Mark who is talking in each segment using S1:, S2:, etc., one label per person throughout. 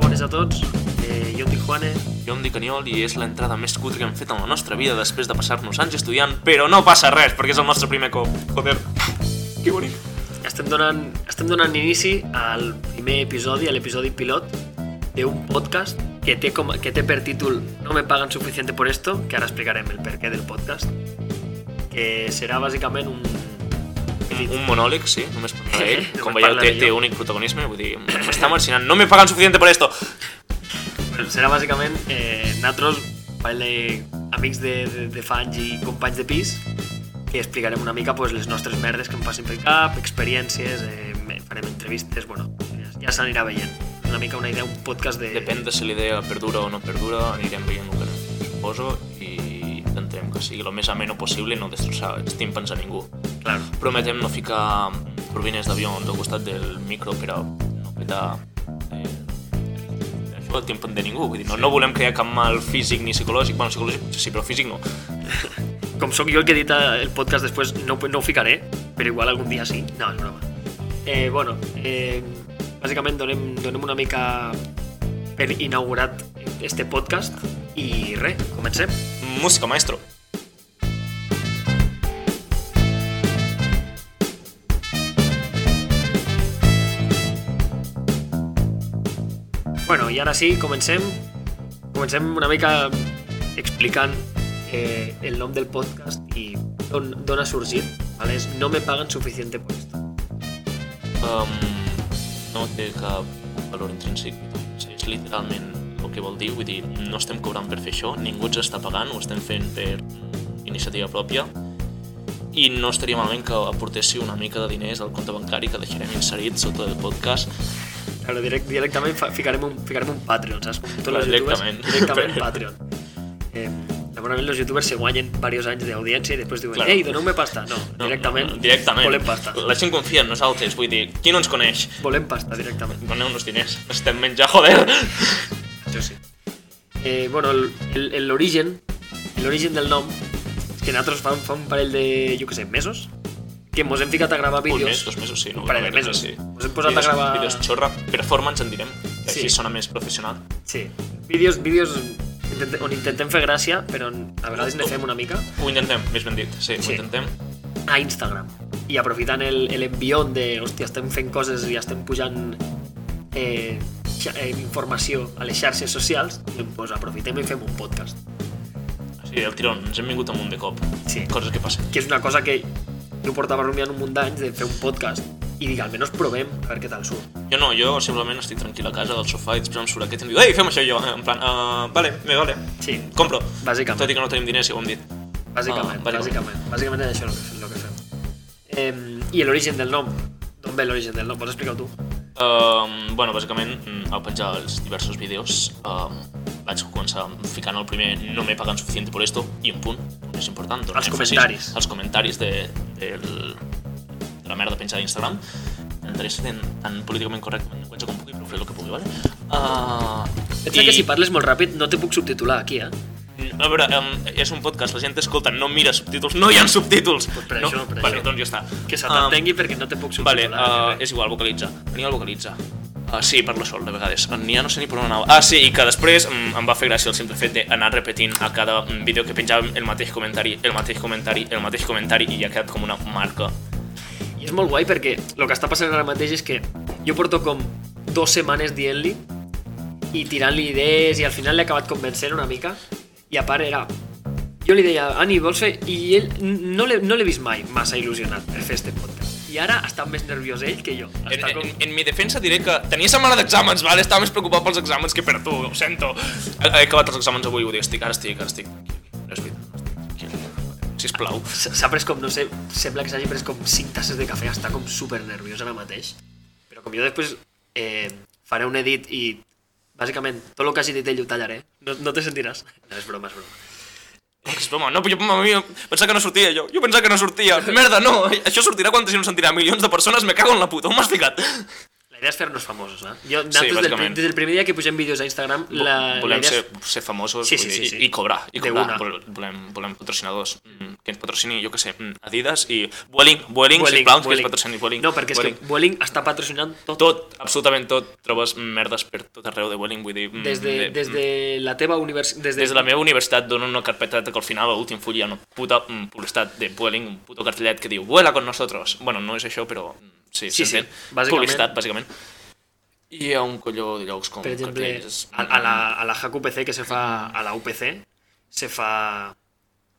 S1: Bones a tots. Eh, jo em dic Juane.
S2: Jo em dic Aniol i és l'entrada més cutre que hem fet en la nostra vida després de passar-nos anys estudiant, però no passa res, perquè és el nostre primer cop. Joder, que bonic.
S1: Estem donant, estem donant inici al primer episodi, a l'episodi pilot d'un podcast que té, com, que té per títol No me pagan suficiente por esto, que ara explicarem el perquè del podcast, que serà bàsicament un...
S2: Un, un monòleg, sí, només parla ell.
S1: Només
S2: Com veieu,
S1: parla
S2: té,
S1: ell.
S2: té únic protagonisme, vull dir, m'està marxinant. No me pagan suficiente per esto.
S1: Serà bàsicament eh, nosaltres, un parell d'amics de, de, de fa anys i companys de pis, que explicarem una mica pues, les nostres merdes que em passen pel cap, experiències, eh, farem entrevistes, bueno, ja, ja s'anirà veient. Una mica una idea, un podcast de...
S2: Depèn de si la idea perdura o no perdura, anirem veient el que suposo i intentem que sigui el més ameno possible i no destrossar els timpans a ningú.
S1: Claro.
S2: Prometem no ficar turbines d'avió al costat del micro per a no petar eh, això el timpan de ningú. Vull dir, no, no volem crear cap mal físic ni psicològic. Bueno, psicològic potser sí, però físic no.
S1: Com sóc jo el que edita el podcast després, no, no ho ficaré, però igual algun dia sí. No, és broma. Eh, bueno, eh, bàsicament donem, donem una mica per inaugurat este podcast i res, comencem.
S2: Música, maestro.
S1: Bueno, i ara sí, comencem. Comencem una mica explicant eh, el nom del podcast i d'on d'on ha sorgit. Vale? És No me pagan suficiente por esto.
S2: Um, no té cap valor intrínsec. Sí, És literalment el que vol dir, vull dir, no estem cobrant per fer això, ningú ens està pagant, ho estem fent per iniciativa pròpia i no estaria malament que aportéssiu una mica de diners al compte bancari que deixarem inserit sota del podcast
S1: Claro, direct, directament fa, ficarem, un, ficarem un Patreon, saps? Com tots els youtubers,
S2: Directament.
S1: directament Patreon. Eh, normalment els youtubers se guanyen diversos anys d'audiència i després diuen
S2: Claro.
S1: claro. ei, doneu-me pasta. No,
S2: No,
S1: directament,
S2: no, directament.
S1: volem pasta.
S2: La gent confia en nosaltres, vull dir, qui no ens coneix?
S1: Volem pasta, directament.
S2: Doneu-nos diners, estem menjar, joder!
S1: Això sí. Eh, bueno, el- el- l'origen l'origen del nom és que nosaltres fa, un- fa un parell de, jo què sé, mesos que mos hem ficat a gravar
S2: Un
S1: vídeos.
S2: mes, dos mesos, sí. No,
S1: Un parell de
S2: una mica,
S1: mesos.
S2: Sí.
S1: Us hem posat a
S2: Vídeos-
S1: gravar-
S2: Vídeos xorra, performance en direm, que
S1: Sí.
S2: així sona més professional.
S1: Sí. Vídeos, vídeos intent- on intentem fer gràcia, però a vegades ne fem una mica.
S2: Ho intentem, més ben dit, sí,
S1: Sí.
S2: ho intentem.
S1: a Instagram. I aprofitant el- el envión de, hòstia, estem fent coses i estem pujant eh, xa- eh, informació a les xarxes socials, doncs pues, aprofitem i fem un podcast.
S2: Sí, el tirón, ens hem vingut amunt de cop.
S1: Sí.
S2: Coses que passen.
S1: Que és una cosa que jo portava rumiant un munt d'anys de fer un podcast i dic, almenys provem a veure què tal surt.
S2: Jo no, jo simplement estic tranquil a casa del sofà i després em surt aquest i em diu Ei, fem això jo, en plan, uh, vale, me vale,
S1: Sí,
S2: compro.
S1: Bàsicament.
S2: Tot i que no tenim diners, ja ho hem dit.
S1: bàsicament,
S2: Ah,
S1: ah, bàsicament. Bàsicament és això el que, el que fem. Eh, I l'origen del nom. D'on ve l'origen del nom? Pots explicar-ho tu?
S2: Um, bueno, bàsicament, mm, al penjar els diversos vídeos, um, vaig començar ficant el primer no me pagan suficiente por esto i un punt, un és important. doncs donar
S1: Els
S2: èmfasi
S1: comentaris.
S2: Als comentaris de, del, de la merda penjada a Instagram. Intentaré ser tan, tan políticament correcte en llenguatge com pugui, però faré el que pugui, vale? Uh,
S1: Pensa I... que si parles molt ràpid no te puc subtitular aquí, eh?
S2: a veure, um, és un podcast, la gent t'escolta, no mira subtítols, no hi ha subtítols!
S1: Pues per
S2: no?
S1: això, per
S2: vale,
S1: això.
S2: doncs ja està.
S1: Que se
S2: Em,
S1: t'entengui perquè no te puc
S2: Vale,
S1: subtitular. ni
S2: uh,
S1: res.
S2: és igual, vocalitza. Daniel vocalitza. Uh, sí, parlo sol, de vegades. Ni ja no sé ni per on anava. Ah, sí, i que després mm, em va fer gràcia el simple fet d'anar repetint a cada mm, vídeo que penjàvem el mateix comentari, el mateix comentari, el mateix comentari, i ja ha quedat com una marca.
S1: I és molt guai perquè el que està passant ara mateix és que jo porto com dues setmanes dient-li i tirant-li idees i al final l'he acabat convencent una mica i a part era... Jo li deia, Ani, vols fer... I ell n- no l'he no l'he vist mai massa il·lusionat per fer este podcast. I ara està més nerviós ell que jo.
S2: En,
S1: Està
S2: en,
S1: com...
S2: en mi defensa diré que tenia setmana d'exàmens, vale? estava més preocupat pels exàmens que per tu, ho sento. He, he acabat els exàmens avui, ho dic, estic, ara estic, ara estic. tranquil, És veritat, estic tranquil. Sisplau.
S1: S- S'ha pres com, no sé, sembla que s'hagi pres com 5 tasses de cafè, està com super nerviós ara mateix. Però com jo després eh, faré un edit i bàsicament tot el que hagi dit ell ho tallaré, no, no te sentiràs. No, és broma, és broma.
S2: Que És broma, no, jo, mamma mia, pensava que no sortia jo, jo pensava que no sortia, merda, no, això sortirà quan si no sentirà milions de persones, me cago en la puta, on m'has ficat?
S1: La La idea és fer-nos famosos, eh? Jo, nosaltres, del,
S2: bàsicament.
S1: des del primer dia que pugem vídeos a Instagram, la, la
S2: volem
S1: idea
S2: ser,
S1: és...
S2: ser famosos
S1: Sí, sí,
S2: vull dir,
S1: sí, sí.
S2: i- i cobrar, i
S1: De
S2: cobrar.
S1: una.
S2: Vol- Volem, volem patrocinadors mm, que ens patrocini, jo que sé, mm, Adidas i Vueling, Vueling, Vueling sisplau, que ens patrocini Vueling.
S1: No, perquè és
S2: Vueling.
S1: que Vueling està patrocinant tot.
S2: Tot, absolutament tot, trobes merdes per tot arreu de Vueling, vull dir... mm,
S1: Des de,
S2: de-
S1: des de la teva universitat... Des de,
S2: Des de la meva universitat dono una carpeta que al final, a l'últim full, hi ha una puta mm, publicitat de Vueling, un puto cartellet que diu Vuela con nosotros. Bueno, no és això, però mm, sí,
S1: Sí, sí,
S2: s'entén.
S1: bàsicament.
S2: Publicitat, bàsicament. I hi ha un colló de llocs com
S1: per exemple,
S2: cartells...
S1: a, a, la, a la HQPC que se fa a la UPC, se fa...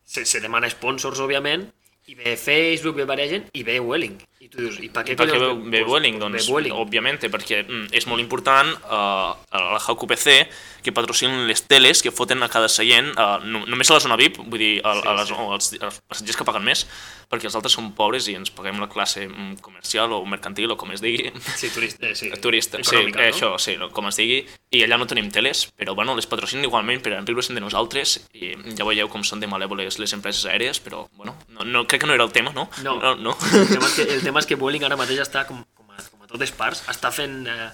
S1: Se, se demana sponsors, òbviament, i ve Facebook, ve Varegen, i ve Welling. I tu dius, i per què
S2: Per què ve,
S1: collons
S2: ve
S1: doncs,
S2: Vueling? Doncs,
S1: Pues Ve Vueling.
S2: òbviament, perquè mm, és molt important eh, a la HQPC que patrocinin les teles que foten a cada seient, eh, no, només a la zona VIP, vull dir, a, a les, o als, als passatgers que paguen més, perquè els altres són pobres i ens paguem la classe mm, comercial o mercantil o com es digui,
S1: Sí, turista, eh, sí.
S2: turista, sí, eh,
S1: econòmica, no?
S2: això, sí, no, com es digui, i allà no tenim teles, però bueno, les patrocinen igualment per enriure-se'n de nosaltres, i ja veieu com són de malèvoles les empreses aèries, però bueno, no, no, crec que no era el tema, no?
S1: No.
S2: no, no.
S1: El tema és que, el tema és que Vueling ara mateix està, com, com, a, com a totes parts, està fent eh,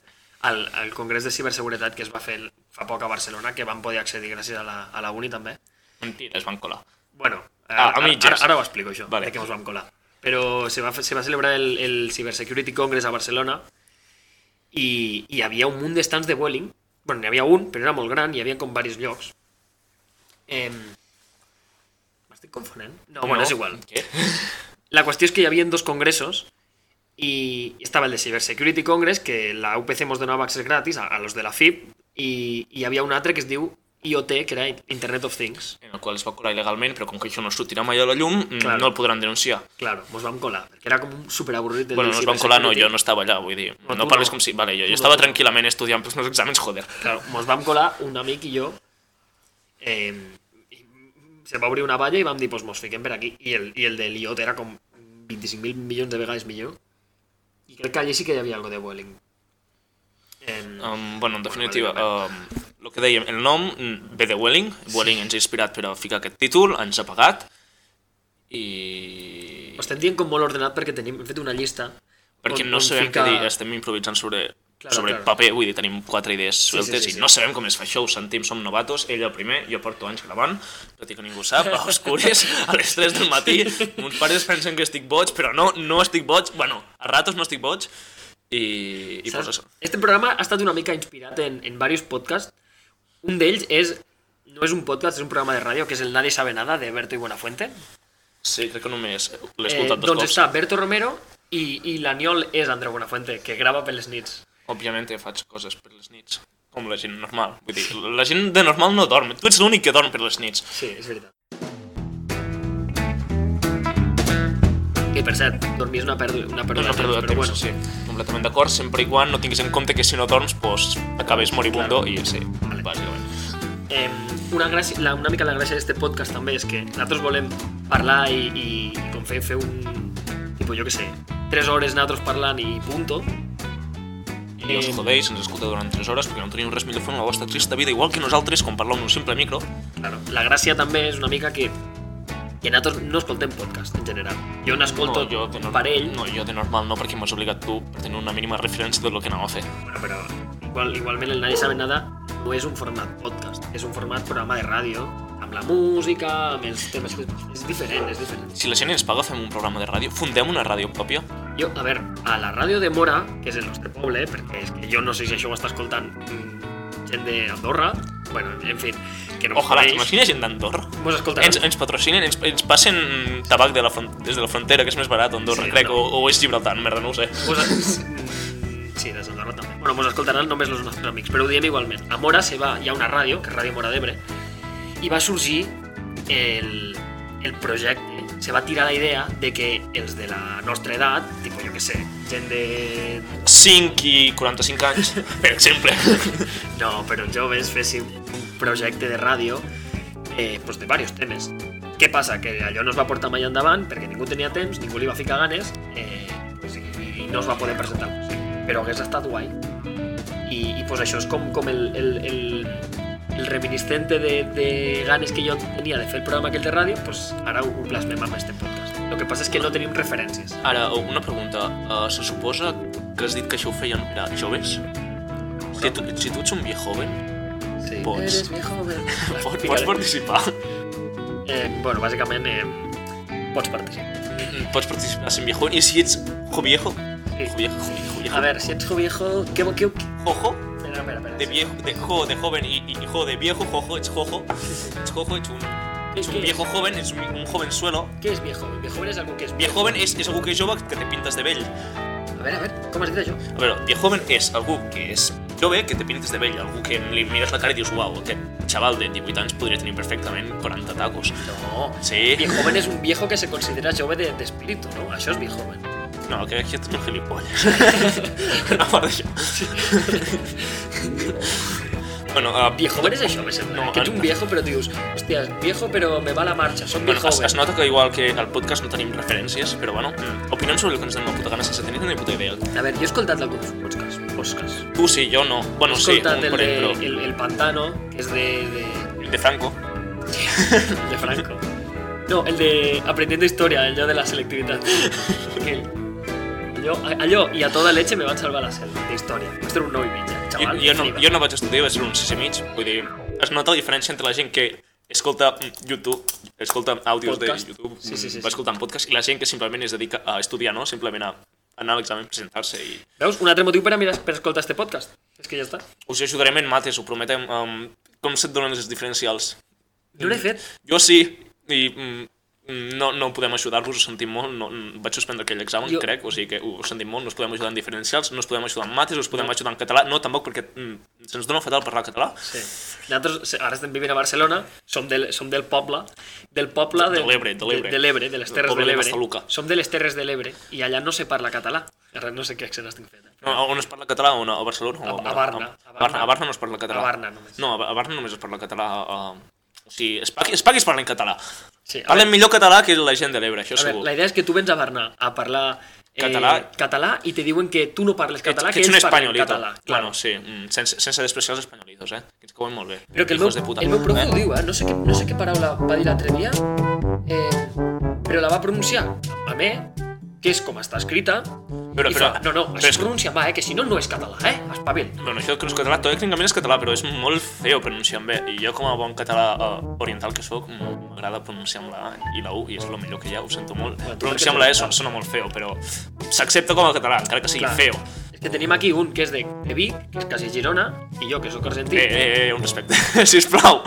S1: el, el Congrés de Ciberseguretat que es va fer el- fa poc a Barcelona, que van poder accedir gràcies a la, a la Uni també.
S2: Mentira, es van colar.
S1: Bueno, eh,
S2: Ah, a
S1: ara,
S2: mitges.
S1: ara, ara ho explico això,
S2: Vale.
S1: vale. de què ens vam colar. Però se va, fer- se va celebrar el, el Cybersecurity Congress a Barcelona i, i hi havia un munt d'estants de Vueling. Bueno, n'hi havia un, però era molt gran, hi havia com diversos llocs. Eh, M'estic confonent? No, no, bueno, és igual.
S2: Què?
S1: La qüestió és que hi havia dos congressos i estava el de Cybersecurity Congress, que la UPC mos donava accés gratis a, a los de la FIP, i, i hi havia un altre que es diu IoT, que era Internet of Things.
S2: en el qual es va colar il·legalment, però com que això no sortirà mai a la llum, mm,
S1: Clar.
S2: no el podran denunciar.
S1: Claro, mos vam colar, perquè era com un superavorrit del
S2: bueno,
S1: de
S2: no es van colar, no, jo
S1: Cybersecurity.
S2: no estava allà, vull dir,
S1: No,
S2: no,
S1: tu
S2: parles
S1: no.
S2: com si... Vale, jo,
S1: Tu
S2: jo
S1: no,
S2: estava
S1: tu no.
S2: tranquil·lament estudiant pels meus exàmens, joder.
S1: Claro, mos vam colar un amic i jo. Eh, i se va obrir una valla i vam dir, pues mos fiquem per aquí. I el, i el de l'IOT era com 25.000 milions de vegades millor. I crec que allí sí que hi havia algo de Vueling. Eh,
S2: Um, bueno, en definitiva,
S1: vale,
S2: um, el que dèiem, el nom mm, ve de Welling, Welling ens ha inspirat per a ficar aquest títol, ens ha pagat, i...
S1: Ho estem dient com molt ordenat perquè tenim, hem fet una llista
S2: Perquè
S1: on-
S2: no
S1: on
S2: sabem
S1: fica-
S2: què dir, estem improvisant sobre,
S1: Claro,
S2: sobre
S1: claro.
S2: paper, vull dir, tenim quatre idees sueltes
S1: sí, sí.
S2: i no sabem com es fa això, ho sentim, som novatos, ell el primer, jo porto anys gravant, tot i que ningú ho sap, a oscures, a les 3 del matí, uns pares pensen que estic boig, però no, no estic boig, bueno, a ratos no estic boig, i, i pues
S1: Saps?
S2: això.
S1: Este programa ha estat una mica inspirat en, en varios podcasts. Un d'ells és no és un podcast, és un programa de ràdio, que és el Nadie sabe nada, de Berto i Buenafuente. Eh,
S2: Sí, crec que només l'he escoltat dos
S1: doncs
S2: cops.
S1: està Berto Romero i, i l'Aniol és Andreu Buenafuente, que grava per les nits.
S2: Òbviament faig coses per les nits, com la gent normal. Vull dir, la gent de normal no dorm, tu ets l'únic que dorm per les nits.
S1: Sí, és veritat. Que, per cert, dormir és una pèrdua, una pèrdua,
S2: No,
S1: de
S2: no
S1: temps,
S2: perdo de
S1: però
S2: temps,
S1: bueno,
S2: sí. Completament d'acord, sempre i quan no tinguis en compte que si no dorms, pues, acabes moribundo i sí,
S1: Vale.
S2: bàsicament.
S1: Eh, una, gràcia, la, una mica la gràcia d'aquest podcast també és que nosaltres volem parlar i, i, i com fer, fer un... Tipo, jo què sé, tres hores nosaltres parlant i punto.
S2: I us
S1: Em.
S2: jodeix, ens escolteu durant 3 hores perquè no teniu res millor fent la vostra trista vida, igual que nosaltres quan parlem un simple micro.
S1: Claro. La gràcia també és una mica que, que nosaltres no escoltem podcast en general. Jo n'escolto
S2: no, jo de
S1: un
S2: nor-
S1: parell,
S2: No, jo de normal no, perquè m'has obligat tu per tenir una mínima referència del que anava a fer.
S1: bueno, però igual, igualment el Nadie Sabe Nada no és un format podcast, és un format programa de ràdio amb la música, amb els temes... que- És diferent, és diferent.
S2: Si la gent ens paga, fem un programa de ràdio, fundem una ràdio pròpia.
S1: Jo, a veure, a la ràdio de Mora, que és el nostre poble, perquè és que jo no sé si això ho està escoltant mm, gent d'Andorra, bueno, en fi, que no
S2: Ojalà,
S1: m'ho
S2: t'imagines gent d'Andorra?
S1: Mos escoltaran.
S2: Ens, ens patrocinen, ens, ens passen tabac de la fron- des de la frontera, que és més barat, Andorra,
S1: Sí,
S2: sí, crec,
S1: no.
S2: no. o, o és Gibraltar, merda, no ho sé.
S1: Mos, mm, sí, des d'Andorra també. Bueno, mos escoltaran només els nostres amics, però ho diem igualment. A Mora se va, hi ha una ràdio, que és Ràdio Mora d'Ebre, i va sorgir el, el projecte, se va tirar la idea de que els de la nostra edat, tipo, jo què sé, gent de
S2: 5 i 45 anys, per exemple.
S1: No, però joves fessin un projecte de ràdio eh, pues de varios temes. Què passa? Que allò no es va portar mai endavant perquè ningú tenia temps, ningú li va ficar ganes eh, pues, i, i no es va poder presentar. Però hagués estat guai. I, i pues això és com, com el, el, el, el reminiscente de, de ganes que jo tenia de fer el programa aquell de ràdio, pues ara ho, ho plasmem amb este podcast. El que passa és que no tenim referències.
S2: Ara, una pregunta. Uh, Eh, se suposa que has dit que això ho feien era joves, si tu, si tu ets un viejo joven,
S1: Sí.
S2: pots,
S3: Eres mi joven.
S2: pots,
S1: Fica-li.
S2: pots participar.
S1: Eh, bueno, bàsicament eh, pots participar.
S2: Mm, Pots participar sent viejo. I si ets joviejo,
S1: Sí.
S2: joviejo, joviejo,
S1: A veure, si ets viejo, què... què, què...
S2: jojo,
S1: Espera, espera, espera.
S2: de viejo, de jo, de joven y, y- y jo de viejo, jojo, es jojo, es jojo, es un, es un viejo joven, es un, un jovenzuelo.
S1: Què és viejo? Viejo és algú que és...
S2: Viejo joven és, és algú que és jove que te pintes de vell.
S1: A veure, a veure, com has dit això?
S2: A veure, viejo joven és algú que és jove que te pintes de vell, algú que li mires la cara i dius uau, aquest xaval de 18 anys podria tenir perfectament 40 tacos.
S1: No.
S2: Sí,
S1: Viejo es un viejo que se considera jove de, de espíritu, ¿no? Això és viejo.
S2: no, que aquest és un gilipolles. no, part d'això. bueno, uh,
S1: Viejo és això, me sembla.
S2: No,
S1: No, que ets un
S2: no.
S1: viejo, però dius, hòstia, viejo, però me va la marxa, som
S2: Bueno,
S1: viejo.
S2: es, es nota que igual que al podcast no tenim referències, però bueno, mm, opinem sobre el que ens donem la puta gana sense tenir ni puta idea.
S1: A veure, jo he escoltat alguns podcasts. podcasts.
S2: Tu sí, jo no. Bueno,
S1: he
S2: sí,
S1: escoltat
S2: un
S1: el,
S2: per
S1: de,
S2: exemple.
S1: el, el Pantano, que és de, de,
S2: El de Franco.
S1: de Franco. No, el de Aprendiendo Historia, el yo de la selectividad. Que Allò, allò i a toda leche me van salvar la selva, de història. Vaig treure un 9 i mitja,
S2: Jo,
S1: xaval.
S2: jo, no,
S1: flipa.
S2: jo no vaig estudiar, vaig ser un 6 i mig. Vull dir, es nota la diferència entre la gent que escolta mm, YouTube, escolta àudios
S1: Podcast.
S2: de YouTube,
S1: Sí, sí, sí,
S2: mm,
S1: sí.
S2: va escoltant podcast, i la gent que simplement es dedica a estudiar, no? Simplement a anar a l'examen, presentar-se i...
S1: Veus? Un altre motiu per, a mirar, per escoltar este podcast. És que ja està.
S2: Us hi ajudarem en mates, ho prometem. Um, com se't donen els diferencials?
S1: Jo l'he fet.
S2: Jo sí, i mm, mm, no, no podem ajudar-vos, ho sentim molt, no, mm, vaig suspendre aquell examen,
S1: Jo-
S2: jo... crec, o sigui que ho sentim molt, no us podem ajudar en diferencials, no us podem ajudar en mates, us podem ajudar en català, no, tampoc, perquè mm, se'ns dona fatal parlar català.
S1: Sí. Nosaltres se- ara estem vivint a Barcelona, som del, som del poble, del poble
S2: De l'Ebre, de l'Ebre.
S1: de, de l'Ebre, de les
S2: Del
S1: Terres
S2: poble
S1: de
S2: de
S1: l'Ebre.
S2: Massaluca.
S1: Som de les Terres de l'Ebre i allà no se parla català. Ara no sé què accent estic fent. eh?
S2: No, on es parla català, on, a Barcelona?
S1: A-
S2: o
S1: a Barna, a
S2: A, a, Barna,
S1: Barna.
S2: a Barna no es parla català.
S1: A Barna només.
S2: No, a Ba- a Barna només es parla català. A, a... O sigui, es pagui, es pagui es parla en català.
S1: Sí, a
S2: Parlen millor català que la gent de l'Ebre, això
S1: A veure,
S2: segur.
S1: la idea és que tu vens a Barna a parlar eh,
S2: Català.
S1: català i te diuen que tu no parles català,
S2: que, ets un
S1: ells parlen
S2: espanyolito.
S1: català. clar.
S2: Bueno, sí, mm, sense, sense despreciar els espanyolitos, eh? Que ens cauen molt bé.
S1: Però que el meu,
S2: Hijos de puta.
S1: el meu profe
S2: Eh?
S1: ho diu, eh? No sé, què, no sé què paraula va dir l'altre dia, eh, però la va pronunciar a me, que és com està escrita,
S2: Però-
S1: i
S2: però-
S1: fa, no, no,
S2: però
S1: això
S2: és
S1: es
S2: que-
S1: pronuncia va, eh, que si no, no és català, eh? Espavil.
S2: Bueno, això que no és català, tot tècnicament és català, però és molt feo pronunciar amb bé. I jo, com a bon català eh, oriental que sóc, m- m'agrada pronunciar amb la A i la U, i és el millor que hi ha, ho sento molt.
S1: Bueno, tu perquè
S2: pronunciar amb la E
S1: ets
S2: sona, sona molt feo, però s'accepta com a català, encara que sigui
S1: Clar.
S2: feo.
S1: És que tenim aquí un que és de, de Vic, que és quasi Girona, i jo, que sóc argentí.
S2: Eh, eh, eh, un respecte, sisplau.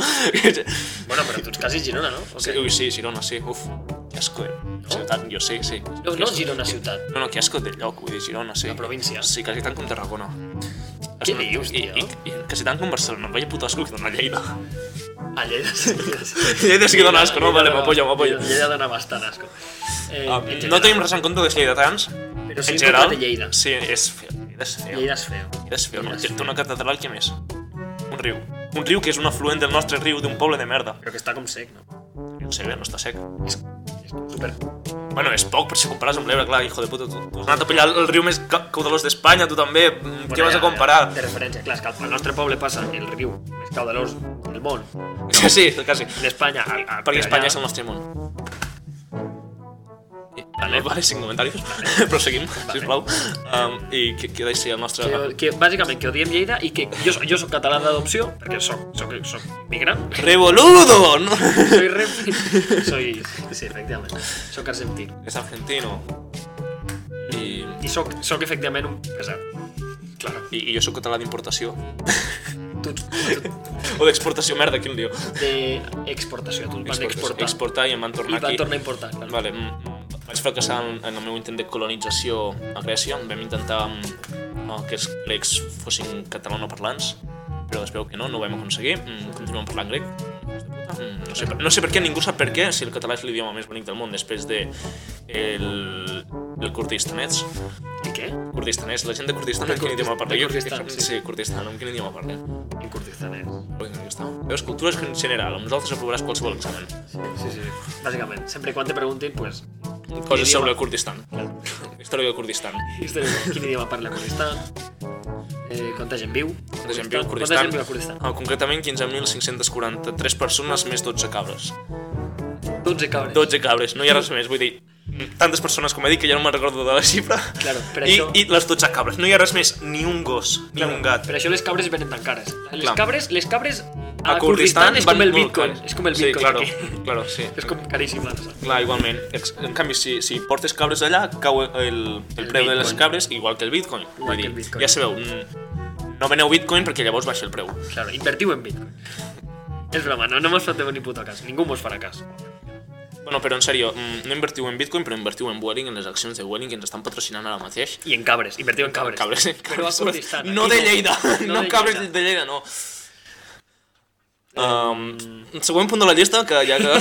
S1: Bueno, però tu ets quasi Girona, no? O
S2: Sí,
S1: què?
S2: ui, sí, Girona, sí, uf, que asco. eh. Ciutat, jo sí, sí.
S1: No, no Girona ciutat.
S2: No, no, que asco del lloc, vull dir, Girona, sí.
S1: La província.
S2: Sí, quasi tant com Tarragona.
S1: Què dius,
S2: I,
S1: tio?
S2: i, i, quasi tant com Barcelona, vaya puto asco que dona Lleida.
S1: A Lleida sí.
S2: Lleida sí que dona asco, no? Vale, m'apoyo, m'apoyo.
S1: Lleida dona bastant asco. Eh,
S2: Ah,
S1: en general.
S2: no tenim res en compte dels lleidatans.
S1: Però sí
S2: en
S1: en
S2: general,
S1: contra de Lleida.
S2: Sí, és feo. Lleida és feo.
S1: Lleida és feo.
S2: Lleida és feo.
S1: Lleida
S2: No,
S1: és
S2: té té una catedral, què més? Un riu. Un riu que és un afluent del nostre riu d'un poble de merda.
S1: Però que està com sec, no?
S2: No sé bé, no està sec.
S1: És, és super...
S2: Bueno, és poc, per si compares amb l'Ebre, clar, hijo de puta, tu, tu has anat a pillar el riu més ca- caudalós d'Espanya, tu també, mm, què vas a comparar?
S1: De referència, clar, és que al nostre poble passa el riu més caudalós del món,
S2: Sí, sí, quasi.
S1: d'Espanya. a- a-
S2: Perquè
S1: per
S2: Espanya
S1: allà.
S2: és el nostre món. I- Vale, vale, sin comentaris. Proseguim, sisplau. Um, I què, què deixi el nostre...
S1: que, que, bàsicament que odiem Lleida i que jo, so- jo sóc català d'adopció perquè sóc, sóc, sóc migrant
S2: Revoludo! No?
S1: soy rep soy, sí, efectivament sóc argentí
S2: Es argentino. I,
S1: i sóc, sóc efectivament un pesat claro
S2: i, i jo sóc català d'importació.
S1: tu, ets- tu,
S2: O d'exportació, merda, quin diu.
S1: de exportació, tu van
S2: Exportació.
S1: exportar
S2: Exportar i em van
S1: i
S2: tornar
S1: van
S2: aquí.
S1: tornar a importar clar.
S2: Vale, mm, mm, vaig fracassar en, en el meu intent de colonització a Grècia. Vam intentar mm, eh, que els grecs fossin catalanoparlants, però es veu que no, no ho vam aconseguir. Mm, Continuem parlant grec. Fills de puta. Mm, No sé, per, no sé per què, ningú sap per què, si el català és l'idioma més bonic del món després de el, el kurdistanets.
S1: i què?
S2: Kurdistanès, la gent de Kurdistan, en quin
S1: Kurdistan-
S2: idioma parla?
S1: de
S2: Jo-
S1: Kurdistan, sí.
S2: sí, Kurdistan, en quin idioma parla?
S1: en Kurdistan eh?
S2: Ui, aquí està. Veus, cultura és en general, amb nosaltres aprovaràs qualsevol examen.
S1: Sí, sí, sí. Bàsicament, sempre quan te preguntin, pues,
S2: Coses
S1: Idioma.
S2: sobre el Kurdistan. Història del Kurdistan.
S1: història, quin idioma parla Kurdistan, eh, quanta gent viu,
S2: Per exemple, el
S1: quanta
S2: Kurdistan,
S1: gent viu a Kurdistan.
S2: ah, concretament 15.543 persones més 12 cabres.
S1: 12 cabres.
S2: 12 cabres, no hi ha res més, vull dir, tantes persones com he dit que ja no me'n recordo de la xifra.
S1: Claro, per
S2: I,
S1: això-
S2: I les 12 cabres. No hi ha res més, ni un gos, ni
S1: Claro,
S2: un gat.
S1: Per això les cabres venen tan cares. Les
S2: Clar.
S1: cabres, les cabres a, Kurdistan, és
S2: van
S1: com el
S2: molt
S1: bitcoin.
S2: cares.
S1: És com el bitcoin.
S2: Sí, claro,
S1: aquí.
S2: claro, sí.
S1: és com caríssim. la cosa.
S2: Clar, igualment. Ex- En canvi, si, si portes cabres allà, cau el, el,
S1: El
S2: preu de les
S1: bitcoin.
S2: cabres, igual que el bitcoin.
S1: Igual
S2: Vull
S1: que el
S2: dir,
S1: bitcoin.
S2: Ja sabeu, mm, no veneu bitcoin perquè llavors baixa el preu.
S1: Claro, invertiu en bitcoin. És broma, no, no mos foteu ni puto cas. Ningú mos farà cas.
S2: Bueno, però en sèrio, mm, no invertiu en bitcoin, però invertiu en Vueling, en les accions de Vueling que ens estan patrocinant ara mateix.
S1: I en cabres, invertiu en cabres.
S2: Cabres, eh?
S1: Però a
S2: cabres.
S1: Kurdistan.
S2: No
S1: aquí
S2: de Lleida, no,
S1: de
S2: cabres
S1: Lleida.
S2: de Lleida, no. Um, següent punt de la llista, que ja que...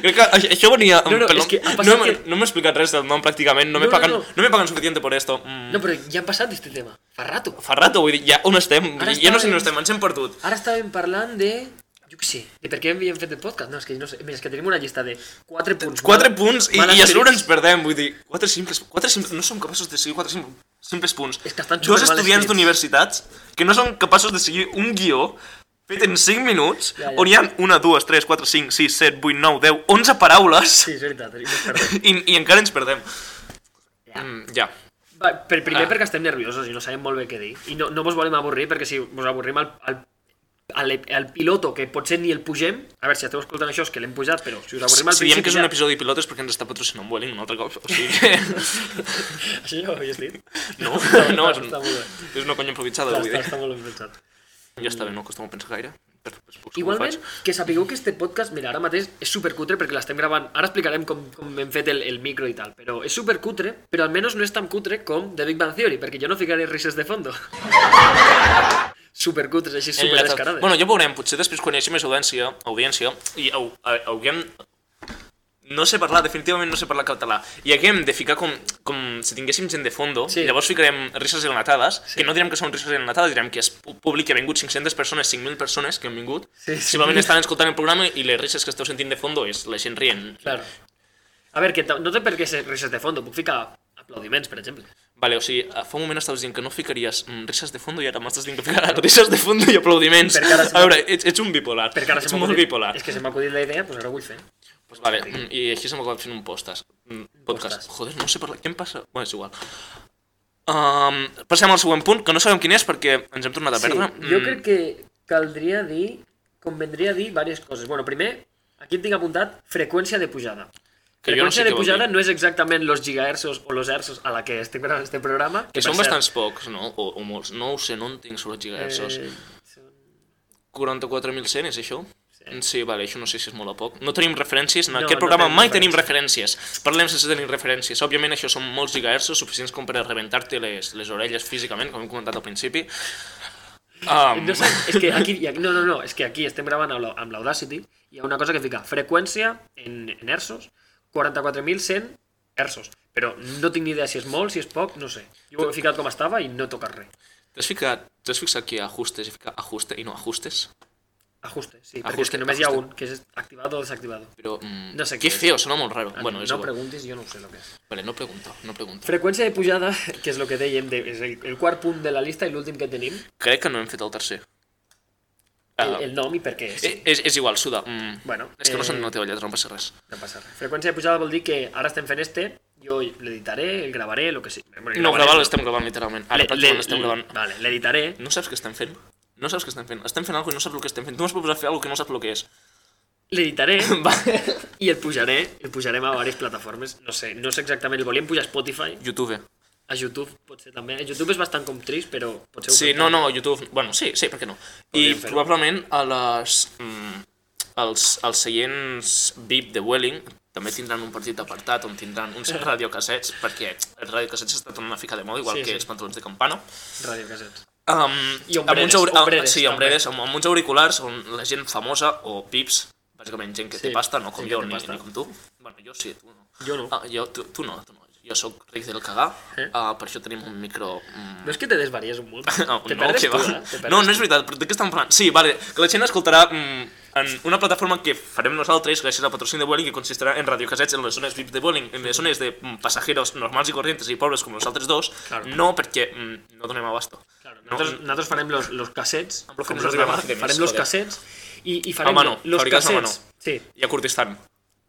S2: crec que això- això venia...
S1: No, no,
S2: pel
S1: és
S2: nom.
S1: que ha
S2: no,
S1: passat
S2: m'he-
S1: que-
S2: no m'he explicat res del nom pràcticament, no,
S1: No,
S2: me
S1: no,
S2: pagan, no,
S1: no.
S2: me pagan suficiente por esto. Mm.
S1: No, però ja han passat este tema. Fa rato.
S2: Fa rato, vull dir, ja on estem?
S1: Ara
S2: ja no sé
S1: estàvem-
S2: on estem, ens hem perdut.
S1: Ara estàvem parlant de... Jo què sé, de per què havíem fet el podcast. No, és que no sé. Mira, és que tenim una llista de 4 punts.
S2: 4 punts i,
S1: Males
S2: i a sobre ens
S1: esperits.
S2: perdem, vull dir, 4 simples, 4 simples, no som capaços de seguir 4 simples, simples punts.
S1: És que estan
S2: Dos
S1: supermal
S2: estudiants
S1: escrits.
S2: d'universitats que no són capaços de seguir un guió fet en 5 minuts,
S1: Ja, ja.
S2: on hi ha 1, 2, 3, 4, 5, 6, 7, 8, 9, 10, 11 paraules
S1: Sí, és veritat, ens perdem.
S2: i, i encara ens perdem.
S1: Ja.
S2: Mm, ja.
S1: Va, per primer
S2: Ah.
S1: perquè estem nerviosos i no sabem molt bé què dir. I no, no vos volem avorrir perquè si vos avorrim al, al, al, al piloto, que potser ni el pugem, a veure si esteu escoltant això és que l'hem pujat, però si us avorrim al
S2: Si diem que és un
S1: ja-
S2: episodi pilot és perquè ens està patrocinant Vueling un altre cop, o sigui que...
S1: Així no ho havies dit?
S2: No,
S1: Està-
S2: no, és,
S1: està- està molt bé.
S2: és una conya improvisada,
S1: Està,
S2: vull
S1: està,
S2: dir.
S1: està molt ben pensat.
S2: Ja està bé, no acostumo a pensar gaire. Per, per, per, per,
S1: Igualment, que sapigueu que este podcast, mira, ara mateix és supercutre perquè l'estem gravant, ara explicarem com, com hem fet el, el micro i tal, però és supercutre, però almenys no és tan cutre com The Big Bang Theory, perquè jo no ficaré rises de fondo. supercutres, així superdescarades.
S2: Bueno, ja veurem, potser després quan hi hagi més audiència, audiència i au, a- haguem... No sé parlar, definitivament no sé parlar català. I haguem de ficar com, com si tinguéssim gent de fondo,
S1: Sí.
S2: sí. llavors ficarem risses enlatades,
S1: Sí.
S2: que no direm que són risses enlatades, direm que és pu- públic, que ha vingut 500 persones, 5.000 persones que han vingut,
S1: Sí, sí.
S2: simplement estan escoltant el programa i les risses que esteu sentint de fondo és la gent rient.
S1: Claro. A ver, que ta- no té per què ser risas de fondo, puc ficar aplaudiments, per exemple.
S2: Vale, o sigui, eh, fa un moment estaves dient que no ficaries mm, risses de fondo i ara m'estàs dient que ficaràs risses de fondo i aplaudiments.
S1: Perquè ara se
S2: A
S1: m'ha-
S2: veure, ets, ets un bipolar.
S1: Perquè ara
S2: ets
S1: se m'ha
S2: molt
S1: acudit-
S2: bipolar.
S1: És que se m'ha acudit la idea, doncs ara ho vull fer.
S2: Pues vale, mm, i així se m'acaba fent un postes. Mm, Podcast.
S1: Podcast.
S2: Joder, no sé per la... Què em passa? Bueno, és igual. Um, passem al següent punt, que no sabem quin és perquè ens hem tornat a perdre. Mm,
S1: jo crec que caldria dir, convendria dir diverses coses. Bueno, primer, aquí tinc apuntat freqüència de pujada.
S2: Que jo no sé
S1: freqüència
S2: què
S1: de
S2: vol
S1: pujada
S2: dir.
S1: no és exactament los gigahercios o los hercios a la que estem gravant este programa.
S2: que
S1: per
S2: són
S1: cert,
S2: bastants pocs, no? O, o molts. No ho sé, no en tinc sobre els gigahertzos.
S1: Eh,
S2: Eh...
S1: són-
S2: 44.100 és això?
S1: Sí.
S2: Sí. sí, vale, això no sé si és molt a poc. No tenim referències, en
S1: No,
S2: no, aquest
S1: no
S2: programa
S1: tenim
S2: mai tenim referències. Parlem sense tenir referències. Òbviament això són molts gigahertzos, suficients com per a rebentar-te les, les orelles físicament, com hem comentat al principi. Um,
S1: No sé, és que aquí, i aquí- no, no, no, és que aquí estem gravant amb la- amb l'Audacity i hi ha una cosa que fica freqüència en, en hersos, 44.100 hersos. Però no tinc ni idea si és molt, si és poc, no sé. Jo ho he ficat com estava i no toca res.
S2: T'has ficat, t'has fixat que ajustes i fica ajuste i no ajustes?
S1: Ajuste, sí, perquè és
S2: Ajuste,
S1: que només hi ha
S2: ajuste.
S1: un, que és activado o desactivado.
S2: Però, mm,
S1: No sé
S2: que
S1: què és.
S2: feo, sona molt raro. bueno, és
S1: no
S2: igual.
S1: preguntis, jo no ho sé el que és.
S2: Vale, no pregunto, no pregunto.
S1: Freqüència de pujada, que és el que dèiem, de, és el, el quart punt de la llista i l'últim que tenim,
S2: Crec que no hem fet el tercer.
S1: el,
S2: Ah,
S1: el nom i per què és.
S2: eh, és, és igual, suda. Mm,
S1: Bueno,
S2: és que
S1: eh,
S2: no són la teva lletra, no passa res.
S1: No passa res. Freqüència de pujada vol dir que ara estem fent este, jo l'editaré, el gravaré, el que sigui. Bueno,
S2: No,
S1: gravaré,
S2: gravar l'estem gravant, literalment. Ara,
S1: Le-
S2: pràcticament
S1: le-
S2: l'estem
S1: le-
S2: gravant.
S1: Vale, l'editaré.
S2: No saps què estem fent? No saps què estem fent? Estem fent alguna cosa i no saps el que estem fent. Tu m'has proposat fer alguna cosa que no saps el que és.
S1: L'editaré
S2: Va.
S1: i el pujaré, el pujarem a diverses plataformes. No sé, no sé exactament, el volíem pujar a Spotify,
S2: YouTube.
S1: a YouTube potser també. A YouTube és bastant com trist, però potser ho
S2: Sí,
S1: fem.
S2: no, no, YouTube... Bueno, sí, sí, per què no? I
S1: Podríem fer-ho.
S2: probablement a les... Mm, els, els seients VIP de Welling també tindran un partit apartat on tindran uns radiocassets, perquè els radiocassets s'està tornant a ficar de moda, igual
S1: Sí,
S2: sí,
S1: sí.
S2: que sí. els pantalons de campana.
S1: Radio Cassettes.
S2: Um,
S1: I ombreres, ombreres,
S2: sí,
S1: també.
S2: ombreres, amb, amb uns auriculars on la gent famosa, o VIPs, bàsicament gent que
S1: Sí,
S2: té pasta, no com
S1: gent que
S2: jo
S1: té
S2: ni,
S1: pasta.
S2: ni com tu. Bueno, jo sí, tu no.
S1: Jo no.
S2: Ah, jo, tu, tu no, tu no. Jo sóc ric del cagar,
S1: Eh?
S2: uh, per això tenim un micro... Mm,
S1: No és que te desvaries un munt.
S2: No,
S1: te
S2: no,
S1: perdes
S2: que
S1: tu,
S2: va.
S1: eh? Te perdes
S2: no, no és veritat, però de què estan parlant? Sí, vale, que la gent escoltarà mm, en una plataforma que farem nosaltres gràcies al patrocini de Vueling que consistirà en radiocassets en les zones VIP de Vueling, en les zones de mm, passajeros normals i corrientes i pobres com nosaltres dos,
S1: Claro.
S2: no perquè mm, no donem abasto.
S1: Claro,
S2: No,
S1: nosaltres, nosaltres farem los, los cassets,
S2: Amb lo que
S1: com
S2: nos
S1: los
S2: arriba
S1: demás,
S2: de Ah, més,
S1: farem los
S2: joder.
S1: cassets i, i farem
S2: mano,
S1: los
S2: fabricats a
S1: cassets.
S2: mano.
S1: Sí,
S2: I a Kurdistan.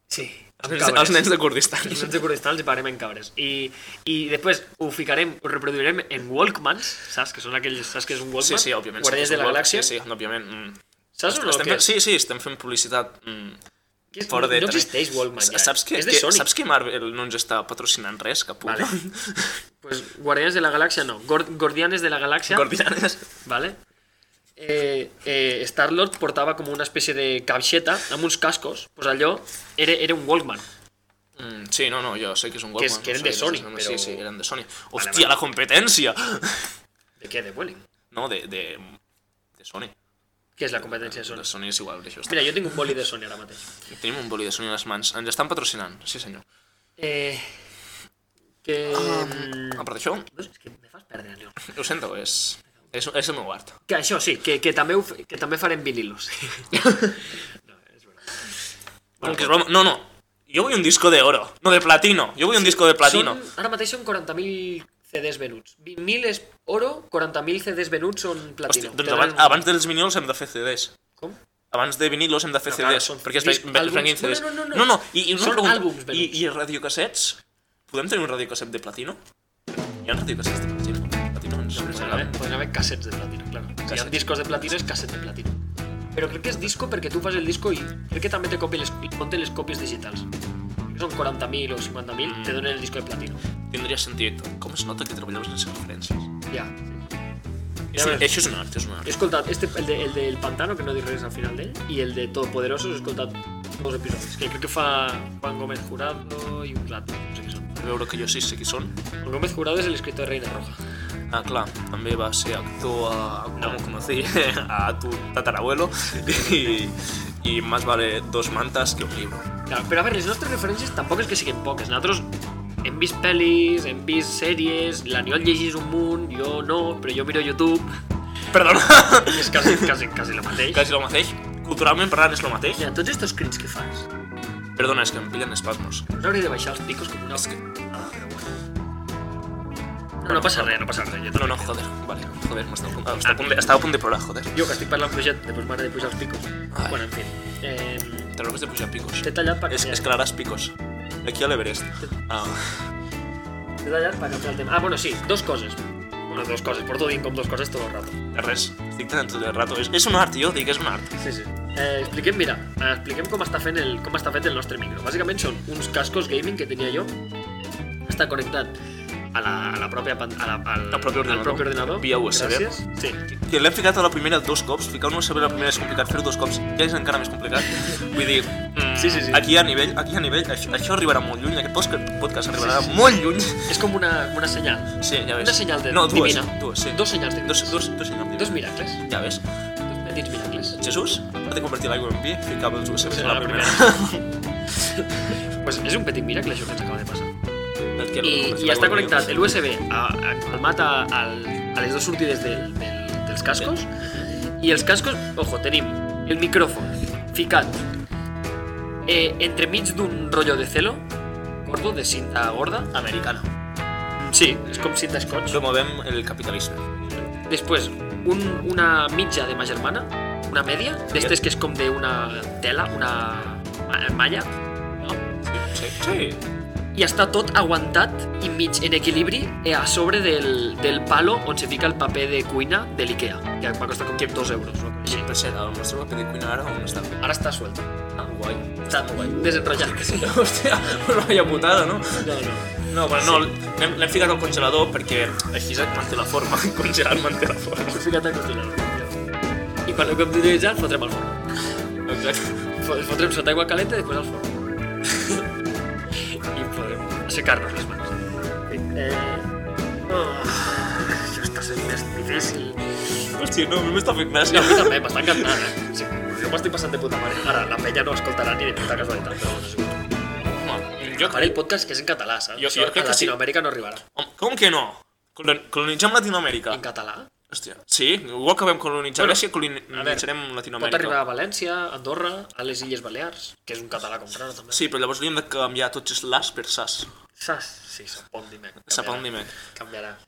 S1: Sí.
S2: Els, els nens de Kurdistan.
S1: Els nens de Kurdistan els hi pagarem en cabres. I, I després ho ficarem, ho reproduirem en Walkmans, saps? Que són aquells, saps que és un Walkman?
S2: Sí, sí, òbviament.
S1: Guardians
S2: sí,
S1: de la
S2: sí,
S1: Galàxia.
S2: Sí, sí, òbviament. Mm.
S1: Saps o no?
S2: Estem
S1: Què?
S2: fent, sí, sí, estem fent publicitat mm,
S1: Que és-
S2: fora de...
S1: no
S2: també.
S1: existeix Walkman, ja.
S2: Saps que,
S1: És de
S2: que,
S1: Sony.
S2: Saps que Marvel no ens està patrocinant res, cap punt?
S1: Vale. Pues Guardianes de la Galaxia no. Gor- Guardianes de la Galaxia.
S2: Guardianes.
S1: ¿Vale? Eh, eh, Star-Lord portava com una espècie de capxeta amb uns cascos. Pues allò era, era un Walkman.
S2: Mm, sí, no, no, jo sé que és un
S1: Que
S2: Walkman.
S1: és- que eren
S2: no
S1: de
S2: sé què és,
S1: Sony,
S2: no,
S1: però-
S2: Sí, sí, eren de Sony. Hòstia,
S1: vale.
S2: la competència!
S1: De què? De Welling.
S2: No, de, de, de Sony.
S1: Què és la competència de Sony?
S2: De Sony és igual, això està.
S1: Mira, jo tinc un boli de Sony ara mateix.
S2: Tenim un boli de Sony a les mans. Ens estan patrocinant, sí senyor.
S1: Eh, que...
S2: Ah.
S1: Mm.
S2: A part d'això,
S1: No sé, és que me fas perdre, Leon.
S2: ho sento, és, és, és el meu art.
S1: Que això sí, que, que, també, ho, f- que també farem vinilos. no, és veritat.
S2: Bueno, que és broma. No, no. Yo voy un disco de oro, no de platino. Yo voy un disco de platino.
S1: Són, ara mateix són 40.000 CDs venuts. 20.000 és oro, 40.000 CDs venuts són platino.
S2: Hòstia, doncs
S1: Tenen
S2: abans,
S1: un-
S2: abans dels vinilos hem de fer CDs.
S1: Com?
S2: Abans de vinilos hem de fer
S1: No, clar,
S2: CDs,
S1: són
S2: perquè es,
S1: disc-
S2: ve, es venguin
S1: àlbums.
S2: CDs.
S1: No, no, no, no.
S2: no, no. I, i una
S1: Són
S2: pregunta.
S1: àlbums venuts.
S2: I, I radiocassets? Podem tenir un radiocasset de platino? Hi ha radiocassets de platino? Platino ens ens
S1: Podrien haver,
S2: agrada.
S1: podrien haver cassets pues de platino, claro. Si hi ha
S2: Cassets.
S1: discos de platino, és casset de platino. Però crec que és disco perquè tu fas el disco i crec que també te copien les, compten les còpies digitals. Crec que Són 40.000 o 50.000, te donen el disco de platino.
S2: Tindria sentit. Com es nota que treballeu sense referències?
S1: Ja.
S2: És un, això és un art, és un
S1: He
S2: art.
S1: escoltat este, el, de, el del Pantano, que no dic res al final d'ell, i el de Todopoderosos he escoltat dos episodis, que crec que fa Juan Gómez Jurado i un rato, no sé què són.
S2: A veure que jo sí sé qui són.
S1: Juan Gómez Jurado és l'escriptor de Reina Roja.
S2: Ah, clar, també va ser actor a...
S1: No.
S2: No. Com conocí, a tu tatarabuelo i, i más vale dos mantas que un libro.
S1: Clar, però a veure, les nostres referències tampoc és que siguin poques. Nosaltres hem vist pel·lis, hem vist sèries, l'Aniol llegís un munt, jo no, però jo miro YouTube,
S2: Perdona!
S1: és quasi, quasi, quasi el mateix.
S2: Quasi el mateix. Culturalment parlant és el mateix.
S1: Mira, tots estos crits que fas,
S2: Perdona, és que em pillen espasmos.
S1: us hauré de baixar els picos com una...
S2: És que...
S1: Ah, però bueno. No, no passa res, no passa res. Jo
S2: No, no, joder, vale, joder, m'estava a, punt- estava Ah, a punt de, estava a punt de plorar, joder.
S1: Jo, que estic parlant fluixet, després m'agrada pujar els picos.
S2: Ai.
S1: Bueno, en fi. Eh,
S2: Te l'hauràs de pujar picos.
S1: t'he tallat per
S2: És,
S1: canviar,
S2: és que l'haràs picos. Aquí a l'Everest. Ah,
S1: t'he tallat per canviar el tema. Ah, bueno, sí, dos coses. Bueno, dos coses, porto dient com dos coses tot el rato.
S2: res, estic tan tot el rato. És, és un art, jo dic, és un art.
S1: Sí, sí. Eh, expliquem, mira, eh, expliquem com està, fent el, com està fet el nostre micro. Bàsicament són uns cascos gaming que tenia jo, està connectat a la, a la pròpia pan- a la, al,
S2: Al propi
S1: al
S2: ordenador.
S1: propi ordenador.
S2: Via USB.
S1: Gràcies. Sí.
S2: que l'hem ficat a la primera dos cops, ficar un USB a la primera és complicat, fer-ho dos cops ja és encara més complicat. Vull dir, mm,
S1: Sí, sí, sí.
S2: aquí a nivell, aquí a nivell, això, això arribarà molt lluny, aquest podcast, podcast arribarà molt lluny.
S1: És com una, com una senyal.
S2: Sí, ja ves.
S1: Una senyal de
S2: no, dues,
S1: divina.
S2: dues, sí.
S1: Dos senyals divines.
S2: dos, dos, dos senyals divins.
S1: Dos miracles.
S2: Ja ves.
S1: Dos petits miracles.
S2: Jesús va de convertir l'aigua en vi, ficava els USBs
S1: Sí,
S2: a la
S1: la
S2: primera.
S1: pues és un petit miracle això que ens acaba de passar.
S2: Perquè
S1: I,
S2: el-
S1: i està connectat el USB a, a, al mat a, al, a les dues sortides del, del, dels cascos i els cascos, ojo, tenim el micròfon ficat eh, entremig d'un rotllo de celo gordo, de cinta gorda Mm,
S2: Americana.
S1: sí, és com cinta scotch
S2: Promovem el capitalisme.
S1: després un, una mitja de ma germana una media, d'estes que és com d'una tela, una ma- malla no?
S2: Sí, sí.
S1: i està tot aguantat i mig en equilibri eh, a sobre del, del palo on se fica el paper de cuina de l'IKEA, que va costar com que 2 euros. o alguna cosa
S2: Per cert, el nostre paper de cuina ara on està?
S1: així. Ara està suelta.
S2: Ah, guai.
S1: Està molt guai. Desenrotllat.
S2: Hòstia, una vella putada, no?
S1: No, no.
S2: No, bueno, no, l'hem l'hem ficat al congelador perquè així es manté la forma, congelar manté la forma.
S1: S'ha ficat a continuar. I quan ho hem d'utilitzar el fotrem al forn.
S2: Exacte.
S1: Fo- El fotrem sota aigua calenta i després al forn. I podem assecar-nos les mans. Eh... Oh, això està sent més difícil.
S2: Hòstia, no, a mi m'està fent
S1: Sí, a
S2: gràcia.
S1: mi també, m'està encantant, eh? Sí, jo m'estic passant de puta mare. Ara, la penya no escoltarà ni de puta casualitat, però bueno, segur.
S2: Home, jo,
S1: Faré el podcast que és en català, saps?
S2: Jo-
S1: O sigui,
S2: jo crec
S1: a
S2: que sí.
S1: Latinoamèrica no arribarà.
S2: home, com que no? Colon- Colonitzem Latinoamèrica.
S1: En català?
S2: Hòstia, sí, igual que vam colonitzar
S1: Bueno,
S2: Grècia,
S1: a veure,
S2: colonitzarem
S1: Pot arribar
S2: Latinoamèrica.
S1: a València, Andorra, a les Illes Balears, que és un català com raro, també.
S2: Sí, però llavors li hem de canviar tots els las per sas.
S1: Saps? Sí, Sapondimec.
S2: Sapondimec.
S1: Canviarà.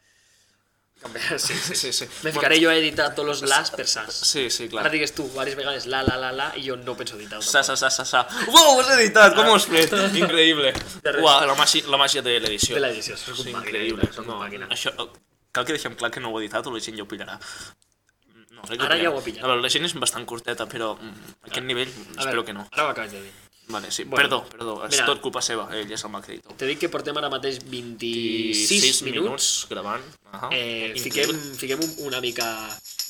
S1: Sí, sí.
S2: Sí, sí.
S1: Me
S2: Bueno,
S1: ficaré jo a editar tots els las per sas.
S2: Sí, sí, clar.
S1: Ara digues tu diverses vegades la, la, la, la, i jo no penso editar.
S2: Sa, sa, sa, sa, sa. Uau, ho has editat, com ho has fet? Increïble.
S1: De res.
S2: Uau, la màgia, la màgia de l'edició.
S1: De l'edició, soc un
S2: Sí,
S1: màquina,
S2: increïble.
S1: soc un
S2: No,
S1: màquina.
S2: això, eh, cal que deixem clar que no ho he editat o la gent ja ho pillarà. No, crec que
S1: Ara ja
S2: pillarà.
S1: ho ha pillat.
S2: A veure, la gent és bastant curteta, però mm, a aquest nivell espero que no.
S1: Ara ho acabes de dir.
S2: Vale, sí,
S1: Bueno,
S2: perdó, perdó, és
S1: mira.
S2: tot culpa seva, ell és el mal creditor.
S1: Te dic que portem ara mateix 26
S2: sis
S1: minuts.
S2: minuts gravant. Uh -huh.
S1: Eh, fiquem fiquem un, una mica...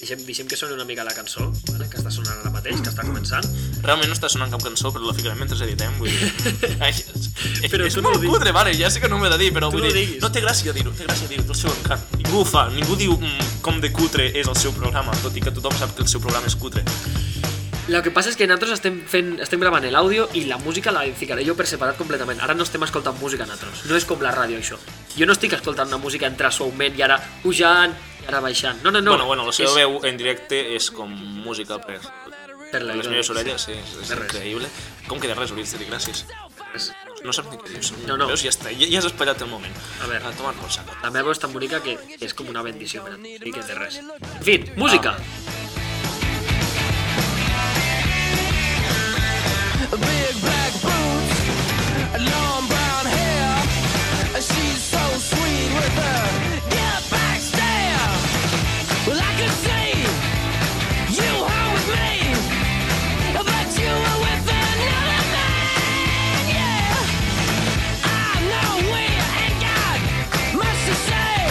S1: Deixem, deixem que soni una mica la cançó, vale? que està sonant ara mateix, que està començant.
S2: Realment no està sonant cap cançó, però la ficarem mentre editem, vull dir... Ai, és, és,
S1: Però
S2: és
S1: tu no
S2: molt
S1: ho diguis.
S2: cutre, vale, ja sé que no m'he de dir, però
S1: Tu
S2: vull
S1: no ho
S2: dir...
S1: diguis.
S2: No té gràcia dir-ho, té gràcia dir-ho, té el seu encant. Ningú ho fa, ningú diu mm, com de cutre és el seu programa, tot i que tothom sap que el seu programa és cutre.
S1: Lo que passa és que nosaltres estem, fent, estem gravant l'àudio i la música la ficaré jo per separat completament. Ara no estem escoltant música nosaltres. No és com la ràdio, això. Jo no estic escoltant una música entrar suaument i ara pujant i ara baixant. No, no, no.
S2: bueno, bueno, la seva
S1: És
S2: veu en directe és com música per,
S1: Per
S2: per
S1: la
S2: les
S1: vida.
S2: meves orelles, sí, és, és
S1: De res.
S2: increïble. Com que de res, hauries de dir gràcies.
S1: És-
S2: No saps ni què dius.
S1: No, no.
S2: Veus, ja està, ja, ja has espatllat el moment.
S1: A veure.
S2: A tomar por saco.
S1: La meva veu és tan bonica que és com una bendició, mira, no dic de res. En fi, música.
S3: big black boots, long brown hair. She's so sweet with her get back stare. Well, I could see you home with me, but you were with another man. Yeah, I know where and God must say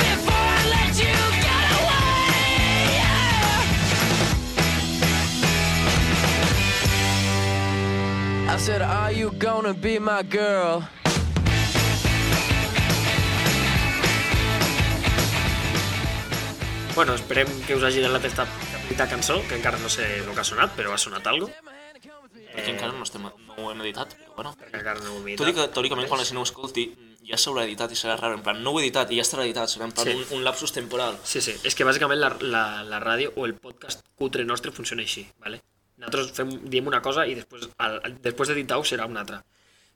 S3: before I let you get away. Yeah. I said, Are you gonna be my girl?
S1: Bueno, esperem que us hagi agradat aquesta petita cançó, que encara no sé el que ha sonat, però ha sonat algo. Eh.
S2: Perquè encara no, estem, no ho hem editat, però bueno.
S1: Perquè encara no ho he
S2: Tot i que
S1: editat.
S2: teòricament quan la gent ho escolti ja s'haurà editat i serà raro, en plan, no ho he editat i ja estarà editat, serà en plan
S1: Sí.
S2: un, un lapsus temporal.
S1: Sí, sí, és que bàsicament la, la, la ràdio o el podcast cutre nostre funciona així, ¿vale? Nosaltres fem, diem una cosa i després, al, al- després d'editar-ho serà una altra.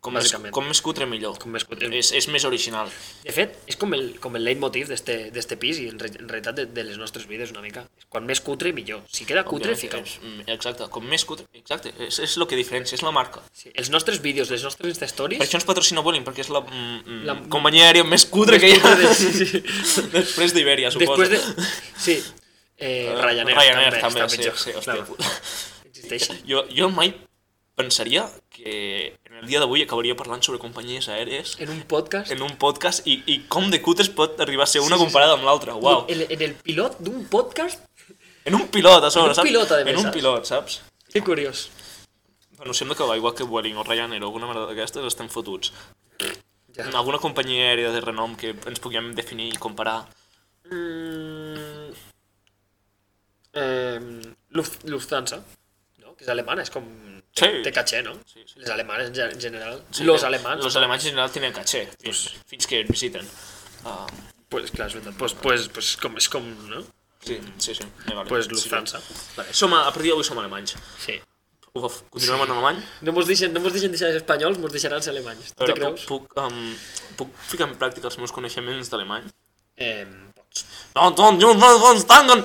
S2: Com més,
S1: Bàsicament.
S2: com més cutre millor.
S1: Com més cutre.
S2: És, és més original.
S1: De fet, és com el, com el leitmotiv d'este d'este pis i en, re, en realitat de, de les nostres vides una mica. Quan més cutre, millor. Si queda cutre,
S2: Òbviament,
S1: fica-ho.
S2: és- mm, Exacte, com més cutre, exacte, és, és el que diferencia, és la marca.
S1: Sí, els nostres vídeos, les nostres Insta Stories...
S2: Per això ens patrocina Vueling, perquè és la, mm, la
S1: La-
S2: companyia aèria més cutre que hi
S1: Més
S2: ha.
S1: cutre de- sí, sí.
S2: Després d'Iberia, suposo.
S1: Després de... Sí, eh, Ryanair,
S2: Ryanair
S1: també,
S2: també,
S1: està pitjor.
S2: sí, sí, hòstia.
S1: Clar, existeixen.
S2: Jo, jo mai pensaria que en el dia d'avui acabaria parlant sobre companyies aèries
S1: En un podcast...
S2: en un podcast i, i com de cutres pot arribar a ser una comparada amb l'altra, uau.
S1: En, en el pilot d'un podcast...
S2: En un pilot, a
S1: En
S2: sobre,
S1: un
S2: saps?
S1: pilot, a més,
S2: En un
S1: saps?
S2: pilot, saps?
S1: Que curiós.
S2: Bueno, sembla que va igual que Vueling o Ryanair o alguna merda d'aquestes estem fotuts.
S1: Ja.
S2: En alguna companyia aèria de renom que ens puguem definir i comparar.
S1: Mm, eh, Luf- Lufthansa, no? que és alemana, és com... Té,
S2: Sí.
S1: té caché, no?
S2: Sí, sí.
S1: Les alemanes en ge- en general.
S2: Sí,
S1: los
S2: eh,
S1: alemans.
S2: Los alemanys en general tenen caché, fins, fins que et visiten. Uh,
S1: Pues, clar, és veritat. Pues, pues, pues, com, és com, no?
S2: sí, sí, sí. Eh, vale.
S1: Pues
S2: Sí,
S1: Lufthansa.
S2: Vale. Som a, a partir d'avui som alemanys.
S1: Sí.
S2: Uf, continuem en alemany?
S1: No mos deixen, no mos deixen deixar els espanyols, mos deixaran ser alemanys. Tu
S2: A
S1: te
S2: veure,
S1: creus?
S2: puc, puc, um, puc ficar en pràctica els meus coneixements d'alemany?
S1: Eh,
S2: No, no, no, no, no, no,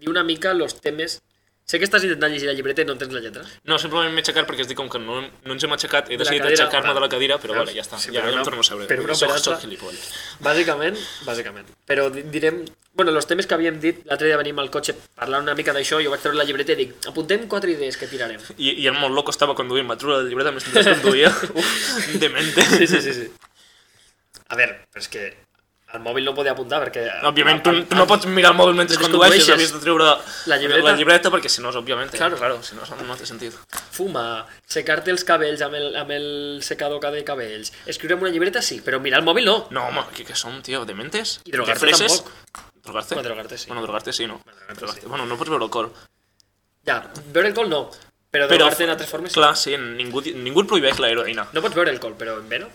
S1: dir una mica els temes... Sé que estàs intentant llegir la llibreta i no entens la lletra.
S2: No, simplement m'he aixecat perquè estic com que no, no ens hem aixecat, he
S1: De la
S2: decidit
S1: cadira,
S2: aixecar-me
S1: va.
S2: de la cadira, però
S1: Veus?
S2: vale, ja està,
S1: Sí,
S2: ja
S1: però
S2: no
S1: una-
S2: em torno a seure.
S1: per una
S2: soc,
S1: operança-
S2: soc gilipoll.
S1: Bàsicament, bàsicament. Però di- direm... Bueno, els temes que havíem dit, l'altre dia venim al cotxe parlant una mica d'això, jo vaig treure la llibreta i dic, apuntem quatre idees que tirarem.
S2: I, i el molt loco estava conduint, va treure la llibreta mentre conduïa. Uf, demente.
S1: Sí, sí, sí, sí. A veure, però és que el mòbil no em podia apuntar perquè...
S2: Òbviament, tu, tu no pots mirar el mòbil mentre
S1: Mentre
S2: condueixes,
S1: condueixes.
S2: havies de treure
S1: La llibreta.
S2: la llibreta perquè si no, és, òbviament,
S1: Claro,
S2: claro, si no, no té sentit.
S1: Fumar, secar-te els cabells amb el, amb el secador de cabells, escriure en una llibreta sí, però mirar el mòbil no.
S2: No, home, que, que som, tio, dementes?
S1: I drogar-te
S2: De freses?
S1: tampoc.
S2: Drogarte?
S1: Bueno, drogarte sí.
S2: Bueno, drogarte sí, no.
S1: Bueno, drogarte sí.
S2: Bueno, no pots veure alcohol.
S1: Ja, veure el col no, però
S2: Però-
S1: drogar-te en altres formes sí.
S2: Clar, sí, ningú, di- ningú et prohibeix la heroïna.
S1: No pots veure el col, però en veno?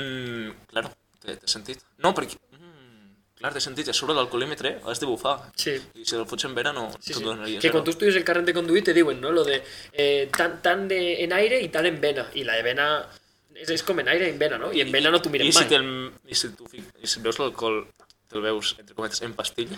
S2: Mm, claro, té, té sentit. No, perquè... Mm, clar, té sentit, a sobre l'alcoholímetre has de bufar.
S1: Sí.
S2: I si el fots en vera no
S1: Sí,
S2: t'ho
S1: sí.
S2: donaria
S1: Que
S2: zero.
S1: cuando tú estudias el carnet de conduir te digo, ¿no? Lo de eh, tan, tan de, en aire y tan en vena. Y la de vena es, es como en aire y en vena, ¿no? Y en vena no tú
S2: I
S1: mires
S2: si,
S1: mal.
S2: te'l, i si, tu, fi- i si veus l'alcohol, te'l veus, entre cometes, en pastilla,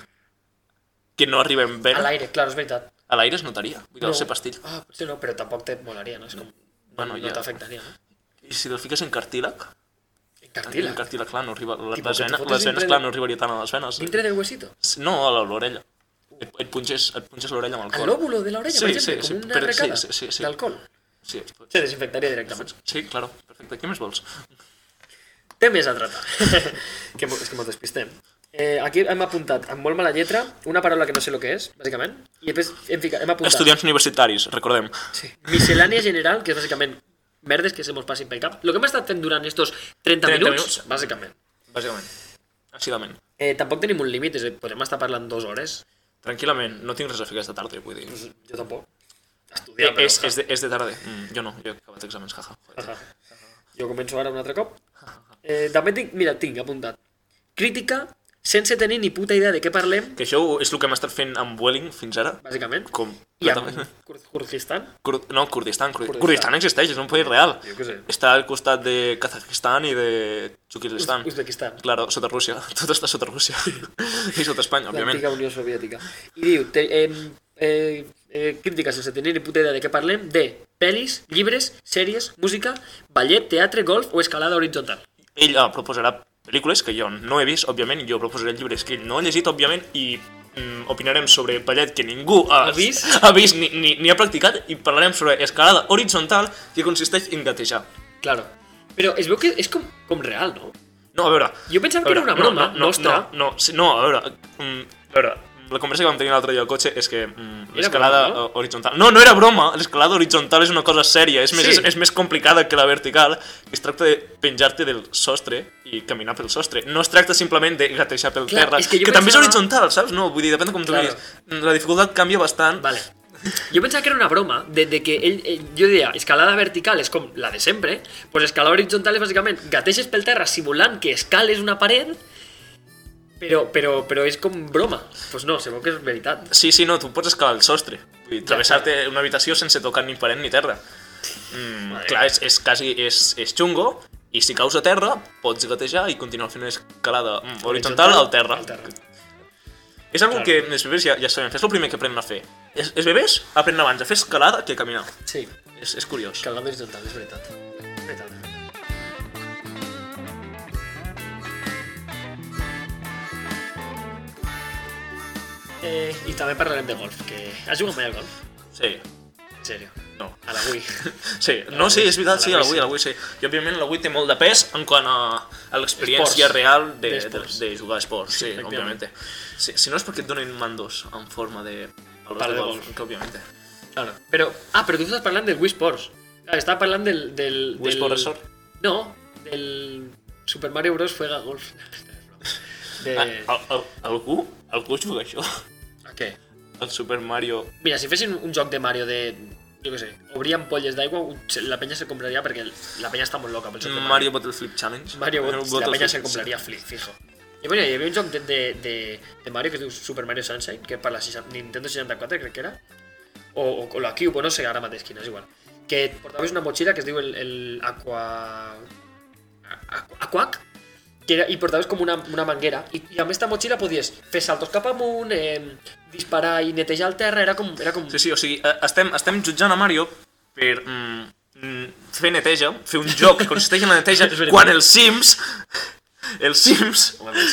S2: que no arriba en
S1: Al
S2: vera,
S1: aire, claro, es verdad.
S2: a l'aire es notaria. Vull dir, no. ser pastilla.
S1: Ah, sí, no, pero tampoco te molaría, ¿no? Es como,
S2: Bueno,
S1: no
S2: ya.
S1: te afectaría, ¿no?
S2: I si te'l fiques en cartílag,
S1: En
S2: cartílag.
S1: cartílag.
S2: en cartílag, clar, no arriba, les,
S1: Tipo, que
S2: les,
S1: t'ho
S2: venes,
S1: fotis
S2: les
S1: dintre
S2: venes,
S1: de-
S2: clar, no arribaria tant a les venes.
S1: ¿Dintre del huesito?
S2: No, a l'orella. Et, et punxes, et punxes l'orella amb
S1: Al
S2: alcohol.
S1: lóbulo de la orella, por
S2: Sí,
S1: ejemplo,
S2: sí, sí,
S1: como una
S2: pero- sí,
S1: recada
S2: sí, sí, sí.
S1: de alcohol.
S2: Sí, es pot-
S1: Se desinfectaría directamente.
S2: sí, claro, perfecte. Què més vols?
S1: Temes a tratar. que, mo- és que mos despistem. Eh, aquí hem apuntat amb molt mala lletra una paraula que no sé el que és, bàsicament, i després hem, ficat, hem apuntat
S2: Estudiants universitaris, recordem.
S1: sí. miscel·lània general, que és bàsicament merdes que se mos passin pel cap. El que hem estat fent durant estos 30,
S2: 30
S1: minuts,
S2: minuts.
S1: bàsicament.
S2: Bàsicament. Àcidament.
S1: Eh, tampoc tenim un límit, és a dir, podem estar parlant dues hores.
S2: Tranquil·lament, no tinc res a fer aquesta tarda, vull dir.
S1: Jo tampoc. Estudiar,
S2: Eh,
S1: però...
S2: és, és, de, és de tarda. Mm, jo no, jo he acabat exàmens, jaja. Joder.
S1: Ajà. Jo començo ara un altre cop. Eh, també tinc, mira, tinc apuntat. Crítica sense tenir ni puta idea de què parlem,
S2: Que això és el que hem estat fent amb Welling fins ara.
S1: bàsicament.
S2: Com?
S1: I
S2: completament.
S1: amb Kur- Kurdistan.
S2: Kur no, Kurdistan, Kur
S1: Kurdistan.
S2: Kurdistan. existeix, és un país real.
S1: Jo què sé.
S2: Està al costat de Kazakhstan i de Tjukilistan.
S1: Uzbekistan.
S2: Claro, sota Rússia. Tot està sota Rússia. I sota Espanya, òbviament.
S1: L'antiga Unió Soviètica. I diu, te, eh, eh, eh, crítica sense tenir ni puta idea de què parlem, de pel·lis, llibres, sèries, música, ballet, teatre, golf o escalada horitzontal.
S2: Ell eh, proposarà pel·lícules que jo no he vist, òbviament, jo proposaré llibres que ell no ha llegit, òbviament, i mm, opinarem sobre ballet que ningú ha,
S1: Ha vist?
S2: ha vist ni, ni, ni ha practicat i parlarem sobre escalada horitzontal que consisteix en gatejar.
S1: Claro. Però es veu que és com, com real, no?
S2: No, a veure...
S1: Jo pensava
S2: a
S1: que era una
S2: veure,
S1: broma
S2: no, no,
S1: nostra.
S2: No, no, sí, no, a veure... mm, a veure, la conversa que vam tenir l'altre dia al cotxe és que mm,
S1: Era
S2: l'escalada
S1: broma, no?
S2: eh, horitzontal... No, no era broma, l'escalada horitzontal és una cosa sèria, és, més,
S1: Sí.
S2: és, és més complicada que la vertical, es tracta de penjar-te del sostre i caminar pel sostre. No es tracta simplement de gatejar pel
S1: Clar,
S2: terra,
S1: és que jo
S2: també és
S1: pensava-
S2: horitzontal, saps? No, vull dir, depèn de com
S1: Claro.
S2: tu miris. La dificultat canvia bastant.
S1: Vale. Jo pensava que era una broma, de, de que ell, ell, jo deia, escalada vertical és com la de sempre, pues escalada horitzontal és bàsicament gateges pel terra simulant que escales una paret, però, però, però és com broma. Pues no, se veu que és veritat.
S2: Sí, sí, no, tu pots escalar el sostre. Vull dir,
S1: Ja,
S2: travessar-te una habitació sense tocar ni paret ni terra. Mm,
S1: Madre.
S2: clar, és, és quasi... És, és xungo, i si caus a terra, pots gatejar i continuar fent una escalada mm, horitzontal al terra.
S1: Al terra.
S2: És una
S1: Claro.
S2: que els bebès ja, ja sabem, fer, és el primer que aprenen a fer. Els, els bebès aprenen abans a fer escalada que a caminar.
S1: Sí.
S2: És, és curiós.
S1: Escalada horitzontal, és veritat. És veritat. Eh, I també parlarem de golf, que... Has jugat mai al golf?
S2: Sí,
S1: En sèrio.
S2: no.
S1: A la Wii.
S2: Sí, no, sí, és veritat, sí,
S1: a la
S2: l'avui, l'avui sí. I òbviament l'avui té molt de pes en quant a, a l'experiència
S1: Esports.
S2: real de, de,
S1: D'esports.
S2: de jugar a esports, sí,
S1: efectivament.
S2: òbviament. Sí, si no és perquè et donen mandos en forma de palos
S1: Pal
S2: de
S1: de
S2: golf,
S1: golf.
S2: que òbviament.
S1: Claro. Pero, ah, pero tú estás hablando del Wii Sports. Ah, estaba hablando del, del...
S2: Wii
S1: del-
S2: Sport Resort.
S1: No, del Super Mario Bros. Juega Golf. De...
S2: Ah, al, al, algú, algú juga això?
S1: ¿A qué?
S2: El Super Mario...
S1: Mira, si fuesen un joc de Mario de... Jo què sé, obrien polles d'aigua, se- la penya se compraria perquè la penya està molt loca pel joc de Mario.
S2: Mario Bottle Flip Challenge?
S1: Mario,
S2: El
S1: Bros, la
S2: Bottle
S1: penya
S2: Flip-
S1: se compraria flip, fijo. I bueno, hi havia un joc de, de, de, de Mario que es diu Super Mario Sunshine, que per la 60 Nintendo 64 crec que era, o, o, o la Cube, o no sé ara mateix quina, és igual, que et portaves una motxilla que es diu el, el Aqua... Aqu- Aquac, que era, i portaves com una, una manguera, i, i amb aquesta motxilla podies fer saltos cap amunt, eh, disparar i netejar el terra, era com... Era com...
S2: Sí, sí, o sigui, eh, estem, estem jutjant a Mario per mm, mm, fer neteja, fer un joc que consisteix en la neteja,
S1: És veritat.
S2: quan els Sims... Els Sims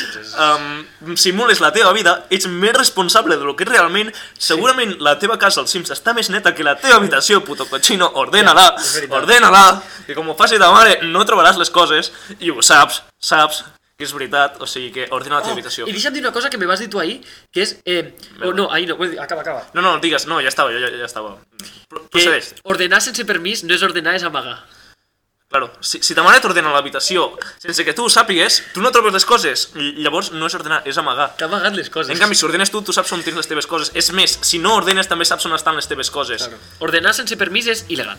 S2: um, simules la teva vida, ets més responsable del que és realment, segurament la teva casa als Sims està més neta que la teva habitació, puto cochino, ordena-la,
S1: Ja, és veritat.
S2: ordena-la, que com ho faci ta mare no trobaràs les coses, i ho saps, saps, que és veritat, o sigui que ordena la teva habitació.
S1: Oh, I deixa'm dir una cosa que me vas dir tu ahir, que és... Eh, oh, no, ahir no, vull dir, acaba, acaba.
S2: No, no, digues, no, ja estava, ja, ja, ja estava. Pro- Procedeix.
S1: ordenar sense permís no és ordenar, és amagar.
S2: Claro, si, si ta mare t'ordena l'habitació sense que tu ho sàpigues, tu no trobes les coses. Ll- Llavors no és ordenar, és amagar.
S1: T'ha amagat les coses.
S2: En canvi, si ordenes tu, tu saps on tens les teves coses. És més, si no ordenes també saps on estan les teves coses.
S1: Claro. Ordenar sense permís és il·legal.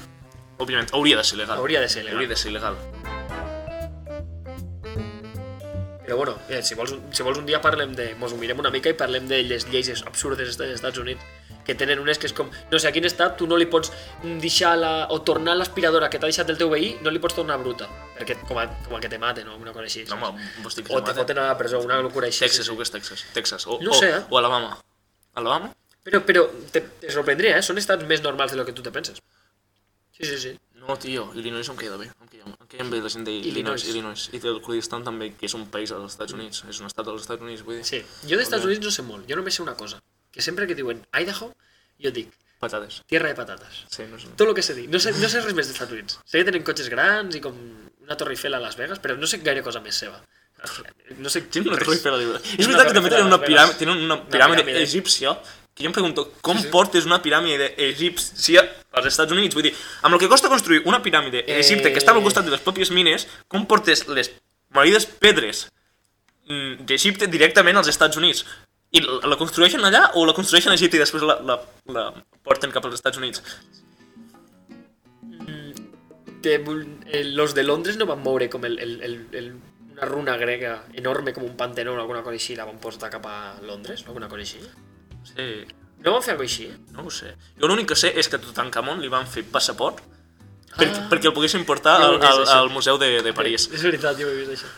S2: Òbviament, hauria de ser legal.
S1: Hauria de ser legal.
S2: Hauria de ser legal.
S1: Però bueno, eh, si, vols, un- si vols un dia parlem de... Mos ho mirem una mica i parlem de les lleis absurdes dels Estats Units que tenen unes que és com, no sé, a quin estat tu no li pots deixar la, o tornar l'aspiradora que t'ha deixat el teu veí, no li pots tornar bruta, perquè com, a, com a que te maten o alguna cosa així.
S2: No,
S1: saps?
S2: home, vols dir que
S1: o
S2: se
S1: te
S2: mata?
S1: foten a la presó, una locura així.
S2: Texas, o que és Texas? Texas. O,
S1: No
S2: o,
S1: sé, eh?
S2: o Alabama. Alabama?
S1: Però, però te, te sorprendria, eh? Són estats més normals de lo que tu te penses. Sí, sí, sí.
S2: No, tio, Illinois em queda bé. Em queda, em queda bé la gent
S1: Illinois.
S2: d'Illinois. Illinois. I té el Kurdistan també, que és un país als Estats Units. És un estat als Estats Units, vull dir.
S1: Sí. Jo d'Estats
S2: Òbviament.
S1: Units no sé molt, jo només sé una cosa, que sempre que diuen Idaho, jo dic
S2: Patates.
S1: tierra de patates.
S2: Sí, no sé.
S1: Tot el que sé dir. No sé, no sé res més dels Estats Units. Sé que tenen cotxes grans i com una Torre Eiffel a Las Vegas, però no sé gaire cosa més seva. No sé
S2: Tenen una
S1: res.
S2: torre Eiffel a Las Vegas. És
S1: Una
S2: veritat
S1: torre
S2: que també
S1: Eiffel a
S2: tenen una
S1: Las Vegas.
S2: piràmide, tenen una piràmide,
S1: piràmide.
S2: egípcia, que jo em pregunto, com portes una piràmide egípcia als Estats Units? Vull dir, amb el que costa construir una piràmide a Egipte que
S1: Eh.
S2: estava al costat de les pròpies mines, com portes les malides pedres mm, d'Egipte directament als Estats Units? I la la construeixen allà o la construeixen a Egipte i després la, la, la porten cap als Estats Units?
S1: Té un- eh, los de Londres no van moure com el, el, el, el, una runa grega enorme com un pantenó o alguna cosa així, la van posar cap a Londres o alguna cosa així.
S2: Sí,
S1: No van fer alguna cosa així?
S2: no ho sé. Jo l'únic que sé és que a Tutankamon li van fer passaport per, perquè el poguessin portar
S1: Ah. Jo ho he
S2: al,
S1: vist,
S2: al,
S1: això.
S2: al museu de, de París.
S1: És veritat, jo ho he vist això.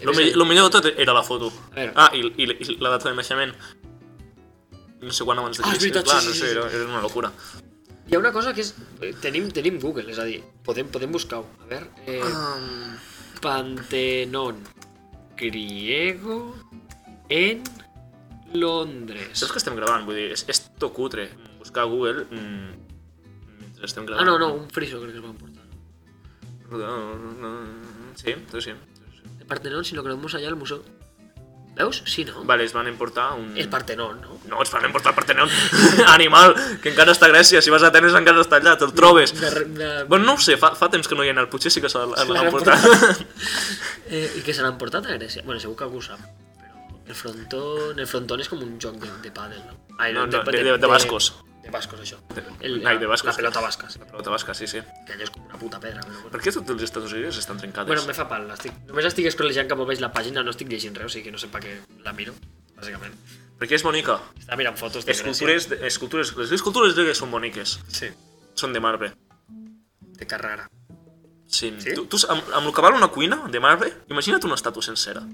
S1: He
S2: Lo,
S1: vist
S2: me lo millor de tot era la foto.
S1: veure.
S2: Ah, i, i, i la data de naixement. No sé quan abans de
S1: Ah, és
S2: Crist,
S1: veritat,
S2: clar,
S1: sí,
S2: no
S1: sí,
S2: sé,
S1: sí,
S2: era, era una locura.
S1: Hi ha una cosa que és... eh, Tenim, tenim Google, és a dir, podem, podem buscar-ho. A veure... Eh,
S2: Um.
S1: Pantenón griego en Londres.
S2: Saps que estem gravant? Vull dir, és, és tot cutre. Buscar a Google mm, mentre estem
S1: Ah,
S2: gravant.
S1: no, no, un friso crec que es van portar.
S2: Sí, tot sí. tot sí.
S1: El Partenón, si lo queremos allá al museo. ¿Veus? Sí, no?
S2: Vale, es van emportar un...
S1: El Partenón, ¿no?
S2: No, ens van emportar el Partenón. Animal, que encara està a Grècia. Si vas a Atenes encara està allà, te'l trobes.
S1: Una re- una-
S2: Bueno, no ho sé, fa, fa temps que no hi he anat. Potser sí que se l'han
S1: l'han
S2: portat.
S1: Eh, I què se l'han portat a Grècia? Bueno, segur que algú ho sap. Però el frontón, el frontón és com un joc de, de pàdel, no? Ai,
S2: No, no, de- de- de bascos.
S1: De, bascos, això.
S2: Ai, de bascos.
S1: La pelota basca, sí.
S2: La pelota basca, sí, sí.
S1: Que allò és com una puta pedra. Però...
S2: Per què tots els Estats Units estan trencades?
S1: Bueno, me fa pal, estic... només estic escrolejant cap a baix la pàgina, no estic llegint res, o sigui que no sé per què la miro, bàsicament.
S2: Perquè és bonica.
S1: Estava mirant fotos de Grècia.
S2: Escultures, escultures, les escultures gregues són boniques.
S1: Sí,
S2: Són de marbre.
S1: de Carrara.
S2: Sí.
S1: Sí?
S2: Tu, tu, amb, amb el que val una cuina de marbre, imagina't una estàtua sencera.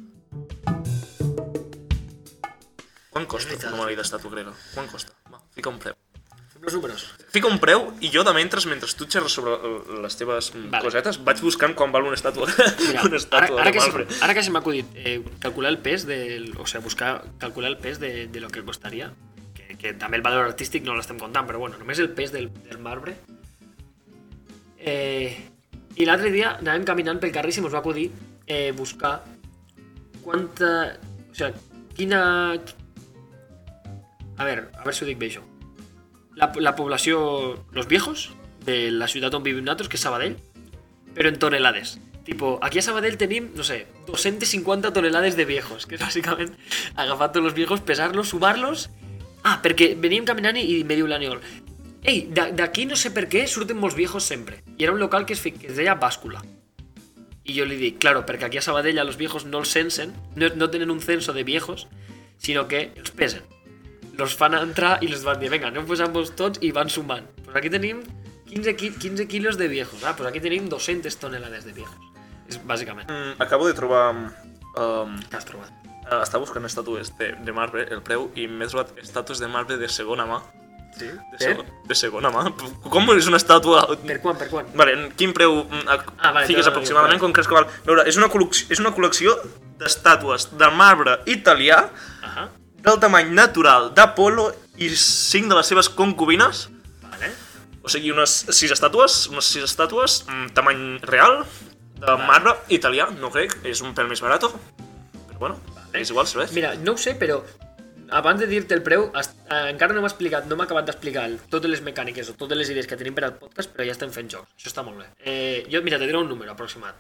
S2: Quan costa
S1: veritat.
S2: una mala estàtua grega? Quan costa? Va, fica un preu.
S1: Fem els números.
S2: Fica un preu i jo de mentre, mentre tu xerres sobre eh, les teves
S1: Vale.
S2: vale. cosetes, vaig buscant quan val una estàtua,
S1: Mira,
S2: una
S1: ara,
S2: estàtua
S1: ara,
S2: de
S1: que
S2: marbre.
S1: se, ara que se m'ha acudit eh, calcular el pes, del, o sigui, buscar, calcular el pes de, de lo que costaria, que, que també el valor artístic no l'estem comptant, però bueno, només el pes del, del marbre. Eh, I l'altre dia anàvem caminant pel carrer i se mos va acudir eh, buscar quanta... O sigui, quina... A veure, a veure si ho dic bé això. La, la població, los viejos, de la ciutat on vivim nosaltres, que és Sabadell, pero en tonelades. Tipo, aquí a Sabadell tenim, no sé, 250 tonelades de viejos, que és bàsicament agafar tots els viejos, pesar-los, sumar-los... Ah, perquè veníem caminant i, i me diu l'Aniol Ei, d'a- d'aquí no sé per què surten molts viejos sempre. I era un local que es, fi- que es deia Bàscula. I jo li dic, claro, perquè aquí a Sabadell a los viejos no els censen, no, no tenen un censo de viejos, sinó que els pesen. Los fan entrar i els van dir, vinga, anem posant-vos tots i van sumant. Pues aquí tenim 15, qui- 15 quilos de viejos. Ah, pues aquí tenim 200 tonelades de viejos. És bàsicament.
S2: Mm, Acabo de trobar... Um,
S1: T'has trobat.
S2: estava Ah, buscant estàtues de, de marbre, el preu, i m'he trobat estàtues de marbre de segona mà.
S1: Sí? Per,
S2: De, segona, de segona mà? Com és una estàtua?
S1: per quan, per quan?
S2: Vale, en quin preu
S1: Ah,
S2: ah,
S1: vale,
S2: vale, fiques
S1: clar,
S2: aproximadament
S1: clar.
S2: com creus que val? A veure, és una col·lecció, és una col·lecció d'estàtues de marbre italià
S1: Ahà,
S2: del tamany natural d'Apolo i cinc de les seves concubines.
S1: vale.
S2: O sigui, unes sis estàtues, unes sis estàtues, mm, tamany real, de marbre italià, no grec, és un pèl més barat. Però bueno, és igual, serveix.
S1: Mira, no ho sé, però abans de dir-te el preu, has- eh, encara no hem explicat, no hem acabat d'explicar el- totes les mecàniques o totes les idees que tenim per al podcast, però ja estem fent jocs. Això està molt bé. Eh, jo, mira, te diré un número aproximat.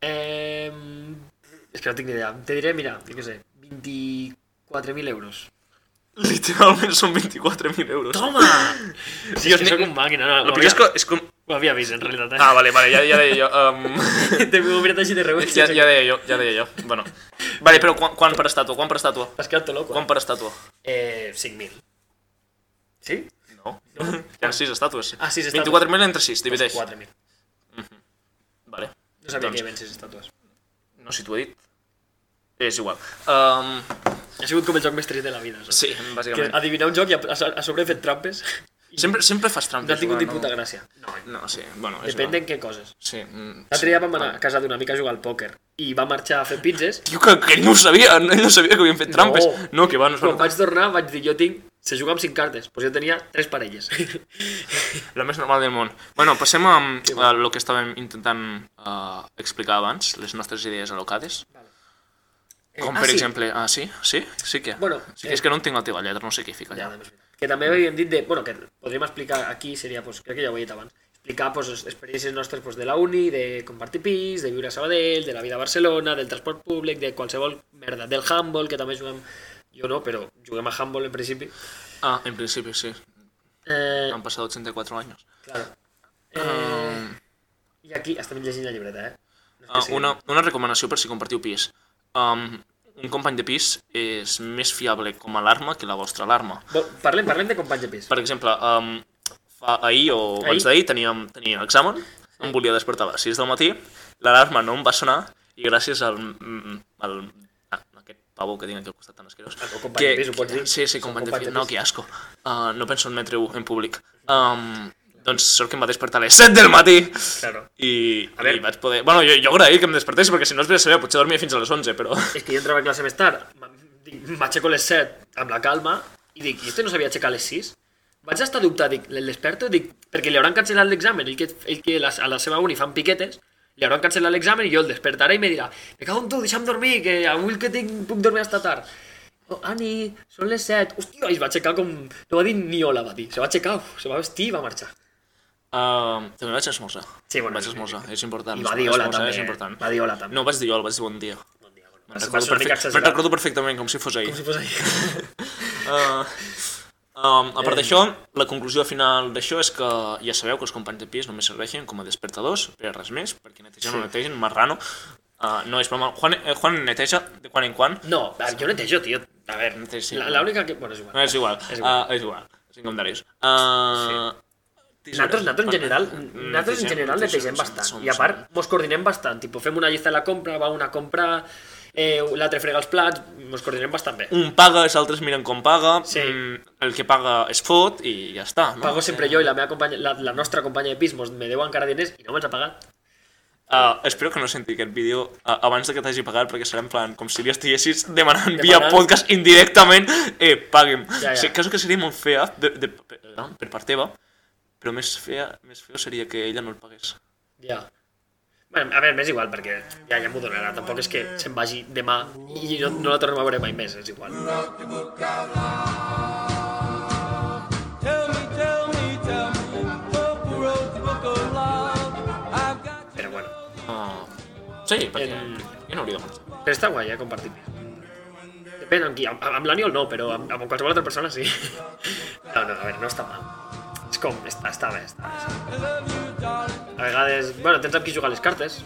S1: Eh, és que no tinc ni idea. Te diré, mira, jo què sé, 24.000 euros.
S2: Literalment són 24.000 euros.
S1: Toma! Sí, és que soc un màquina. No,
S2: El
S1: ho,
S2: primer
S1: havia,
S2: és que... És com...
S1: ho havia vist, en realitat. Eh?
S2: Ah, vale, vale, ja, ja deia jo. Um...
S1: T'he mirat així de reull.
S2: ja, ja deia jo, ja deia jo. Bueno. Vale, però quan, quan per estàtua? Quan per estàtua?
S1: T'has quedat tot loco.
S2: Quan per estàtua?
S1: Eh, 5.000. Sí?
S2: No. Hi ha 6 estàtues.
S1: Ah, sis estàtues.
S2: 24.000 entre 6, divideix.
S1: 4.000.
S2: Vale.
S1: No sabia que
S2: Doncs-
S1: hi havia 6 estàtues.
S2: No sé si t'ho he dit. És igual. Um,
S1: Ha sigut com el joc més trist de la vida. Saps?
S2: sí,
S1: Que
S2: bàsicament.
S1: adivinar un joc i a, a a sobre he fet trampes
S2: Sempre, sempre fas trampes.
S1: no ha tingut ni
S2: jugant,
S1: puta gràcia.
S2: No, sí, bueno, és
S1: Depèn de
S2: igual.
S1: què coses.
S2: Sí. mm,
S1: L'altre
S2: sí.
S1: dia vam anar a casa d'una amiga a jugar al pòquer i va marxar a fer pizzas.
S2: Tio, que, que ell no ho sabia, ell no sabia que havien fet trampes. No, que va, no es
S1: Quan
S2: va...
S1: vaig tornar vaig dir, jo tinc... Se juga amb 5 cartes, doncs jo tenia 3 parelles.
S2: La més normal del món. Bueno, passem a, a lo que estàvem intentant uh, explicar abans, les nostres idees alocades. Com,
S1: ah,
S2: per
S1: sí.
S2: exemple... Ah, sí? Sí? Sí que...
S1: Bueno,
S2: sí
S1: eh.
S2: que és que no entenc la teva lletra, no sé què fica
S1: Ja,
S2: allà.
S1: doncs, que també havíem dit de... Bueno, que podríem explicar aquí, seria, doncs, crec que ja ho he dit abans, explicar pues, doncs, les experiències nostres doncs, pues, de la uni, de compartir pis, de viure a Sabadell, de la vida a Barcelona, del transport públic, de qualsevol merda, del handball, que també juguem... Jo no, però juguem a handball en principi.
S2: Ah, en principi sí.
S1: Eh,
S2: Han passat 84 anys.
S1: Claro. Eh,
S2: Um,
S1: I aquí estem llegint la llibreta, eh? No és que
S2: Ah,
S1: sigui-
S2: una, una recomanació per si compartiu pis. Um, un company de pis és més fiable com a alarma que la vostra alarma.
S1: Bo- Parlem, parlem de companys de pis.
S2: Per exemple, um, fa, ahir o abans
S1: Ahir?
S2: d'ahir teníem, tenia examen, em volia despertar a les 6 del matí, l'alarma no em va sonar i gràcies al, mm, al a aquest pavo que tinc aquí al costat tan asquerós.
S1: El teu company de pis, ho pots dir?
S2: Sí, sí,
S1: El
S2: company,
S1: company de
S2: de pis. No,
S1: pis.
S2: que asco. Uh, no penso admetre-ho en públic. Um, doncs sort que em va despertar a les 7 del matí.
S1: Claro.
S2: I,
S1: A ver.
S2: i vaig poder... Bueno, jo, jo agraï que em despertés, perquè si no es ve a saber, potser dormia fins a les 11, però...
S1: És que jo entrava a classe més tard, m- dic, m'aixeco a les 7 amb la calma i dic, i este no s'havia aixecat a les 6? Vaig estar a dubtar, dic, l'esperto, dic, perquè li hauran cancel·lat l'examen, ell que, ell que la, a la seva uni fan piquetes, li hauran cancel·lat l'examen i jo el despertaré i me dirà, me cago en tu, deixa'm dormir, que avui el que tinc puc dormir hasta tard. Oh, Ani, són les 7. Hòstia, i es va aixecar com... No va dir ni hola, va dir. Se va aixecar, uf, se va vestir i va marxar.
S2: Uh, també vaig esmorzar.
S1: Sí, bueno,
S2: Vaig
S1: sí,
S2: esmorzar, és important.
S1: I va dir hola,
S2: Esmorzar
S1: també,
S2: És important.
S1: va dir hola, també.
S2: No, vaig dir hola, vaig dir bon dia.
S1: Bon dia, bueno.
S2: Me'n
S1: Va ser- va
S2: recordo,
S1: ser una mica
S2: perfect... me'n
S1: exagerat.
S2: recordo perfectament, com si fos ahir.
S1: Si fos ahir.
S2: Uh, um, a part
S1: Eh,
S2: d'això, la conclusió final d'això és que ja sabeu que els companys de pis només serveixen com a despertadors, per res més, perquè netegen o netegen, marrano. Uh, no, és broma. Juan, eh, Juan neteja de quan en quan.
S1: No, a- jo netejo, tio. A ver,
S2: Sí, sí.
S1: la- l'única que... Bueno, és igual.
S2: No, és igual.
S1: És
S2: És
S1: igual.
S2: igual. Uh, és igual. Sin comentaris. Uh, sí. Mm,
S1: Nosaltres, nosaltres, en general, nosaltres en general netegem bastant. I a part, mos coordinem bastant. Tipo, fem una llista de la compra, va una a comprar, eh, l'altre frega els plats, mos coordinem bastant bé.
S2: Un paga, els altres miren com paga,
S1: Sí.
S2: mm, el que paga es fot i ja està. No?
S1: Pago sempre jo i la meva companya, la, la nostra companya de pis mos me deu encara diners i no me'ls ha pagat.
S2: Uh, espero que no senti aquest vídeo uh, abans de que t'hagi pagat, perquè serà en plan com si li estiguessis demanant
S1: Demanant.
S2: via podcast indirectament eh, pagui'm.
S1: Ja, ja.
S2: Ja, ja. Sí, caso que seria molt fea de, de, per, per part teva, però més, fea, més feo seria que ella no el pagués.
S1: Ja. Bueno, a veure, m'és igual, perquè ja, ja m'ho donarà. Tampoc és que se'n vagi demà i no, no la tornem a veure mai més, és igual.
S3: Tell me, tell me, tell me, who wrote the book of love? I've got you.
S1: Però bueno.
S2: Uh, sí, perquè
S1: En-
S2: jo no hauria de pensar.
S1: Però està guai, eh, compartir pis. Depèn amb qui, amb, amb l'Aniol no, però amb, amb qualsevol altra persona sí. No, no, a veure, no està mal. És com, està, està bé, està bé.
S3: I love you, darling.
S1: A vegades, bueno, tens amb qui jugar a les cartes.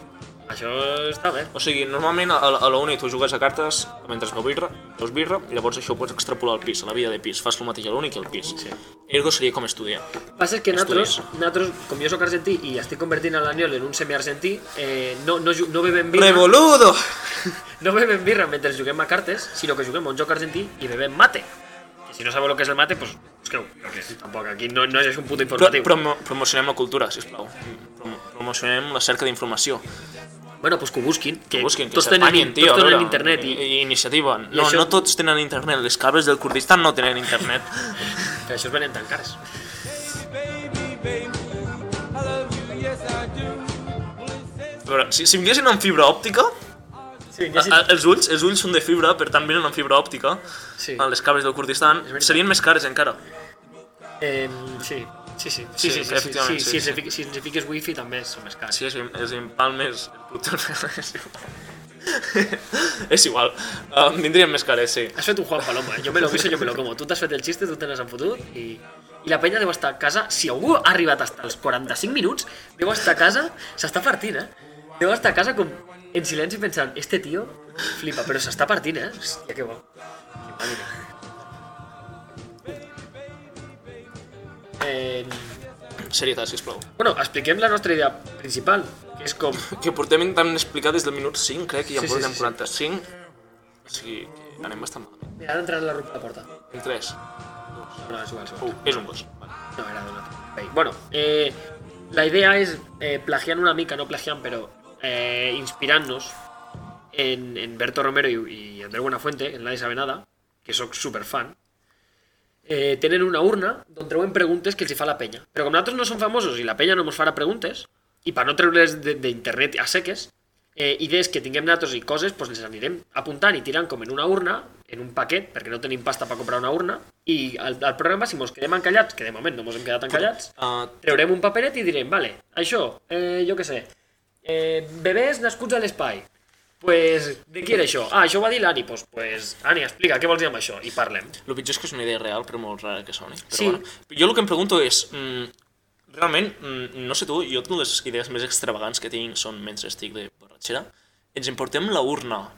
S1: Això està bé.
S2: O sigui, normalment a, a la uni tu jugues a cartes mentre beu birra, veus birra, i llavors això ho pots extrapolar al pis, a la vida de pis. Fas el mateix a l'uni que al pis.
S1: Sí.
S2: Ergo seria com estudiar.
S1: Passa és que nosaltres,
S2: Estudis.
S1: nosaltres, com jo sóc argentí i estic convertint a l'Aniol en un semiargentí, eh, no, no, ju- no bebem birra,
S2: Revoludo!
S1: no bebem birra mentre juguem a cartes, sinó que juguem a un joc argentí i bebem mate. I si no sabeu el que és el mate, doncs busqueu. Perquè tampoc aquí no, no és un puto
S2: Pro,
S1: informatiu.
S2: promo, promocionem la cultura, sisplau. Promo, promocionem la cerca d'informació.
S1: Bueno, pues que ho busquin, que,
S2: Que busquin, que
S1: tots tenen,
S2: s'apanyin, tio.
S1: tots
S2: a
S1: tenen
S2: veure,
S1: internet i,
S2: i iniciativa. No,
S1: això-
S2: no tots tenen internet. Les cabres del Kurdistan no tenen internet.
S1: que això es venen tan cares.
S3: Baby, baby, I love you, yes I do. Well, it says
S2: A veure, si, si vinguessin amb fibra òptica,
S1: Sí. Vinguessin-
S2: A, a, els, ulls, els ulls són de fibra, per tant venen amb fibra òptica.
S1: Sí.
S2: A les cables del Kurdistan
S1: veritat.
S2: serien més cares encara.
S1: Eh, sí. Sí, sí, sí, sí,
S2: Sí,
S1: sí, sí, sí,
S2: efectivament, sí,
S1: si, ens
S2: sí.
S1: hi fiques- si ens hi fiques wifi també són més cars.
S2: Sí, és, és impal més... és igual. és igual. Uh, vindrien més cares, sí.
S1: Has fet un Juan Paloma, eh? jo me lo guiso, yo me lo como. Tu t'has fet el xiste, tu te n'has enfotut i... I la penya deu estar a casa, si algú ha arribat fins als 45 minuts, deu estar a casa, s'està partint, eh? Deu estar a casa com en silenci pensant, este tio flipa, però s'està partint, eh? Hòstia, que bo. Que màquina. Eh,
S2: Serietat, sisplau.
S1: bueno, expliquem la nostra idea principal, que és com...
S2: Que portem intentant explicar des del minut 5, crec, i ja
S1: Sí,
S2: en
S1: sí,
S2: portem
S1: sí, sí.
S2: 45. O sigui, que anem bastant malament.
S1: Mira, ara entrarà la ruta de la porta.
S2: En 3.
S1: No, és igual, és igual.
S2: Uh, és un gos. Vale.
S1: No, era de una Bay. Bueno, eh, la idea es eh, plagiar una mica, no plagiar, pero eh, inspirarnos en, en Berto Romero y, y Andrés Buenafuente, en Nadie sabe nada, que soy súper fan. Eh, tenen una urna on treuen preguntes que els hi fa la penya. Però com nosaltres no som famosos i la penya no ens farà preguntes, i per no treure-les de- d'internet a seques, eh, idees que tinguem nosaltres i coses, doncs les anirem apuntant i tirant com en una urna, en un paquet, perquè no tenim pasta per comprar una urna, i al, al programa, si ens quedem encallats, que de moment no ens hem quedat encallats,
S2: Uh,
S1: traurem un paperet i direm, vale, això, eh, jo què sé, eh, bebès nascuts a l'espai, pues, de qui era això? Ah, això ho va dir l'Ani, pues, pues, Ani, explica, què vols dir amb això? I parlem.
S2: Lo pitjor és que és una idea real, però molt rara que soni. Però
S1: Sí.
S2: bueno, jo el que em pregunto és... Mm, realment, mm, no sé tu, jo tinc les idees més extravagants que tinc són mentre estic de borratxera. Ens emportem la urna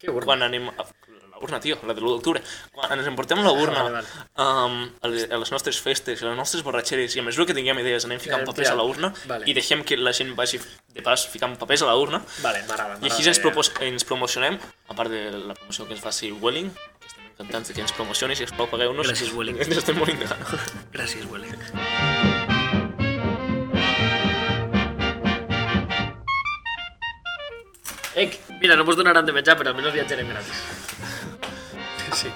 S1: Que urna.
S2: quan anem... A, la urna, tio, la de l'1 d'octubre. Quan ens emportem la urna
S1: Ah, vale, vale.
S2: um, a, les, a les nostres festes, a les nostres borratxeres, i a mesura que tinguem idees anem ficant
S1: Anem
S2: papers a la urna
S1: Eh, Vale.
S2: i deixem que la gent vagi de pas ficant papers a la urna.
S1: Vale, m'agrada,
S2: I
S1: m'agrada
S2: així ens,
S1: la idea.
S2: propos ens promocionem, a part de la promoció que ens faci Welling, que estem encantats de que ens promocionis i sisplau pagueu-nos.
S1: Gràcies, Vueling.
S2: Ens estem morint de gana.
S1: Gràcies, Welling. Ec, mira, no mos donaran de menjar, però almenys viatjarem gratis. Sí.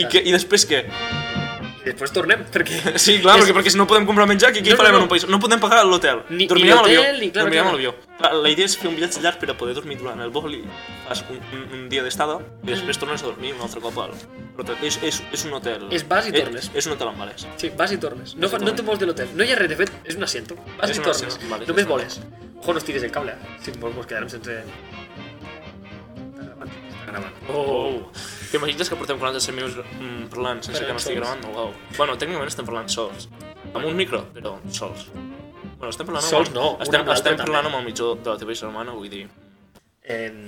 S2: I, que, I després què?
S1: I després tornem, perquè...
S2: Sí, clar,
S1: És-
S2: perquè, perquè si no podem comprar menjar, què, què
S1: No, no,
S2: farem
S1: no.
S2: en un país? No podem pagar l'hotel.
S1: Ni- ni
S2: Dormirem a l'avió.
S1: hotel, ni- clar,
S2: Dormirem
S1: clar.
S2: a l'avió. Clar, La idea és fer un viatge llarg per a poder dormir durant el vol i fas un, un, un dia d'estada i després tornes a dormir un altre cop al hotel. És, és, és un hotel.
S1: És vas i
S2: Eh,
S1: tornes.
S2: És, un hotel amb vales.
S1: Sí, vas i tornes. No, fa- no te vols de l'hotel. No hi ha res, de fet, és un asiento. Vas
S2: És
S1: i
S2: un
S1: tornes.
S2: asiento, vale,
S1: Només
S2: és un
S1: voles. Ojo, no estiguis el cable, eh? Si vols, mos quedarem sense... Està gravant, està gravant.
S2: Oh. T'imagines que portem 47 minuts mm, parlant sense
S1: Però
S2: que no
S1: sols.
S2: estigui gravant? Wow. Bueno, tècnicament estem parlant sols. Amb un micro, però sols. Bueno, estem parlant... amb-
S1: Sols no, una
S2: Estem,
S1: amb l'altra
S2: estem
S1: també.
S2: parlant amb el mitjó de la teva germana, vull dir...
S1: En,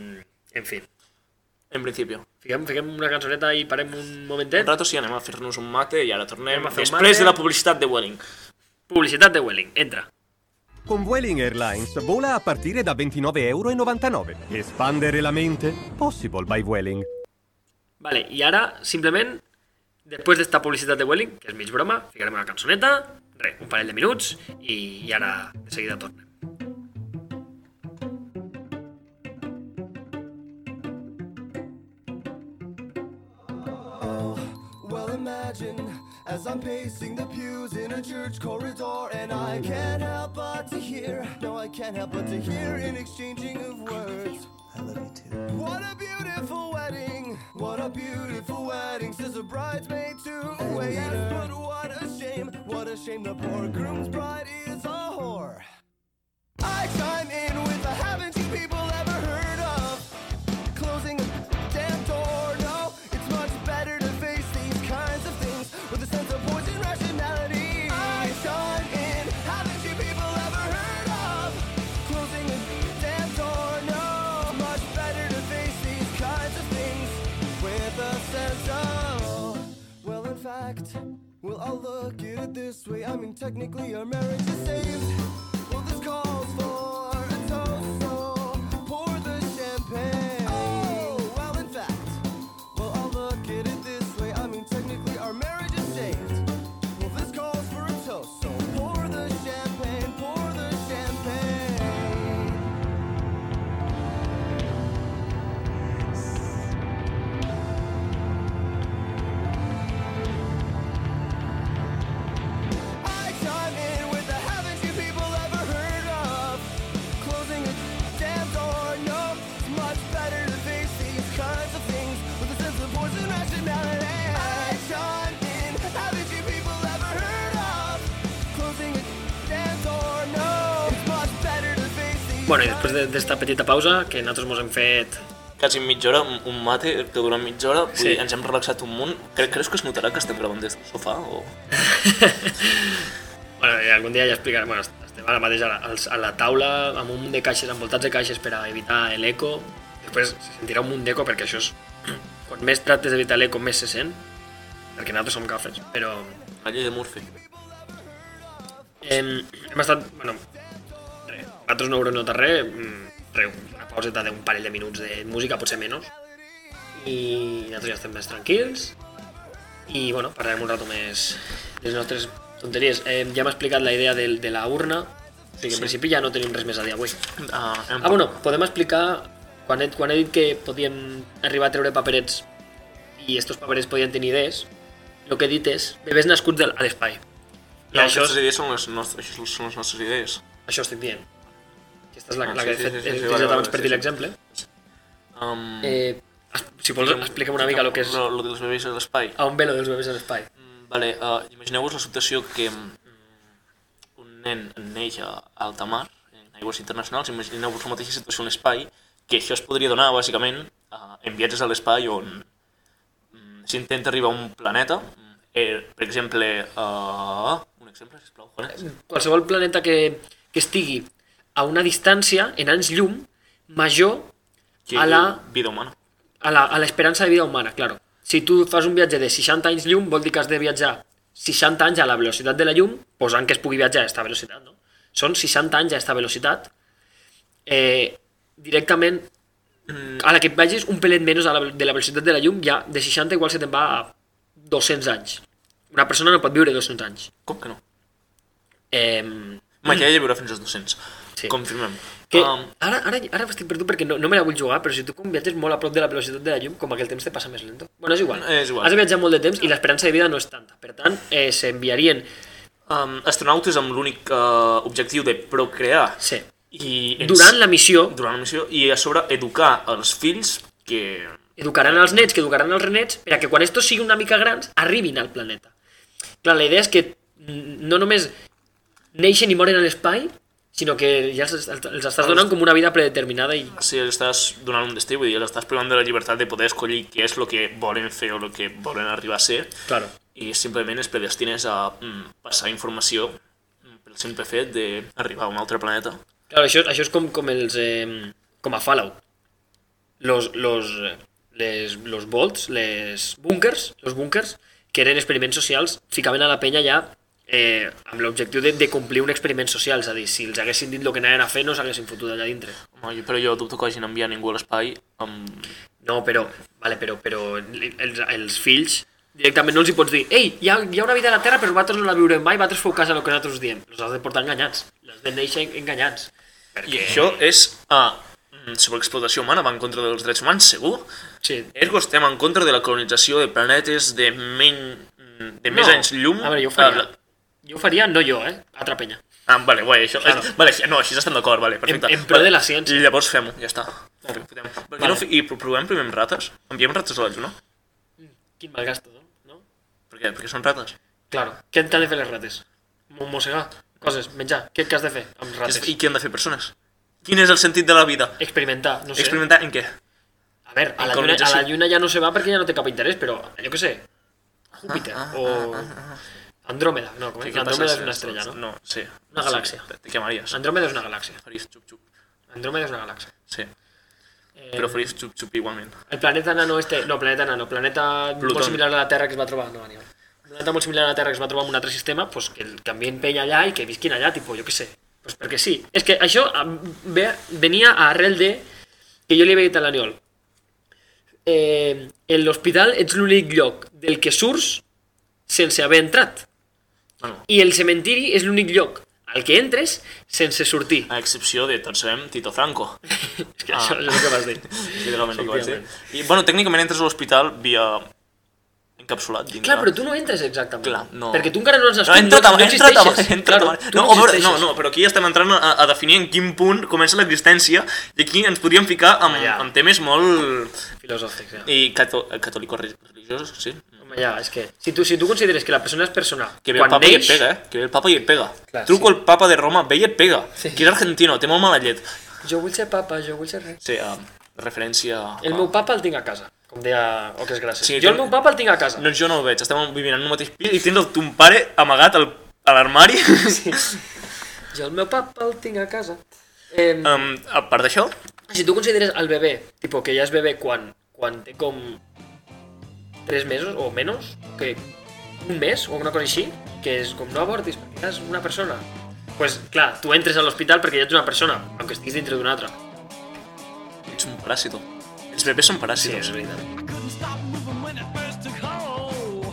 S1: en fi,
S2: En principi.
S1: fiquem, fiquem una cançoneta i parem un momentet.
S2: Un rato sí, anem a fer-nos un mate i ara tornem
S1: Anem a fer un
S2: després
S1: mate.
S2: de la publicitat de Welling.
S1: Publicitat de Welling, entra.
S4: Con Vueling Airlines vola a partire da 29,99 euro. Espandere la mente? Possible by Vueling.
S1: Vale, i ara, simplement, després d'esta publicitat de Welling, que és mig broma, ficarem una cançoneta, re, un parell de minuts, i, i ara de seguida tornem.
S5: Well, imagine as I'm pacing the pews in a church corridor, and I can't help but to hear. No, I can't help but to hear an exchanging of words. I love you too. What a beautiful wedding! What a beautiful wedding! Says a bridesmaid to a waiter. But what a shame! What a shame! The poor groom's bride is a whore. I chime in with a haven't you people ever heard of? closing the damn door. No, it's much better to face these kinds of things with a sense of poison rationality. I shine in. Haven't you people ever heard of closing the damn door? No, it's much better to face these kinds of things with a sense of. Well, in fact, well, I'll look at it this way. I mean, technically, our marriage is saved. Well, this calls for a toast, so pour the champagne. Oh, well, in fact, well, I'll look at it this way. I mean, technically, our marriage is saved. Well, this calls for a toast, so pour the champagne, pour the champagne. I chime in with the haven't you people
S1: Bueno, i després de- d'esta petita pausa, que nosaltres mos hem fet...
S2: Quasi mitja hora, un- un mate que dura mitja hora, vull
S1: Sí.
S2: dir, ens hem relaxat un munt. Cre creus que es notarà que estem gravant des del sofà? O...
S1: Bueno, i algun dia ja explicaré... Bueno, estem ara mateix a la, als- a la taula amb un munt de caixes, envoltats de caixes per a evitar l'eco. Després se sentirà un munt d'eco perquè això és... Quan més tractes d'evitar l'eco, més se sent. Perquè nosaltres som gafes, però...
S2: La llei de Murphy.
S1: Hem, hem estat... Bueno, res, nosaltres no haurem notat res, mm, res, una pauseta d'un parell de minuts de música, potser menys, i nosaltres ja estem més tranquils, i bueno, parlarem un rato més de les nostres tonteries. Eh, ja m'ha explicat la idea del, de la urna, o sigui que en principi ja no tenim res més a dir avui.
S2: Ah, hem...
S1: Ah, bueno, podem explicar... Quan he, quan he dit que podíem arribar a treure paperets i estos paperets podien tenir idees, el que he dit és bebès nascuts de l- a l'espai. I
S2: no,
S1: això
S2: aquestes
S1: és-
S2: idees són les nostres, això són les nostres idees.
S1: això estic dient. Aquesta és la,
S2: Ah,
S1: la
S2: sí,
S1: que he
S2: sí,
S1: fet,
S2: sí, sí,
S1: he
S2: sí,
S1: utilitzat
S2: vale, vale,
S1: abans per
S2: sí,
S1: dir
S2: sí.
S1: l'exemple.
S2: Um,
S1: Eh, es- si vols, expliquem una mica el que és
S2: Lo, lo dels bebès a l'espai.
S1: a on ve lo dels bebès a l'espai.
S2: Mm, Vale, uh, imagineu-vos la situació que mm, un nen neix a alta mar, en aigües internacionals, imagineu-vos la mateixa situació a l'espai, que això es podria donar, bàsicament, uh, en viatges a l'espai on mm, s'intenta arribar a un planeta, mm, eh, per exemple, uh, un exemple, sisplau, Juanes?
S1: Qualsevol planeta que, que estigui a una distància, en anys llum, major
S2: Que
S1: a la-
S2: Vida humana.
S1: a la- a l'esperança de vida humana, claro. Si tu fas un viatge de 60 anys llum, vol dir que has de viatjar 60 anys a la velocitat de la llum, posant que es pugui viatjar a aquesta velocitat, no? Són 60 anys a aquesta velocitat, eh, directament a la que et vagis un pelet menys a la, de la velocitat de la llum, ja de 60 igual se te'n va a 200 anys. Una persona no pot viure 200 anys.
S2: Com que no?
S1: Eh,
S2: Ma, ja hi viurà fins als 200.
S1: Sí.
S2: Confirmem.
S1: que
S2: Um,
S1: ara, ara, ara estic perdut perquè no, no me la vull jugar, però si tu quan viatges molt a prop de la velocitat de la llum, com que el temps te passa més lento. Bueno, és igual.
S2: És igual.
S1: Has de viatjar molt de temps i l'esperança de vida no és tanta. Per tant, eh, s'enviarien...
S2: um, astronautes amb l'únic uh, objectiu de procrear
S1: Sí.
S2: i ens-
S1: Durant la missió,
S2: durant la missió i a sobre educar els fills que
S1: educaran els nets, que educaran els renets, per a que quan estos siguin una mica grans, arribin al planeta. Clar, la idea és que mm, no només neixen i moren a l'espai, sinó que ja els, els, els estàs donant com una vida predeterminada i
S2: si els estàs donant un destí, vull dir, els estàs privant de la llibertat de poder escollir què és el que volen fer o el que volen arribar a ser
S1: Claro.
S2: i simplement es predestines a mm, passar informació mm, pel simple fet d'arribar a un altre planeta.
S1: Claro, això, això és com, com els... Eh, com a Fallout. Los, los, eh, les, los volts, les búnkers, los búnkers, que eren experiments socials, ficaven a la penya ja eh, amb l'objectiu de, de complir un experiment social, és a dir, si els haguessin dit el que anaven a fer no s'haguessin fotut allà dintre.
S2: Home, jo- però jo dubto que hagin enviat ningú a l'espai amb...
S1: No, però, vale, però, però els, els fills directament no els hi pots dir ei, hi ha, hi ha una vida a la Terra però vosaltres no la viurem mai, vosaltres feu cas a el que nosaltres us diem. Els has de portar enganyats, els de néixer enganyats.
S2: I això és ah, mm, sobreexplotació humana, va en contra dels drets humans, segur.
S1: Sí,
S2: Ergo estem en contra de la colonització de planetes de, men... de més anys llum.
S1: A veure, jo ho faria.
S2: Ah, la-
S1: Jo ho faria, no jo, eh? Altra penya.
S2: Ah, vale, guai, això...
S1: Claro.
S2: Eh, vale, així- no, així estem d'acord, vale, perfecte.
S1: En- en pro
S2: Vale,
S1: de la ciència.
S2: Llavors fem-ho, ja està. Vale. Vale. No, fi- I pro- provem primer amb rates? Enviem rates a la lluna?
S1: Quin mal gasto, no? no?
S2: Per què? Perquè són rates.
S1: Claro. Què t'han de fer les rates? Mo- Mossegar, coses, menjar. Què, què has de fer amb rates?
S2: I què han de fer persones? Quin és el sentit de la vida?
S1: Experimentar, no sé.
S2: Experimentar en què?
S1: A veure, a la, lluna, a
S2: colonització.
S1: la lluna ja no se va perquè ja no té cap interès, però jo què sé, Júpiter o Andròmeda, no, com és?
S2: Què passa
S1: Andròmeda és
S2: si-
S1: una estrella, no?
S2: No, sí.
S1: Una galàxia.
S2: Sí, te quemaries.
S1: Andròmeda és una galàxia.
S2: Faries xup-xup.
S1: Andròmeda és una galàxia.
S2: Sí,
S1: Eh,
S2: però faries xup-xup igualment.
S1: El planeta nano este... No, planeta nano. Planeta
S2: Plutón.
S1: molt similar a la Terra que es va trobar... No, Aníbal. Un planeta molt similar a la Terra que es va trobar en un altre sistema, pues, que el canvien pell allà i que visquin allà, tipo, jo què sé. Pues perquè sí. És que això am, ve, venia a arrel de... Que jo li havia dit a l'Aniol. Eh, en l'hospital ets l'únic lloc del que surts sense haver entrat.
S2: Bueno,
S1: I el cementiri és l'únic lloc al que entres sense sortir.
S2: a excepció de, tots sabem, Tito Franco.
S1: És que això és el que vas dir.
S2: Ah. Literalment el que vaig
S1: eh?
S2: dir. I, bueno, tècnicament entres a l'hospital via encapsulat. Dintre.
S1: Clar, però tu no entres exactament.
S2: Clar, no.
S1: Perquè tu encara no has
S2: No,
S1: nascut,
S2: entra
S1: no,
S2: no,
S1: no
S2: entra
S1: existeixes.
S2: entra entra
S1: Claro,
S2: tabac.
S1: tu
S2: no, no,
S1: existeixes.
S2: no, no, però aquí ja estem entrant a, a definir en quin punt comença l'existència i aquí ens podríem ficar amb,
S1: Home, ja.
S2: amb temes molt...
S1: Filosòfics, ja.
S2: i cató, catòlicos religiosos, sí.
S1: Home, ja, és que si tu, si tu consideres que la persona és persona
S2: Que ve el
S1: quan
S2: papa i et
S1: neix...
S2: pega, eh? Que ve el papa i et pega.
S1: Clar,
S2: Truco al papa de Roma, ve i et pega.
S1: Sí.
S2: Que és argentino, té molt mala llet.
S1: Jo vull ser papa, jo vull ser rei.
S2: Sí, um, referència... a-
S1: El meu papa el tinc a casa, com deia Oques Grasses.
S2: Sí,
S1: Sí, jo
S2: que-
S1: el meu papa el tinc a casa.
S2: Doncs jo no el veig, estem vivint en un mateix pis i tens el ton pare amagat al, a l'armari. Sí.
S1: Jo el meu papa el tinc a casa. Eh, um,
S2: Um, a part d'això,
S1: si tu consideres el bebè, tipo que ja és bebè quan, quan té com 3 mesos o menys, que un mes o una cosa així, que és com no abortis perquè ja és una persona. Pues clar, tu entres a l'hospital perquè ja ets una persona, aunque estiguis dintre d'una altra.
S2: ets un paràsito. Els bebès són
S1: Sí,
S2: paràsitos.
S1: és veritat.
S3: couldn't stop moving when it first took hold.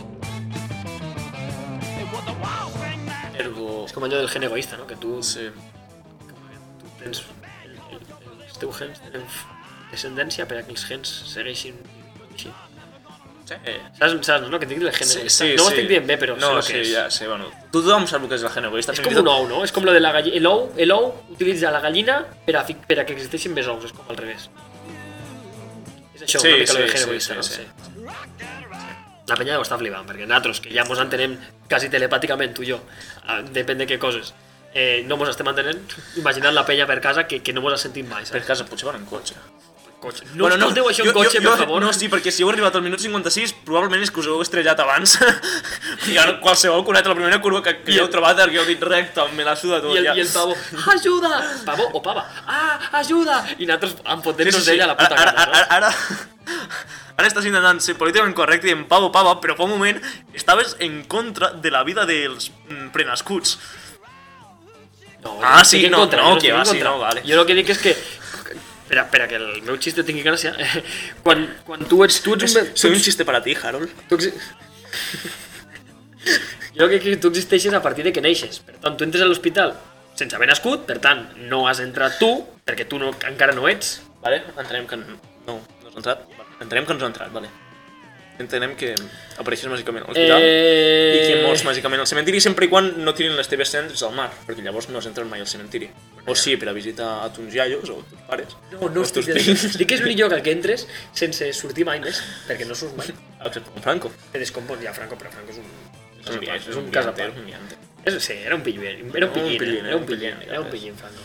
S3: It was a wild thing that
S2: Ergo...
S1: És com allò del gen egoista, no? Que tu,
S2: Sí.
S1: tu tens... El, el, els teus gens tenen descendència per a que els gens segueixin així.
S2: Sí.
S1: Saps, saps no? Que et dic del gen
S2: Sí,
S1: egoista.
S2: sí,
S1: no ho
S2: sí.
S1: estic dient bé, però
S2: no,
S1: sé el
S2: sí,
S1: que és.
S2: ja sé, bueno. Tothom sap el que és la gent egoista.
S1: És
S2: fins
S1: com
S2: i tot-
S1: un ou, no? És com lo de la gallina. L'ou, l'ou utilitza la gallina per a, fi- per a que existeixin més ous, és com al revés. És això,
S2: Sí,
S1: una mica
S2: sí,
S1: lo del
S2: sí,
S1: gen egoista,
S2: sí,
S1: no?
S2: sí.
S1: Sí. La penya ho està flipant, perquè nosaltres, que ja mos entenem quasi telepàticament, tu i jo, ah, depèn de què coses, eh, no mos estem entenent, imaginant la penya per casa que, que no mos ha sentit mai,
S2: Per
S1: saps?
S2: casa potser van en cotxe.
S1: Cotxe. No bueno, escolteu això en
S2: jo-
S1: cotxe,
S2: jo, jo,
S1: per favor.
S2: No, sí, perquè si heu arribat al minut 56, probablement és que us heu estrellat abans. I ara qualsevol conat a la primera curva que, que
S1: I
S2: ja heu
S1: el-
S2: trobat, que heu dit recte, me la suda tot.
S1: I el,
S2: ja.
S1: I el pavo, ajuda! Pavo o pava, ah, ajuda! I nosaltres empotent-nos d'ella a la puta
S2: ara,
S1: cara,
S2: ara, ara, ara, ara estàs intentant ser políticament correcte i en pavo pava, però fa un moment estaves en contra de la vida dels mm, prenascuts.
S1: No,
S2: Ah,
S1: jo
S2: sí,
S1: estic en
S2: no,
S1: contra,
S2: no,
S1: jo
S2: que
S1: estic en
S2: va, sí,
S1: contra.
S2: no, vale.
S1: Jo el que dic és que... Per a, per a que el meu xiste tingui gràcia, quan, quan tu ets... Tu ets un... be-
S2: Soy un xiste para ti, Harold.
S1: Tu exi... jo crec que tu existeixes a partir de que neixes. Per tant, tu entres a l'hospital sense haver nascut, per tant, no has entrat tu, perquè tu no, encara no ets.
S2: Vale, entenem que... No, no has entrat. Vale. Entenem que ens ha entrat, vale. Entenem que apareixes màgicament a l'hospital
S1: Eh...
S2: i que mors màgicament al cementiri sempre i quan no tirin les teves cendres al mar, perquè llavors no has entrat mai al cementiri. O sí, per a visitar a tons iaios o a teus pares.
S1: No, no
S2: o als teus
S1: estic...
S2: fills.
S1: Dic que és l'únic lloc al que entres sense sortir mai més, perquè no surts mai.
S2: Excepte com Franco.
S1: Te descompons ja, Franco, però Franco és un... És un, és un, cas a
S2: casapar.
S1: part. Eso sí, era un pillín, era un
S2: No, un
S1: pillín,
S2: pillín,
S1: era un pillín, era un
S2: digamos.
S1: pillín, Franco.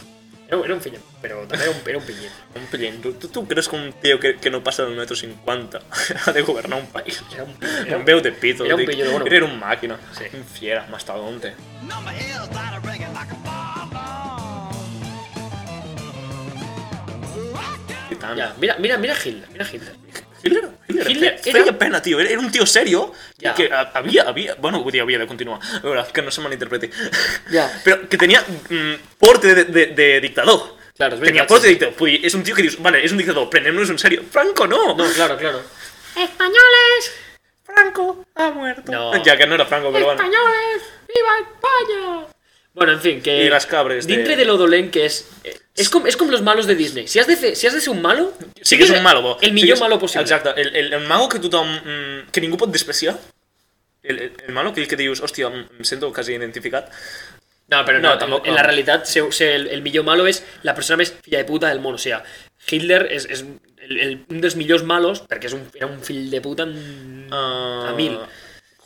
S1: Era, era un pillín, pero también era un, era un pillín.
S2: Un pillín. ¿Tú, tú, tú crees que un tío que, que no pasa de un metro cincuenta ha de gobernar un país?
S1: Era un pillín.
S2: Era
S1: Era un
S2: un veu de pito.
S1: era un
S2: dic.
S1: pillo, bueno.
S2: Era un máquina.
S1: Sí.
S2: Un fiera, mastodonte.
S3: number is that are ringing like a bomb.
S2: Titán.
S1: Ya, mira, mira, mira Hitler, mira Hitler.
S2: Hitler, Hitler,
S1: Hitler
S2: fe-
S1: era-
S2: feia pena, tio. Era, era un tio serio
S1: Ja.
S2: que ha- havia, havia... Bueno, vull dir, havia de continuar. A veure, que no se malinterpreti.
S1: Ja.
S2: Però que tenia mm, porte de, de, de dictador.
S1: Claro, és
S2: tenia
S1: veritat,
S2: porte
S1: sí.
S2: de dictador. Vull dir, és un tio que dius, vale, és un dictador, prenem-nos en serio. Franco, no!
S1: No, claro, claro.
S6: ¡Españoles!
S2: Franco ha muerto.
S1: No.
S2: Ja que no era Franco, però bueno.
S6: ¡Españoles! ¡Viva España!
S1: Bueno, en fin, que...
S2: Y las cabres de-
S1: Dintre de... lo dolent que es... eh, Es como, es como los malos de Disney. Si has de, fe- si has de ser un malo...
S2: Sí que és un malo, bo.
S1: El
S2: Sí
S1: millor
S2: que és-
S1: malo possible.
S2: Exacte, el, el, el mago que tothom... mm, que ningú pot despreciar. El, el, el malo, aquell que dius, hòstia, em, em sento quasi identificat.
S1: No, pero no,
S2: No, tampoco-
S1: en, en la realidad se- se- el, el millor malo es la persona més filla de puta del món. O sea, Hitler és, és el, el, un dels millors malos perquè és un, era un fill de puta en...
S2: Uh,
S1: A mil.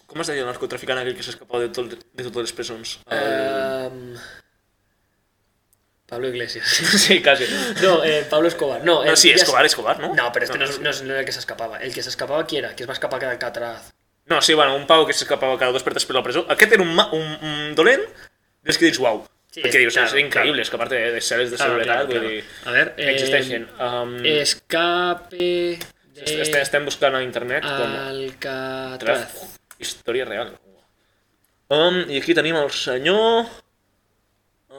S2: Com es deia el narcotraficant aquell que s'escapava de, tot, de totes les presons?
S1: Em, Pablo Iglesias.
S2: Sí, quasi.
S1: No, eh, Pablo Escobar. No, eh,
S2: No, sí,
S1: ya sé-
S2: Escobar, Escobar, ¿no?
S1: No, pero este no, es-
S2: sí.
S1: no es no era el que se escapaba. El que se escapaba, ¿quién era? Que es más capaz que Alcatraz.
S2: No, sí, bueno, un pavo que s'escapava cada dos per tres per la presó. Aquest era un, ma- un, un dolent dels que dius, uau.
S1: Sí,
S2: Sí, perquè dius,
S1: claro,
S2: és increïble escapar-te de, de cel·les de
S1: Claro,
S2: seguretat.
S1: claro,
S2: vull
S1: claro.
S2: dir,
S1: A ver, eh,
S2: existeixen. Um, Este,
S1: Escape de
S2: est- Estem buscant a internet com... Traf.
S1: Alcatraz.
S2: Història real. Um, I aquí tenim el senyor...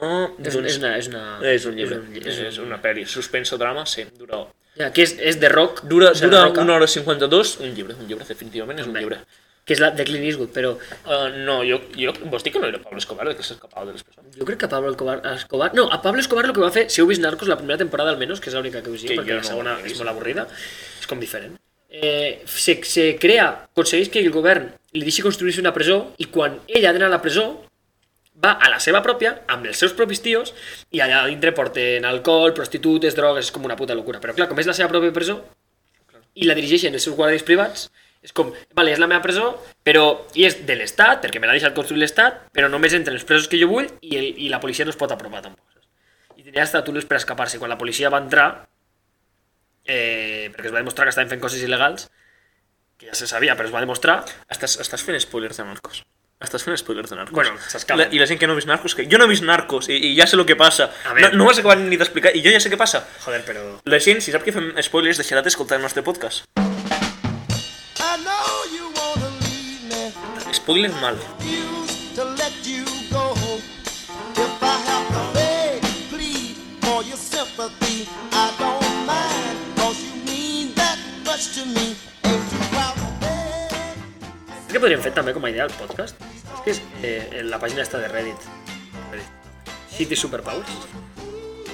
S2: Uh,
S1: Es, es una, es una...
S2: és un llibre.
S1: un lli-
S2: És,
S1: un-
S2: és una pel·li. Suspenso, drama, sí. Dura,
S1: Ya, que es, es de rock.
S2: dura,
S1: o sea,
S2: dura
S1: roca,
S2: una hora 52. Un llibre, un llibre, definitivament és un
S1: Hombre.
S2: llibre.
S1: Que es la de Clint Eastwood, pero
S2: Uh, no, jo, jo vols dir que no era Pablo Escobar el que s'escapava de les persones?
S1: yo creo que a Pablo Escobar, a Escobar- No, a Pablo Escobar lo que va a hacer, si hubiese Narcos la primera temporada al menos, que es la única que
S2: Que
S1: hubiese, porque
S2: yo
S1: la
S2: no
S1: segunda
S2: he
S1: es
S2: visto.
S1: muy aburrida, es con diferente. Eh, se, se crea, conseguís que el govern li deixi construir-se una presó i quan ell ha d'anar a la presó va a la seva pròpia, amb els seus propis tios, i allà dintre porten alcohol, prostitutes, drogues, és com una puta locura. Però clar, com és la seva pròpia presó, i la dirigeixen els seus guàrdies privats, és com, vale, és la meva presó, però i és de l'Estat, perquè me l'ha deixat construir l'Estat, però només entren els presos que jo vull i, el, i la policia no es pot apropar tampoc. saps? I tenia estatules per escapar-se. Quan la policia va entrar, eh, perquè es va demostrar que estaven fent coses il·legals, que ja se sabia, però es va demostrar,
S2: Estàs, estàs fent spoilers de Narcos. Estàs fent spoilers de Narcos.
S1: Bueno, s'escapen.
S2: La- I la gent que no ha vist Narcos, que jo no he vist Narcos i, i ja sé el que passa.
S1: A
S2: No,
S1: veure.
S2: no m'has acabat ni d'explicar i jo ja sé què passa.
S1: joder, però...
S2: La gent, si sap que fem spoilers, deixarà d'escoltar el nostre podcast.
S5: I know you wanna leave me,
S2: Spoiler mal.
S5: refuse to let you go. If I have to beg, plead for your sympathy, I don't mind, cause you mean that much to me. Ain't you proud of that?
S1: Saps què podríem fer també com a idea del podcast? És que és eh, en la pàgina està de Reddit. Reddit. City Superpowers.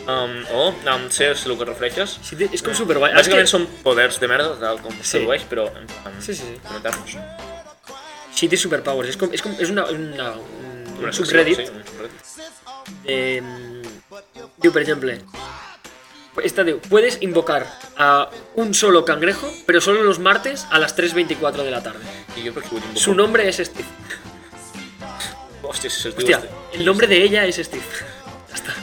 S2: Um, oh, um, sé si el que refereixes.
S1: Sí, té- és com superguai.
S2: Bàsicament
S1: És que-
S2: són poders de merda, tal com
S1: Sí.
S2: sí. produeix, però en plan...
S1: Sí, sí, sí.
S2: Comentar-nos.
S1: City Superpowers. És com, és com és una, una, un,
S2: Una
S1: un
S2: secció,
S1: subreddit
S2: Sí, un subreddit.
S1: Eh, diu, por ejemplo, esta diu, puedes invocar a un solo cangrejo, pero solo los martes a las 3.24 de la tarde.
S2: I jo perquè ho dic...
S1: Su nombre es Steve.
S2: Hòstia, si se'ls diu...
S1: Hostia,
S2: este.
S1: el nombre de ella es Steve. Ya está.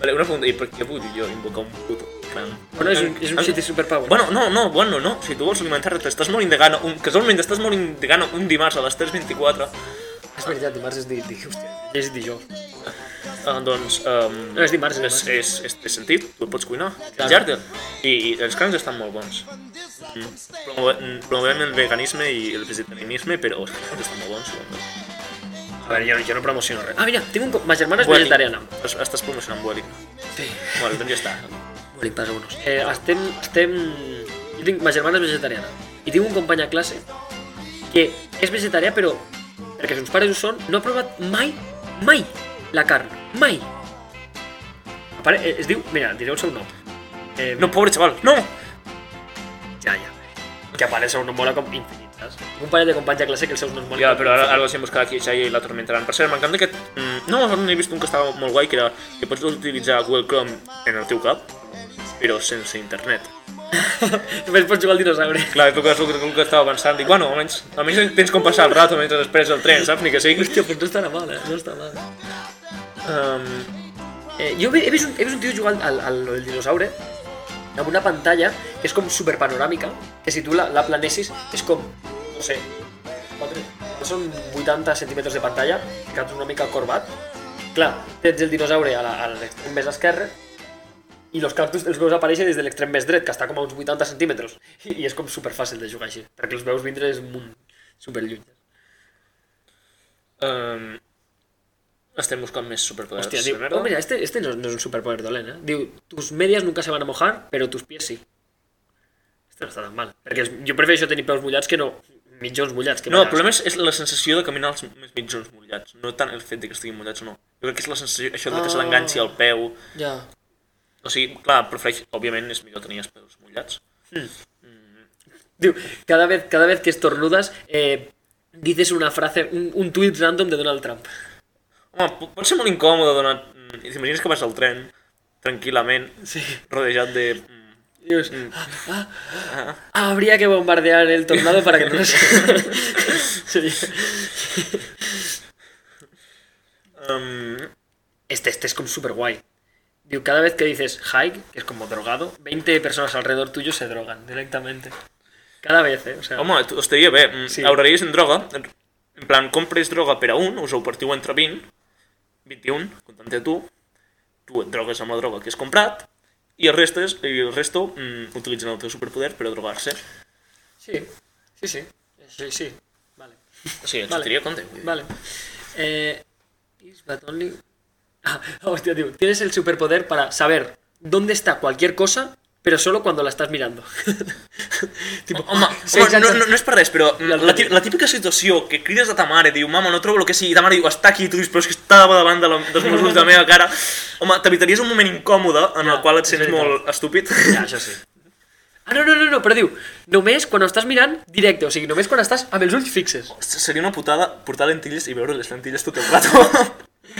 S2: Vale, una pregunta, i per què vull jo invocar un puto clan?
S1: Bueno, és un, és un shitty superpower.
S2: Bueno, no, no, bueno, no, si tu vols alimentar-te, estàs morint de gana, un, casualment estàs morint de gana un dimarts a les 3.24,
S1: és veritat, dimarts és, di, di, hòstia, és dijous.
S2: uh, doncs... Um,
S1: No, és dimarts, és
S2: és,
S1: dimarts.
S2: és, és, té sentit, tu et pots cuinar,
S1: Clar.
S2: menjar-te. I, I els cans estan molt bons. Mm. Promove- mm, Promovem el veganisme i el vegetarianisme, però els cans estan molt bons. Doncs.
S1: A ver, yo, yo no promociono res. Ah, mira, tinc un... co- Ma germana és
S2: Vueling.
S1: vegetariana.
S2: Es- Estàs promocionant Vueling.
S1: Sí.
S2: Bueno, doncs ja està.
S1: Vueling per algunos. Eh, estem, estem... Jo tinc, ma germana és vegetariana. I tinc un company a classe que és vegetarià, però perquè els seus pares ho són, no ha provat mai, mai, la carn. Mai. A Pare, eh, es diu... Mira, diré el seu nom. Eh,
S2: No, pobre xaval, no!
S1: ja, ja. Que a part el seu nom mola com infinit, saps? Tinc un parell de companys a classe que els seus noms molen.
S2: Ja,
S1: com
S2: però ara,
S1: infinit.
S2: ara els hem buscat aquí, ja i la tormentaran. Per cert, m'encanta aquest... Mm, no, no n'he vist un que estava molt guai, que era que pots utilitzar Google Chrome en el teu cap, però sense internet.
S1: Només pots jugar al dinosaure.
S2: Clar, tu que és el que, el que estava pensant, dic, bueno, almenys, almenys tens com passar el rato mentre esperes el tren, saps? Ni que sigui.
S1: Hòstia, però no estarà mal, eh? No està mal.
S2: Um,
S1: Eh, jo he he vist, un, he vist un tio jugant al, al, al dinosaure amb una pantalla que és com superpanoràmica, que si tu la, la planessis és com, no sé, quatre, són 80 centímetres de pantalla, que una mica corbat. Clar, tens el dinosaure a la- a l'extrem més esquerre i els cactus els veus aparèixer des de l'extrem més dret, que està com a uns 80 centímetres. I, i és com superfàcil de jugar així, perquè els veus vindre és un munt superlluny.
S2: um, estem buscant més superpoders.
S1: Hòstia,
S2: de
S1: diu,
S2: merda.
S1: oh, mira, este, este no, no és un superpoder dolent, eh? Diu, tus medias nunca se van a mojar, però tus pies sí. Este no està tan mal. Perquè és- jo prefereixo tenir peus mullats que no mitjons mullats. Que
S2: No, el
S1: m'agrada.
S2: problema és, és la sensació de caminar els més mitjons mullats, no tant el fet de que estiguin mullats o no. Jo crec que és la sensació, això de que se l'enganxi
S1: Ah.
S2: al peu...
S1: Ja.
S2: O sigui, clar, prefereix, òbviament és millor tenir els peus mullats.
S1: Diu, cada vez, cada vez que estornudas, eh, dices una frase, un, un tuit random de Donald Trump.
S2: Home, po- pot ser molt incòmode donar... mm, T'imagines que vas al tren, tranquil·lament,
S1: Sí.
S2: rodejat de... mm,
S1: Dius, ah, ah, ah, habría que bombardear el tornado para que no nos... Seria-
S2: Um,
S1: Este, este es como súper guay. Digo, cada vez que dices hike, que es como drogado, 20 personas alrededor tuyo se drogan directamente. Cada vez, ¿eh? O sea,
S2: home, tu- estaria bé. Mm,
S1: Sí.
S2: Hauraries en droga. en- En plan, compres droga per a un, us ho partiu entre 20, 21, comptant de tu, tu et drogues amb la droga que has comprat, i el resto, és, i el resto mm, utilitzen el teu superpoder per a drogar-se.
S1: sí, sí, sí. Sí, sí. Vale.
S2: Sí, ens
S1: Vale.
S2: vale. compte. vull dir.
S1: Vale. Eh, is but only- Ah, hostia, tío. Tienes el superpoder para saber dónde está cualquier cosa, pero solo cuando la estás mirando. tipo,
S2: Home,
S1: sí,
S2: home
S1: sí,
S2: no,
S1: sí.
S2: no, no és per res, però mm,
S1: Ja el
S2: la, tí-
S1: tenim.
S2: la típica situació que crides a ta mare, diu, mama, no trobo el que sigui, i ta mare diu, està aquí, i tu dius, però és que està davant de la, dels meus ulls de la meva cara. Home, t'evitaries un moment incòmode en
S1: Ja,
S2: el qual et
S1: és
S2: sents
S1: veritat.
S2: molt estúpid.
S1: Ja, això sí. Ah, no, no, no, no, però diu, només quan ho estàs mirant directe, o sigui, només quan estàs amb els ulls fixes.
S2: Seria una putada portar lentilles i veure les lentilles tot el rato.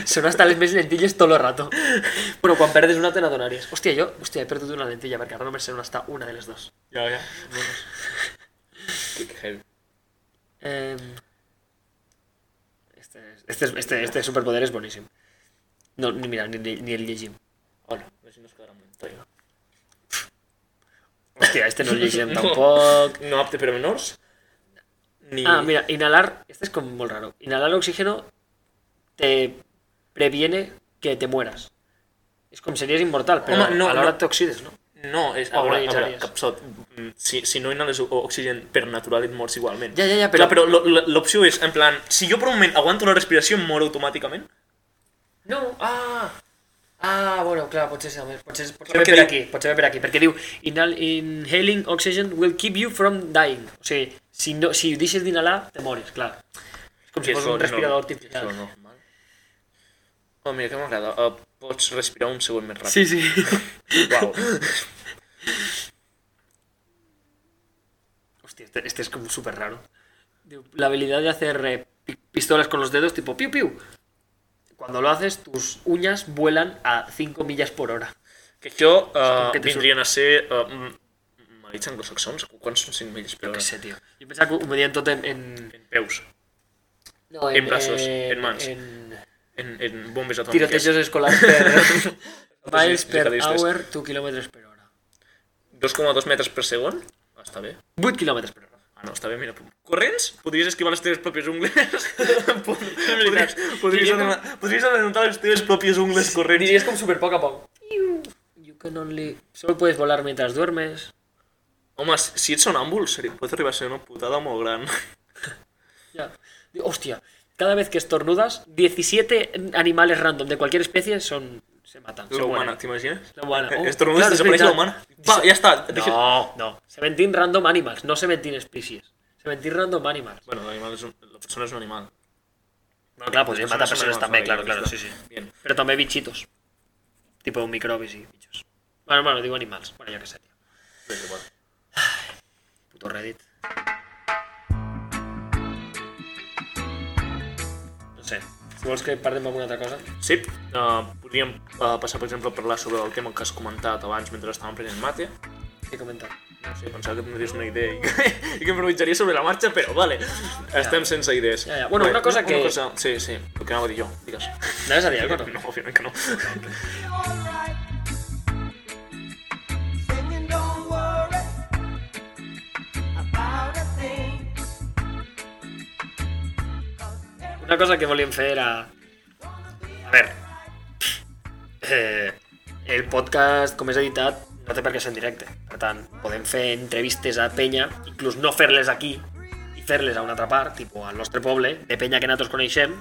S1: Són hasta les més lentilles tot el rato. Però quan perdes una te n'adonaries. Hòstia, jo hòstia, he perdut una lentilla perquè ara només sé on està una de les dues.
S2: ja, ja. Bueno.
S1: Eh... Este, este, este, este superpoder és boníssim. No, ni, mira, ni, ni, ni el llegim.
S2: Bueno, a ver si nos quedará un Toyo.
S1: Hòstia, este no el llegirem tampoc.
S2: No apte per a menors. Ni...
S1: Ah, mira, inhalar, este es como muy raro. Inhalar oxígeno te previene que te mueras. Es como serías inmortal, pero
S2: Home, no,
S1: a la hora
S2: no.
S1: te oxides, ¿no?
S2: No, és,
S1: O
S2: a veure, a veure,
S1: organitzaries.
S2: capsot, mm, si, si no inhales o- oxigen per natural et mors igualment.
S1: Ja, ja, ja,
S2: Però...
S1: però-
S2: Clar, però lo- lo- l'opció és, en plan, si jo per un moment aguanto una respiració em moro automàticament?
S1: No, ah... Ah, bueno, clar, potser, sí, a veure, potser, potser
S2: Però
S1: ve
S2: què
S1: per
S2: diu?
S1: aquí, potser ve per aquí, perquè diu "Inhal- inhaling oxygen will keep you from dying. O sigui, si, no, si deixes d'inhalar, te moris, clar. És com si fos un respirador artificial.
S2: Això no. Oh, mira, que m'agrada. Uh, pots respirar un segon més ràpid.
S1: Sí, sí.
S2: Uau.
S1: Hostia, este, este es como súper raro. Digo, La habilidad de hacer eh, pi- pistolas con los dedos tipo piu piu. Cuando lo haces, tus uñas vuelan a 5 millas por hora.
S2: que això uh,
S1: que te surt-
S2: vindrien a ser... Uh, Marits anglosaxons? Qu- Quants són 5 milles per
S1: Qué
S2: hora?
S1: sé, tío. Yo pensaba que medían todo en... En,
S2: En peus,
S1: no,
S2: En brazos, en mans.
S1: En
S2: en, en bombes atòmiques.
S1: tirotejos escolares per... miles
S2: Sí, sí,
S1: per
S2: radistes.
S1: hour, 2 kilómetros per hora.
S2: 2,2 metres per segon? Ah, està bé.
S1: 8 kilómetros per hora.
S2: Ah, no, està bé, mira. Corrents? Podries esquivar les teves pròpies ungles? Pod- podries, podries,
S1: Diria com-
S2: anotar, podries anotar les teves pròpies ungles corrents?
S1: Dirías como súper poco a poco. You can only... Solo puedes volar mientras duermes.
S2: Home, si- si ets sonàmbul, seria, pot arribar a ser una putada molt gran.
S1: Ya. Digo, Hostia, cada vez que estornudas, 17 animales random de cualquier especie son se matan. se
S2: La humana,
S1: mueren.
S2: t'imagines?
S1: La humana. Oh,
S2: Estornudes,
S1: claro, es
S2: desapareix la
S1: veritat.
S2: humana. Va, ja està. Deixa-
S1: No, no. Seventeen random animals, no seventeen species. Seventeen random animals.
S2: Bueno, l'animal és un, la persona és un animal.
S1: Bueno, claro, podríem matar persones
S2: animals,
S1: també,
S2: vale,
S1: claro,
S2: ja
S1: claro,
S2: està.
S1: sí, sí.
S2: Bien.
S1: Però també bitxitos. Tipo microbis i bitxos. Bueno, bueno, digo animals. Bueno, jo què sé, tio.
S2: Bé, és igual.
S1: Puto Reddit. No sé. Si vols que parlem d'alguna altra cosa...
S2: Sí, uh, podríem uh, passar, per exemple, a parlar sobre el tema que has comentat abans mentre estàvem prenent mate.
S1: Què comentar?
S2: No sé, pensava que tindries una idea i que, i que improvisaria sobre la marxa, però vale, estem sense idees.
S1: Ja, ja. Bueno, una cosa que-
S2: Una cosa, sí, sí, el que anava a dir jo, digues.
S1: Anaves a dir alguna cosa?
S2: No, òbviament que no.
S5: alright. Singing, don't worry about a thing.
S1: Una cosa que volíem fer era... A veure... Eh, el podcast, com és editat, no té per què ser en directe. Per tant, podem fer entrevistes a penya, inclús no fer-les aquí i fer-les a una altra part, tipus al nostre poble, de penya que nosaltres coneixem,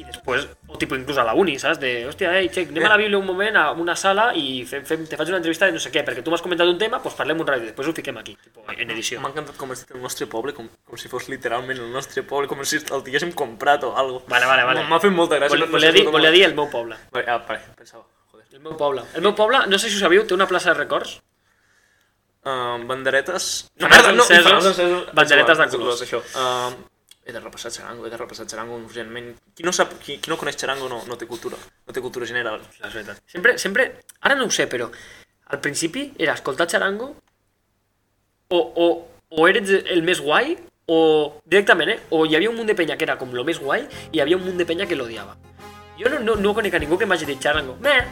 S1: i després, o tipus inclús a la uni, saps? De, hòstia, ei, xec, anem a la Bíblia un moment a una sala i fem, fem, te faig una entrevista de no sé què, perquè tu m'has comentat un tema, doncs parlem un rato i després ho fiquem aquí, tipus, en edició.
S2: M'ha encantat com has dit el nostre poble, com, com si fos literalment el nostre poble, com si el tinguéssim comprat o algo.
S1: Vale, vale, vale.
S2: M'ha fet molta gràcia.
S1: Volia,
S2: no- pues no
S1: volia,
S2: sé
S1: dir,
S2: com-
S1: volia dir pues el meu poble.
S2: Vale, ah, vale, pensava, joder.
S1: El meu poble. El meu poble, no sé si ho sabíeu, té una plaça de records.
S2: Uh, banderetes... No,
S1: Fanals
S2: merda, no,
S1: encesos,
S2: fanals encesos.
S1: banderetes de
S2: És igual,
S1: colors.
S2: és Això. Uh, he de repassar Charango, he de repassar Charango urgentment. Qui no, sap, qui, qui no coneix Charango no, no té cultura, no té cultura general.
S1: La veritat. Sempre, sempre, ara no ho sé, però al principi era escoltar xarango o, o, o eres el més guai o directament, eh? O hi havia un munt de penya que era com lo més guai i hi havia un munt de penya que l'odiava. Jo no, no, no conec a ningú que m'hagi dit xarango. Meh,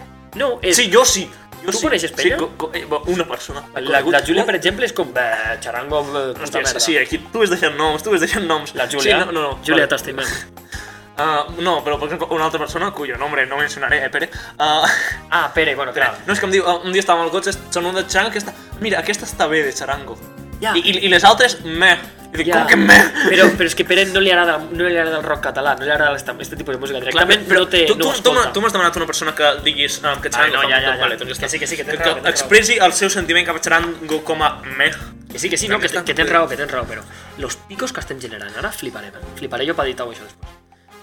S1: no, és...
S2: Sí, jo sí. Jo
S1: Tu
S2: sí.
S1: coneixes penya?
S2: Sí, co- co- eh, bo, una persona. He
S1: la, la
S2: conegut-
S1: Júlia,
S2: Oh,
S1: per exemple, és com... "Beh, Xarango, beh, puta
S2: hòstia,
S1: merda.
S2: sí, aquí tu ves deixant noms, tu ves deixant noms.
S1: La Júlia,
S2: Sí, no, no, no.
S1: Júlia,
S2: vale.
S1: t'estimem.
S2: Uh, no, però per exemple, una altra persona, cuyo nombre no mencionaré, eh, Pere, uh,
S1: Ah, Pere, bueno, clar.
S2: no, és que em diu, uh, un dia estàvem al cotxe, són un de xarango, aquesta, mira, aquesta està bé de xarango.
S1: Ja.
S2: I, i, i les altres, meh. I dic,
S1: Ja.
S2: com que meh?
S1: Però, però és que Pere no li agrada, no li agrada el rock català, no li agrada esta, este tipus de música. Directament però, no té...
S2: tu,
S1: no
S2: tu, tu, m'ha- tu m'has demanat una persona que diguis um, que xarango
S1: no,
S2: fa
S1: ja,
S2: molt
S1: ja,
S2: tot,
S1: ja.
S2: Vale, doncs ja
S1: Que
S2: està.
S1: sí, que sí, que tens
S2: que,
S1: raó, que tens
S2: expressi el seu sentiment cap a xarango com a meh.
S1: Que sí, que sí, no, que,
S2: Aquesta-
S1: que tens raó, que tens raó, però los picos que estem generant ara fliparem, eh? Fliparé jo per editar això després.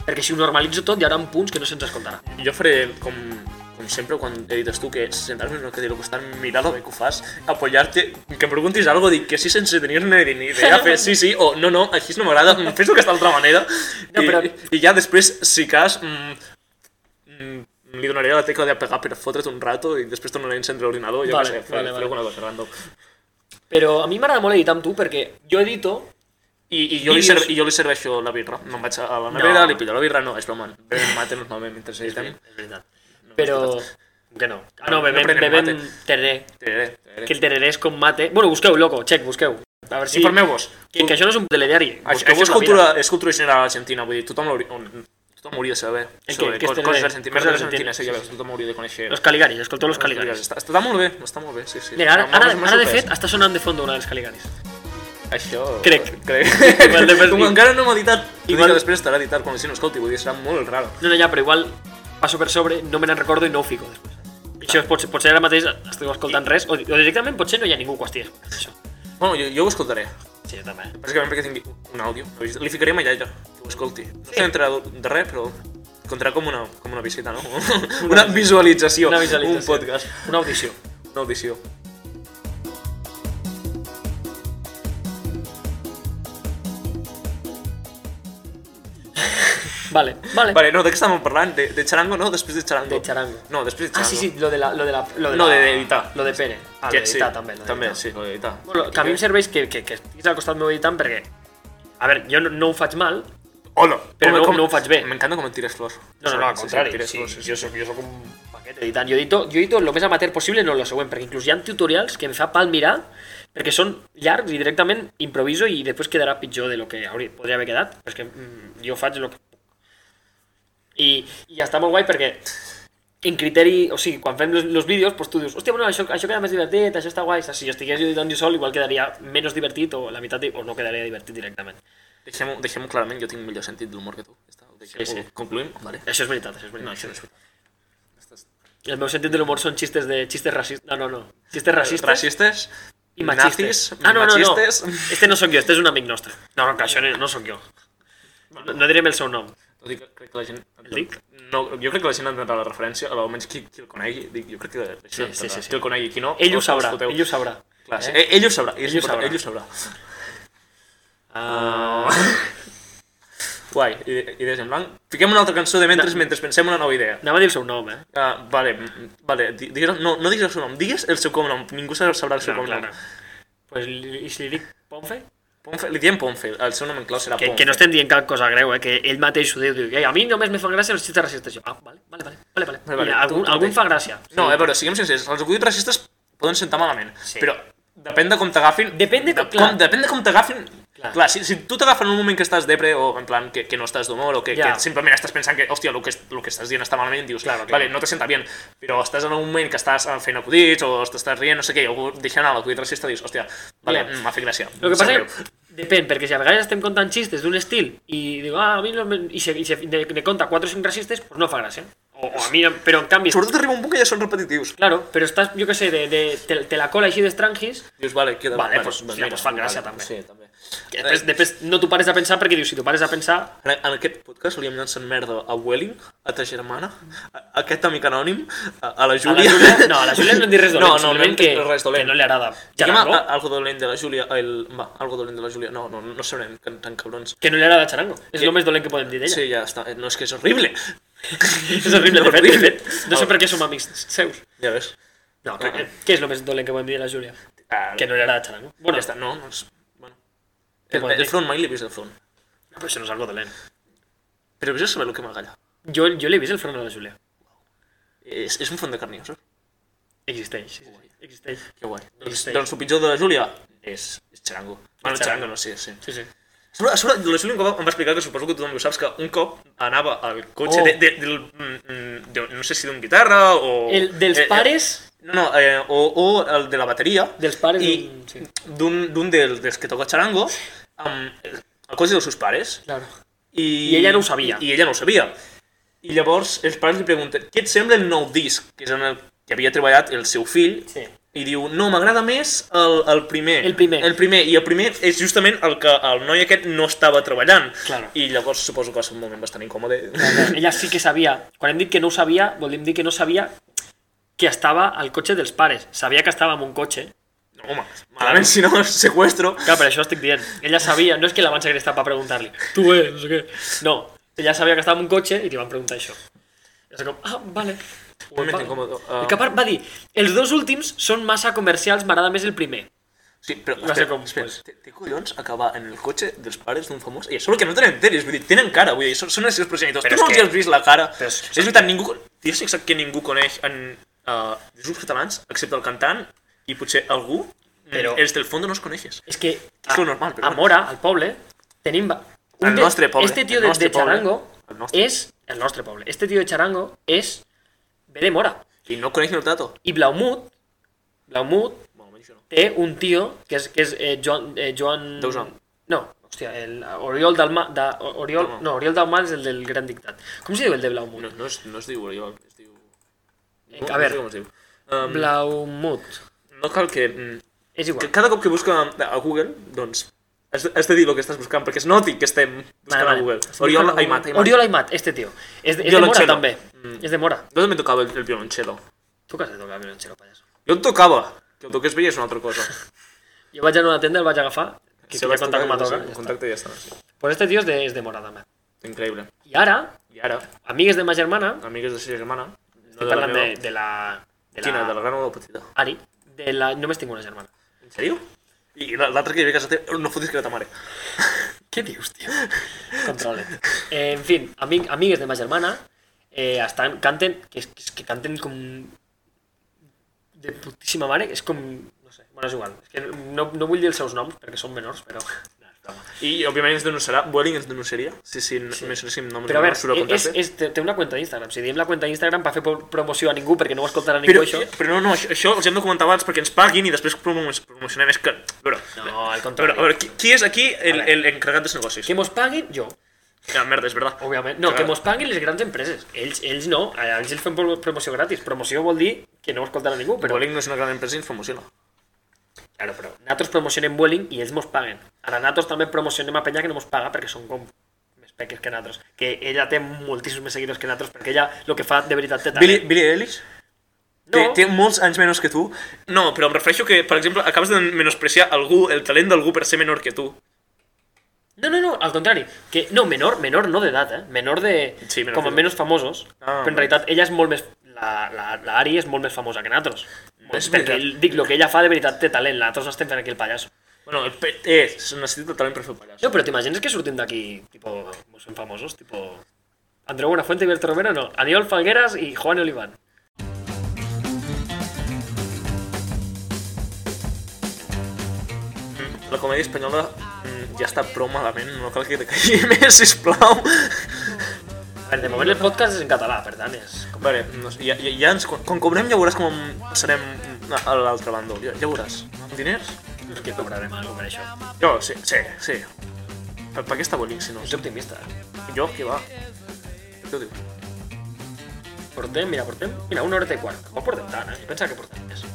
S1: Perquè si ho normalitzo tot hi haurà punts que no se'ns escoltarà.
S2: Jo faré com, com sempre quan edites tu, que és sentar-me en una cadira al costat, mirar lo bé que ho fas, apoyar-te, que em preguntis algo, dic que sí sense tenir-ne ni idea, fer sí, sí, o no, no, així no m'agrada, mm, fes-ho d'aquesta altra manera,
S1: No,
S2: i,
S1: però-
S2: i ja després, si cas, mm, mm, li donaré la tecla de pegar per fotre't un rato i després tornaré a encendre l'ordinador, jo
S1: Vale,
S2: què sé, faré,
S1: vale,
S2: faré
S1: vale.
S2: alguna cosa random.
S1: Però a mi m'agrada molt editar amb tu perquè jo edito...
S2: I, i, jo li
S1: Vídeos.
S2: serve, I jo li serveixo la birra, me'n vaig Em a la nevera, li pillo la birra, no, és broma, benem mate normalment mentre editem.
S1: És veritat. Però, Que no. Ah, no,
S2: No,
S1: bebem,
S2: no prenen
S1: bebem
S2: mate.
S1: tereré.
S2: Tereré, tereré.
S1: Que el tereré és com mate. Bueno, busqueu, loco, xec, busqueu. A veure si...
S2: Informeu-vos.
S1: Que, que això no és un telediari.
S2: Això,
S1: Busqueu-vos
S2: és,
S1: la
S2: cultura,
S1: vida.
S2: és cultura general argentina, vull dir, tothom, hauria, on, tothom hauria de saber
S1: Eh,
S2: sobre
S1: que- que
S2: cos-
S1: és
S2: coses
S1: de-
S2: argentines,
S1: coses
S2: merdes
S1: argentines,
S2: argentines, sí,
S1: sí,
S2: ja veus, tothom hauria de conèixer.
S1: Los Caligaris, escolteu los Caligaris.
S2: Està, està molt bé, està molt bé, sí, sí.
S1: Mira, ara,
S2: M'ha- m'ha-
S1: ara,
S2: m'ha
S1: ara de
S2: sorprès.
S1: fet està sonant de fons una dels Caligaris.
S2: Això...
S1: Crec.
S2: Crec.
S1: Igual de
S2: Com
S1: perdi-
S2: encara no hem editat,
S1: Igual-
S2: igual després estarà editat quan si no escolti, vull dir, serà molt raro.
S1: No, no, ja, però igual passo per sobre, no me n'en recordo i no ho fico després. I Això pot, ser- potser ara mateix esteu escoltant res, o, o directament potser no hi ha ningú que ho estigui escoltant, això.
S2: Bueno, jo, jo ho escoltaré,
S1: Sí, jo també.
S2: bàsicament perquè tingui un àudio. Li ficaré a iaia, que ho escolti. No sé entrarà de res, però comptarà com una, com una visita, no? una visualització,
S1: Una visualització.
S2: un podcast,
S1: Una audició.
S2: una audició.
S1: Vale, vale.
S2: Vale, no, de què estàvem parlant? De, de Charango, no? Després de Charango.
S1: De charango.
S2: No, després de
S1: Ah,
S2: Charango.
S1: sí, sí, lo de la... Lo de la lo de
S2: No,
S1: la-
S2: de- d'editar.
S1: Lo de Pere. Ah,
S2: Que-
S1: de editar també. lo
S2: També,
S1: d'editar.
S2: sí, lo d'editar.
S1: Bueno, que a mi em serveix que, que, que estiguis al costat meu editant perquè... A veure, jo no, no ho faig mal,
S2: Hola!
S1: però no- no ho faig bé.
S2: M'encanta com et tires flors.
S1: No, no, no, al
S2: Sí, sí,
S1: contrari.
S2: em tires
S1: Sí,
S2: flors, sí, sí.
S1: jo, soc, jo soc un paquet editant. Jo edito, jo edito el més amateur possible, no el següent, perquè inclús hi ha tutorials que em fa pal mirar, perquè són llargs i directament improviso i després quedarà pitjor de lo que hauria, podria haver quedat. Però és que mm, jo faig el que puc. I, I està molt guai perquè en criteri, o sigui, quan fem els vídeos, doncs tu dius, hòstia, bueno, això, això queda més divertit, això està guai. Si jo estigués editant jo sol, igual quedaria menys divertit o la meitat, o no quedaria divertit directament.
S2: Deixem-ho deixem clarament, jo tinc millor sentit de l'humor que tu. Ja està, ho deixem,
S1: Sí,
S2: sí,
S1: sí.
S2: sí. Concluïm? Vale.
S1: Això és veritat, això és veritat.
S2: No, això no és veritat.
S1: El meu sentit de l'humor són xistes de xistes racistes. No, no, no. Xistes racistes
S2: Racistes,
S1: i machistes.
S2: nazis,
S1: ah, no, no, no.
S2: machistes...
S1: Este no sóc jo, este és un amic nostre. No, no, que això no, no sóc jo. No, no direm el seu nom.
S2: Tot i que crec que la gent...
S1: El dic?
S2: No, jo crec que la gent entendrà la referència, almenys qui, qui el conegui, dic, jo crec que la gent
S1: Sí,
S2: entendrà.
S1: sí, sí, sí.
S2: Qui el conegui, qui no,
S1: Ell ho
S2: els que
S1: sabrà,
S2: l'escolteu.
S1: ell ho sabrà.
S2: Clar, sí, Eh, ell ho sabrà, ell,
S1: Eh? Ell ho
S2: ho sabrà.
S1: sabrà.
S2: Ell ho sabrà.
S1: Ah,
S2: Guai, ide- idees en blanc. Fiquem una altra cançó de mentres,
S1: No.
S2: mentre pensem una nova idea.
S1: anava a dir el seu nom, eh?
S2: Ah, vale, mm, vale, di- digues, no, no diguis el seu nom, digues el seu cognom, ningú sabrà sabrà el seu
S1: No, clar,
S2: cognom.
S1: no. Pues, li- i si li dic Ponfe?
S2: Ponfe, li diem Ponfe, el seu nom en clau serà
S1: Que,
S2: Ponfe.
S1: que no estem dient cap cosa greu, eh? Que ell mateix ho diu, diu, "Ei, a mi només me fan gràcia els xistes racistes. Jo, ah, vale, vale, vale, vale, vale.
S2: Vale, vale,
S1: Mira,
S2: tu-
S1: algun,
S2: tu
S1: algun
S2: mateix.
S1: em fa gràcia.
S2: No, a veure, siguem sincers, els acudits racistes poden sentar malament,
S1: Sí.
S2: però depèn de com t'agafin...
S1: Depèn de com- clar.
S2: com, depèn de com t'agafin...
S1: Clar.
S2: Clar. si, si tu t'agafen en un moment que estàs depre o en plan que, que no estàs d'humor o que,
S1: Ja.
S2: que simplement estàs pensant que, hòstia, el que, es- lo que estàs dient està malament, dius,
S1: Claro,
S2: claro,
S1: claro.
S2: vale, no te senta bien, però estàs en un moment que estàs eh, fent acudits o t'estàs rient, no sé què, i algú deixa anar l'acudit racista dius, hòstia, vale,
S1: Ja.
S2: yeah. m'ha fet gràcia.
S1: Lo que
S2: Sap
S1: pasa
S2: greu.
S1: que depèn, perquè si a vegades estem contant xistes d'un estil i digo, ah, a mi no me... i se, i se ne, ne conta 4 o 5 racistes, pues no fa gràcia. O, o a mi, no- però en canvi...
S2: Sobretot arriba un punt que ja són repetitius.
S1: Claro, però estàs, jo que sé, de, de, te, te la cola així d'estrangis,
S2: Dius, vale, queda...
S1: Vale, pues, hòstia, pues fan gràcia, també.
S2: Sí, també. Eh,
S1: que després, després no t'ho pares a pensar perquè dius, si t'ho pares a pensar...
S2: En, en aquest podcast li hem llançat merda a Welling, a ta germana, a, a aquest amic anònim, a, a la
S1: A la
S2: Júlia...
S1: Júlia, no, a la Júlia no hem dit res dolent,
S2: no, no, no hem
S1: simplement
S2: dit
S1: que,
S2: res
S1: que
S2: dolent.
S1: no li agrada. Ja,
S2: Diguem a,
S1: no?
S2: a, algo dolent de la Júlia, el, va, algo dolent de la Júlia, no, no, no sabrem, que tan cabrons.
S1: Que no li agrada Charango. És
S2: Que-
S1: el més dolent que podem dir d'ella.
S2: Sí, ja està, eh, no, és que és horrible.
S1: És horrible, de fet, de fet. No sé
S2: Ah.
S1: per què som amics seus.
S2: Ja ves.
S1: No, crec que... Què és el més dolent que podem dir de la Júlia? Ah, Que no li agrada Charango.
S2: Bueno,
S1: Bueno,
S2: ja està, no, no és... Bueno.
S1: Què
S2: El,
S1: vols dir?
S2: el front mai l'he vist, el front.
S1: però això no és algo dolent.
S2: Però vull saber el que m'agalla.
S1: Jo, jo l'he vist el front a la Júlia.
S2: És, és un front de carniós, eh?
S1: Existeix, sí, sí, existeix.
S2: Que guai. Doncs,
S1: Existeix.
S2: doncs el pitjor de la Júlia és, és Charango. Bueno,
S1: Charango.
S2: Charango, no, sí, sí.
S1: Sí, sí.
S2: Sobre, sobre la Júlia em va, em va explicar, que suposo que tothom ho saps, que un cop anava al
S1: Oh.
S2: cotxe oh. de, de, del, mm, mm, de, no sé si d'un guitarra o...
S1: El, dels
S2: eh, eh,
S1: pares...
S2: No, no, eh, o, o el de la bateria.
S1: Dels pares
S2: I
S1: d'un- sí.
S2: d'un d'un del, dels que toca charango amb el el cotxe dels seus pares.
S1: Claro.
S2: I,
S1: I ella no ho sabia.
S2: I, ella no ho sabia. I llavors els pares li pregunten què et sembla el nou disc, que és en el que havia treballat el seu fill,
S1: Sí.
S2: i diu, no, m'agrada més el, el primer.
S1: El primer.
S2: El primer. I el primer és justament el que el noi aquest no estava treballant.
S1: Claro.
S2: I llavors suposo que va ser un moment bastant incòmode.
S1: Ella sí que sabia. Quan hem dit que no ho sabia, volem dir que no sabia que estava al cotxe dels pares. Sabia que estava en un cotxe.
S2: No, home, malament si no, seqüestro.
S1: Clar, per això estic dient. Ella sabia, no és que la van segrestar per preguntar-li. Tu, eh, no sé què. No, ella sabia que estava en un cotxe i li van preguntar això. I va ser com, ah, vale.
S2: Un moment
S1: Va-
S2: incòmode.
S1: I
S2: Uh,
S1: que a part va dir, els dos últims són massa comercials, m'agrada més el primer.
S2: Sí, però
S1: va ser
S2: espera,
S1: com,
S2: espera.
S1: pues.
S2: Té, té collons acabar en el cotxe dels pares d'un famós? I a sobre que no tenen tenis, vull dir, tenen cara, vull dir, són, són els seus progenitors.
S1: Però
S2: tu no
S1: és
S2: els
S1: que-
S2: has vist la cara.
S1: Però és-
S2: és, veritat, ningú... Dius exacte que ningú coneix en, uh, grups catalans, excepte el cantant i potser algú, però
S1: Però-
S2: els del fondo no els coneixes.
S1: És que
S2: És lo normal, però
S1: a
S2: bueno.
S1: Mora, al poble, tenim... va-
S2: Al
S1: de-
S2: nostre poble,
S1: Este tio
S2: al
S1: de,
S2: nostre
S1: de
S2: poble.
S1: Charango
S2: Al nostre.
S1: és... El nostre poble. Este tio de Charango és... Ve de Mora.
S2: I no coneix ni el Tato.
S1: I Blaumut, Blaumut
S2: Bueno, almenys jo no.
S1: té un tio que és, que és eh, Joan... Eh, Joan...
S2: Dausà.
S1: No, hòstia, el Oriol Dalma... Da, Oriol,
S2: Dalmau.
S1: no, Oriol Dalmau és el del Gran Dictat. Com se diu el de Blaumut?
S2: No, no, es, no es diu Oriol, es diu...
S1: Eh,
S2: No,
S1: a veure.
S2: No, sé com es diu. Um,
S1: Blaumut.
S2: no cal que... mm,
S1: És
S2: que
S1: igual.
S2: cada cop que busca eh, a Google, doncs, has, has de dir el que estàs buscant, perquè es noti que estem buscant a Google.
S1: Estic
S2: Oriol
S1: buscant-
S2: Aimat. Aimat.
S1: Oriol Aimat, este tio. És de, és de Mora,
S2: Violoncello.
S1: també.
S2: Mm.
S1: És de Mora.
S2: Jo també tocava el, el violoncello.
S1: Tu que has de tocar el violoncello, pallasso.
S2: Jo el tocava. Que el toqués bé ja és una altra cosa.
S1: Jo vaig anar a una tenda, el vaig agafar, que
S2: Si
S1: si vaig
S2: vas
S1: contar com a
S2: tocar,
S1: toca.
S2: sí,
S1: ja està.
S2: contacte i ja està. sí.
S1: Pues este tio és de, és de Mora, també.
S2: Increïble.
S1: I ara,
S2: I ara,
S1: amigues de ma germana,
S2: amigues de sa germana, no
S1: estic parlant de, de la... De
S2: Quina,
S1: la,
S2: de la gran o de la petita?
S1: Ari, de la... Només tinc una germana.
S2: En sèrio? I la- l'altra que hi havia a casa teva, no fotis que era ta mare.
S1: Què dius, tio? Controla't. Eh, en fi, amig, amigues de ma germana eh, estan, canten, que, és- que, és que canten com... de putíssima mare, que és com... No sé, bueno, és igual. És que no, no vull dir els seus noms perquè són menors, però... No, és broma.
S2: I, òbviament, ens denunciarà, Vueling ens denunciaria, si, si sí. mencionéssim noms
S1: Però a e-, eh,
S2: menors sobre
S1: veure,
S2: el
S1: és,
S2: contracte.
S1: és, té té una cuenta d'Instagram. Si diem la cuenta d'Instagram per fer pro- promoció a ningú perquè no ho escoltarà ningú,
S2: Però,
S1: això...
S2: però no, no, això, això els hem de comentar abans perquè ens paguin i després promo- promocionem. És que, a veure,
S1: No, al
S2: a veure,
S1: contrari.
S2: a veure qui, qui és aquí el,
S1: A veure.
S2: el encarregat dels negocis?
S1: Que mos paguin, jo,
S2: Ja, merda, és verdad.
S1: òbviament. No,
S2: Clar.
S1: que mos paguin les grans empreses. Ells, ells no, a ells els fem pro- promoció gratis. Promoció vol dir que no ho escoltarà ningú, però...
S2: Vueling no és una gran empresa i ens promociona.
S1: Claro, però nosaltres promocionem Vueling i ells mos paguen. Ara nosaltres també promocionem a penya que no mos paga perquè són com més peques que nosaltres. Que ella té moltíssims més seguidors que nosaltres perquè ella el que fa de veritat té
S2: Billy,
S1: talent.
S2: Billy Eilish?
S1: No,
S2: Té, té molts anys menys que tu. No, però em refereixo que, per exemple, acabes de menospreciar algú, el talent d'algú per ser menor que tu.
S1: no, no, no, al contrari. Que, no, menor, menor no d'edat, eh? Menor de...
S2: Sí, menor
S1: com a
S2: d'edat.
S1: menys famosos.
S2: Ah,
S1: però en realitat ella és molt més... La, la, la Ari és molt més famosa que nosaltres.
S2: És
S1: perquè
S2: veritat.
S1: dic, el que ella fa de veritat té talent. Nosaltres estem fent aquí el pallasso.
S2: Bueno, el pe- eh, es- necessito talent per fer pallasso.
S1: No, però t'imagines que sortim d'aquí, tipo, mos fem famosos, tipo... Andreu Buenafuente i Berto Romero, no. Aniol Falgueras i Juan Oliván.
S2: La comèdia espanyola mm, ja està prou malament, no cal que te caigui més, sisplau.
S1: A veure, de moment el podcast és en català, per tant, és...
S2: A veure, no sé, ja, ja, ja ens, quan, quan cobrem ja veuràs com serem mm, a a l'altre bàndol, ja, ja veuràs. Amb diners?
S1: No és que cobrarem alguna per això.
S2: Jo, sí, sí, sí. Per, per què està bolint, si no?
S1: Ets optimista.
S2: Jo, que va. Què ho diu?
S1: Portem, mira, portem... Mira, una horeta i quart. Tampoc portem tant, eh? Jo pensava que portem més.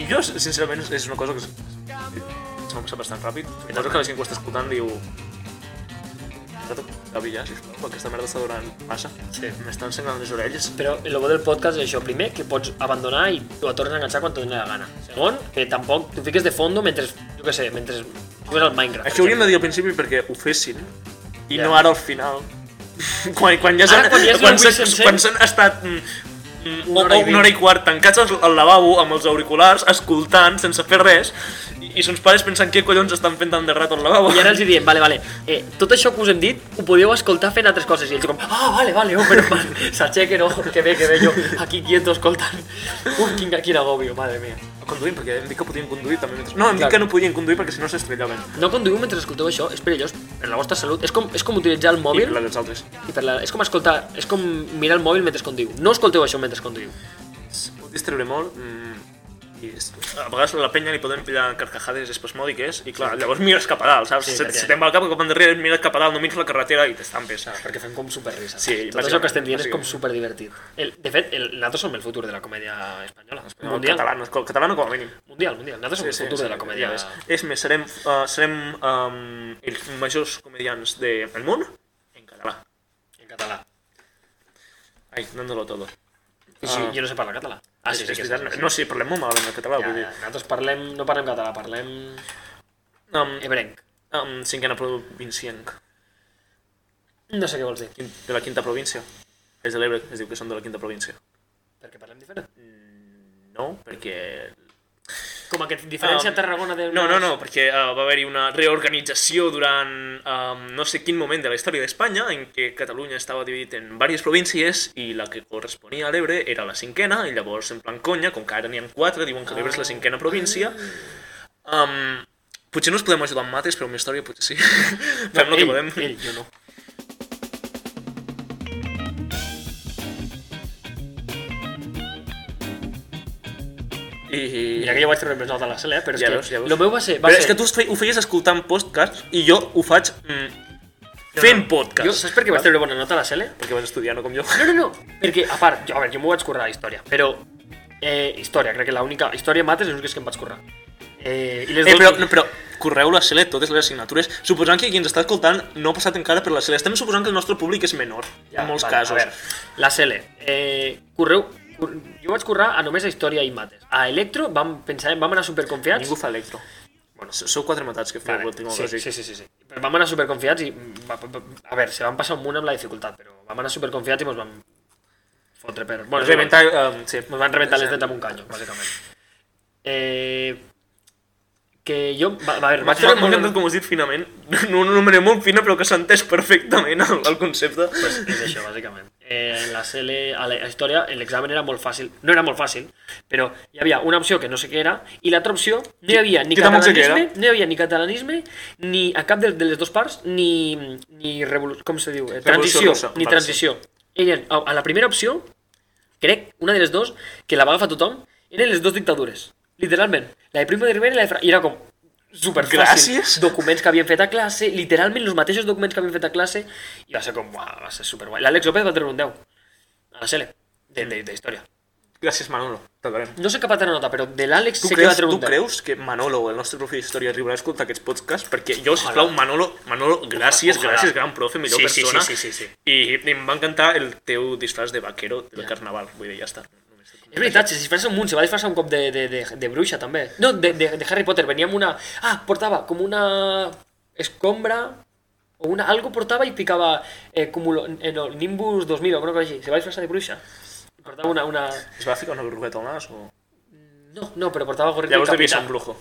S2: I jo, sincerament, és- és una cosa que s- s'ha passat bastant ràpid. Suposo que la gent que ho està escoltant diu... Tato, Gavi, ja, sisplau, perquè aquesta merda està durant massa.
S1: Sí.
S2: M'estan senglant les orelles.
S1: Però el bo del podcast és això. Primer, que pots abandonar i la tornes a enganxar quan te doni la gana. Segon, que tampoc t'ho fiques de fondo mentre, jo què sé, mentre jugues al Minecraft.
S2: Això hauríem de dir al principi perquè ho fessin, i
S1: Ja.
S2: no ara al final. quan, quan ja s'han
S1: Ara, quan ja
S2: quan
S1: s'han-
S2: s'han-
S1: s'han-
S2: quan s'han estat mm, mm,
S1: Una
S2: una,
S1: hora
S2: hora
S1: i vint.
S2: una hora i quart tancats al, al lavabo amb els auriculars, escoltant, sense fer res, i, i sons pares pensant què collons estan fent tant de rato al lavabo.
S1: I ara els hi diem, vale, vale, eh, tot això que us hem dit ho podíeu escoltar fent altres coses. I ells com, ah, vale, vale, oh, però mal. S'aixequen, oh, que bé, que bé, jo aquí quieto escoltant. Ui, quin, quin agobio, madre mía.
S2: Conduint, perquè hem dit que podien conduir també mentre... No, hem
S1: Clar.
S2: dit que no podien conduir perquè si no s'estrellaven.
S1: No conduïu mentre escolteu això, és perillós per la vostra salut. És com, és com utilitzar el
S2: I
S1: mòbil
S2: la dels altres.
S1: i per la, és com escoltar, és com mirar el mòbil mentre conduïu. No escolteu això mentre conduïu.
S2: Pot distreure molt. Mm, i és... A vegades a la penya li poden pillar carcajades espasmòdiques i clar, llavors mires cap a dalt, saps?
S1: Sí,
S2: Sí, se
S1: perquè-
S2: se te'n va el cap cap endarrere, mires cap a dalt, no mires la carretera i t'estampes.
S1: Clar, perquè fem com superrisa.
S2: Sí,
S1: Tot això
S2: bàsicament,
S1: que estem dient és com
S2: bàsicament.
S1: superdivertit. El, de fet, el, nosaltres som el futur de la comèdia espanyola.
S2: No,
S1: mundial.
S2: Català, no, català no com a mínim.
S1: Mundial, mundial. Nosaltres som el futur de la comèdia.
S2: ja ves. És més, serem, uh, serem um, els majors comedians del món en català.
S1: en català.
S2: Ai, dándolo todo.
S1: I si
S2: Ah.
S1: jo no sé parlar català. Ah, sí, sí,
S2: És
S1: que sí,
S2: veritat,
S1: sí, sí.
S2: No, sí, parlem molt malament el català.
S1: Ja,
S2: vull dir.
S1: ja. Nosaltres parlem, no parlem català, parlem
S2: Um,
S1: hebrenc.
S2: um, cinquena provincienc.
S1: No sé què vols dir,
S2: Quin- de la quinta província. És de l'Ebre, es diu que són de la quinta província.
S1: perquè parlem diferent.
S2: No, perquè
S1: Com que diferència
S2: Um,
S1: a Tarragona de...
S2: No, no, no, perquè eh, va haver-hi una reorganització durant um, no sé quin moment de la història d'Espanya en què Catalunya estava dividit en diverses províncies i la que corresponia a l'Ebre era la cinquena i llavors en plan conya, com que ara n'hi ha quatre, diuen que l'Ebre és la cinquena província. Um, potser no us podem ajudar amb mates, però amb història potser sí. Fem el que
S1: ell,
S2: podem.
S1: ell, jo no.
S2: I...
S1: Mira que jo vaig treure més nota a la cel, eh? Però és
S2: Ja
S1: que
S2: veus, ja veus.
S1: lo meu va ser... Va
S2: Però
S1: ser...
S2: és que tu es fe- ho feies escoltant podcast i jo ho faig mm, fent podcast.
S1: Jo, saps per què vaig treure bona nota a la cel?
S2: Perquè vas estudiar, no com jo.
S1: No, no, no. Perquè, a part, jo, a veure, jo m'ho vaig currar a història, però... Eh, història, crec que l'única... Història i mates és l'única que em vaig currar. Eh, i les
S2: Eh,
S1: dos-
S2: però, no, però correu la Sele totes les assignatures, suposant que qui ens està escoltant no ha passat encara per la Sele. Estem suposant que el nostre públic és menor, ja, en molts
S1: vale,
S2: casos.
S1: A veure, la CL. Eh, correu, cor- jo vaig currar a només a història i mates. A Electro vam, pensar, vam anar superconfiats.
S2: Ningú fa electro. Bueno, s- sou quatre matats que feu
S1: Vale,
S2: l'últim
S1: sí, sí, sí, sí, sí. Però vam anar superconfiats i... mm, va- va- A veure, se van passar un munt amb la dificultat, però vam anar superconfiats i mos vam fotre per... Bueno,
S2: Bueno, reventar, um, sí,
S1: Nos van reventar les dents amb un canyo, bàsicament. Eh, que jo... Va, va, a veure,
S2: M'ha
S1: vaig treure
S2: m'ha encantat
S1: molt...
S2: com ho has dit finament, no, no, manera molt fina, però que s'ha entès perfectament el, el concepte.
S1: Pues és això, bàsicament. Eh, en la CL, a la història, l'examen era molt fàcil. No era molt fàcil, però hi havia una opció que no sé què era, i l'altra opció no hi havia ni
S2: Jo tampoc sé què
S1: catalanisme, no hi havia ni catalanisme, ni a cap de, de les dues parts, ni, ni revolu... com se diu? Eh, transició,
S2: russa,
S1: ni
S2: vale,
S1: transició. Eren, a, a la primera opció, crec, una de les dues, que la va agafar tothom, eren les dues dictadures. Literalment. La de Primo de Rivera i la de Fra... I era com, superfàcil.
S2: Gràcies.
S1: Documents que havien fet a classe, literalment els mateixos documents que havien fet a classe, i va ser com, uah, va ser superguai. L'Àlex López va treure un 10 a la Sele, de, de, de història.
S2: Gràcies, Manolo. T'adorem.
S1: No sé cap altra nota, però de l'Àlex
S2: Tu,
S1: sé que va
S2: creus,
S1: treure
S2: tu
S1: un 10.
S2: creus que Manolo, el nostre profe d'història, arribarà a escoltar aquests podcasts? Perquè jo, sisplau, Manolo, Manolo gràcies,
S1: Ojalà.
S2: gràcies, gran profe, millor
S1: Sí, sí,
S2: persona.
S1: sí, sí, sí, sí.
S2: I, I em va encantar el teu disfraç de vaquero del carnaval. Vull dir, ja està. Només et
S1: És veritat, se disfressa un munt, se va disfressar un cop de, de, de, de bruixa també. No, de, de, de Harry Potter, venia amb una... Ah, portava com una escombra o una... Algo portava i picava eh, cumulo, eh, no, Nimbus 2000 o alguna cosa així. Se va disfressar de bruixa. Portava una... una...
S2: Es va ficar una gorrueta al nas o...?
S1: No, no, però portava gorrita
S2: Llavors
S1: i
S2: devia
S1: capita.
S2: ser un brujo.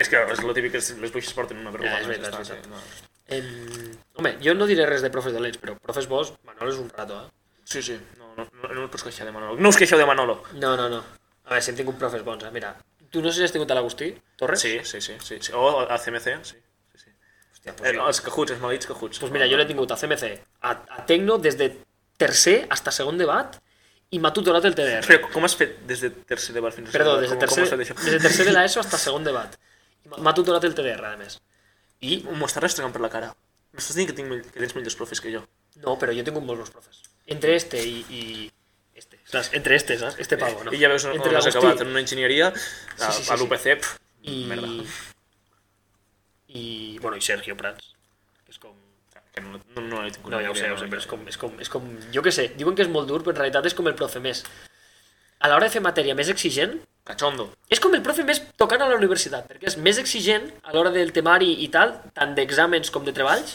S2: És que és lo típic que les bruixes porten una
S1: Ja,
S2: verruga.
S1: és
S2: no?
S1: veritat,
S2: Està,
S1: és
S2: sí,
S1: veritat.
S2: no.
S1: Em, home, jo no diré res de profes dolents, però profes bons, Manol és un rato, eh?
S2: Sí, sí. No, no, no, no us pots queixar de Manolo. No us queixeu de Manolo!
S1: No, no, no. A veure, si hem tingut profes bons, eh? Mira, tu no sé si has tingut a l'Agustí Torres?
S2: Sí, sí, sí. sí, sí. O a CMC, sí. sí, sí.
S1: Hòstia, pues,
S2: Eh,
S1: jo-
S2: els cajuts, els maldits cajuts.
S1: Pues mira, jo l'he tingut a CMC, a, a Tecno, des de tercer hasta segon debat, i m'ha tutorat el TDR.
S2: Però com has fet des de tercer debat fins a
S1: Perdó,
S2: segon?
S1: des de
S2: Com- com
S1: tercer,
S2: has fet això?
S1: des de, tercer de l'ESO hasta segon debat. I m'ha- M'ha tutorat el TDR, a més. I,
S2: M'ho està restregant per la cara. M'estàs dient que, tinc, mill- que tens millors profes que jo.
S1: no, però jo he tingut molts bons profes. Entre este i... i este, saps? Entre este, saps? Este pavo, no?
S2: I ja veus on,
S1: Entre
S2: on has
S1: l'Agustí
S2: acabat, en una enginyeria, a,
S1: sí, sí,
S2: a
S1: sí.
S2: l'UPC. pf,
S1: I...
S2: Merda.
S1: I, bueno, i Sergio Prats. que És com...
S2: Que no, no, no l'he tingut.
S1: No, ja ho sé, ja ho sé, però és com, és com, és com... Jo què sé, diuen que és molt dur, però en realitat és com el profe més... A l'hora de fer matèria més exigent,
S2: Cachondo.
S1: És com el profe més tocant a la universitat, perquè és més exigent a l'hora del temari i tal, tant d'exàmens com de treballs,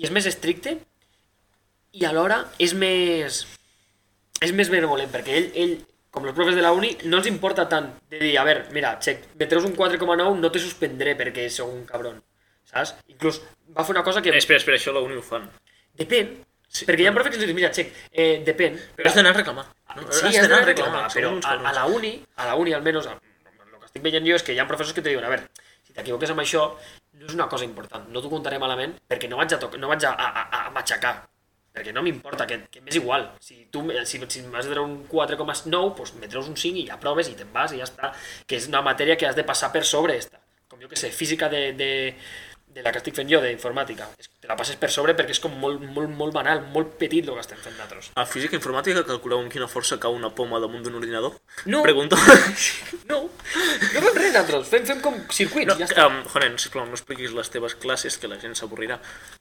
S1: i és més estricte, i alhora és més... és més benevolent, perquè ell, ell com els profes de la uni, no els importa tant de dir, a veure, mira, xec, me treus un 4,9, no te suspendré perquè sou un cabron, saps? Inclús va fer una cosa que...
S2: Eh, Espera, espera, això a la uni ho fan.
S1: Depèn,
S2: Sí.
S1: perquè hi ha profes que ens diuen, mira, xec, eh, depèn,
S2: Però has d'anar a reclamar. No?
S1: Sí,
S2: Ah, has d'anar a reclamar,
S1: però
S2: són uns
S1: a, a
S2: cabrons.
S1: la uni, a la uni almenys, el que estic veient jo és que hi ha professors que te diuen, a veure, si t'equivoques amb això, no és una cosa important, no t'ho contaré malament perquè no vaig a, toc- no vaig a, a, a- a matxacar, perquè no m'importa, que, que m'és igual. Si tu m- si, si m'has de treure un 4,9, doncs me treus un 5 i ja proves i te'n vas i ja està, que és una matèria que has de passar per sobre esta. Com jo que sé, física de, de, de la que estic fent jo, d'informàtica. És- Te la passes per sobre perquè és com molt, molt, molt banal, molt petit el que estem fent nosaltres.
S2: A física informàtica calculeu amb quina força cau una poma damunt d'un ordinador?
S1: No.
S2: Pregunto.
S1: No, no fem res nosaltres, fem, fem com circuits,
S2: No,
S1: no, ja està.
S2: um, Jonen, sisplau, no expliquis les teves classes, que la gent s'avorrirà.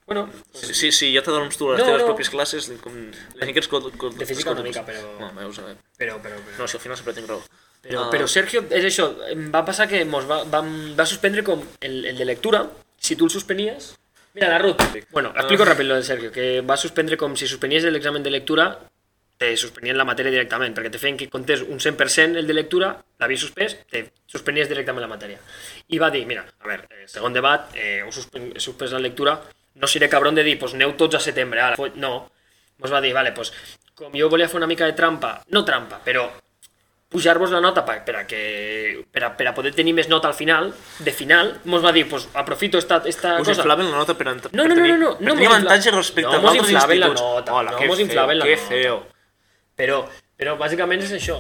S1: Bueno,
S2: Sí, sí, sí, ja t'adorms tu a les
S1: No,
S2: no, teves
S1: no.
S2: no. pròpies classes. Com... La gent que escolta... escolta-
S1: De física una
S2: escolta-
S1: mica, però-
S2: No, veus, a veure.
S1: però, però, però,
S2: No, si al final sempre tinc raó.
S1: però,
S2: Ah.
S1: però Sergio, és això, em va passar que mos va, vam, va suspendre com el, el de lectura, si tu el suspenies... Mira, la Ruth. Bueno, explico
S2: Ah.
S1: ràpid lo de Sergio, que va suspendre com si suspenies l'examen de lectura, te suspenien la matèria directament, perquè te feien que comptés un 100% el de lectura l'havies suspès, te suspenies directament la matèria. I va dir, mira, a veure, eh, segon debat, eh, us suspen he suspès la lectura, no seré cabron de dir, pues aneu tots a setembre, ara. Pues, no. Us va dir, vale, pues, com jo volia fer una mica de trampa, no trampa, però pujar-vos la nota per, per, a que, per, a, per a poder tenir més nota al final, de final, mos va dir, pues aprofito esta, esta
S2: Us
S1: cosa.
S2: inflaven la nota per,
S1: No,
S2: ent- per
S1: no, no,
S2: tenir,
S1: no, no,
S2: per
S1: no
S2: tenir
S1: mos
S2: avantatge
S1: infla-
S2: respecte
S1: no
S2: a altres
S1: mos inflaven la
S2: instituts.
S1: nota,
S2: Hola,
S1: no
S2: que
S1: mos inflaven la
S2: que
S1: nota.
S2: feo.
S1: Però, però bàsicament és això.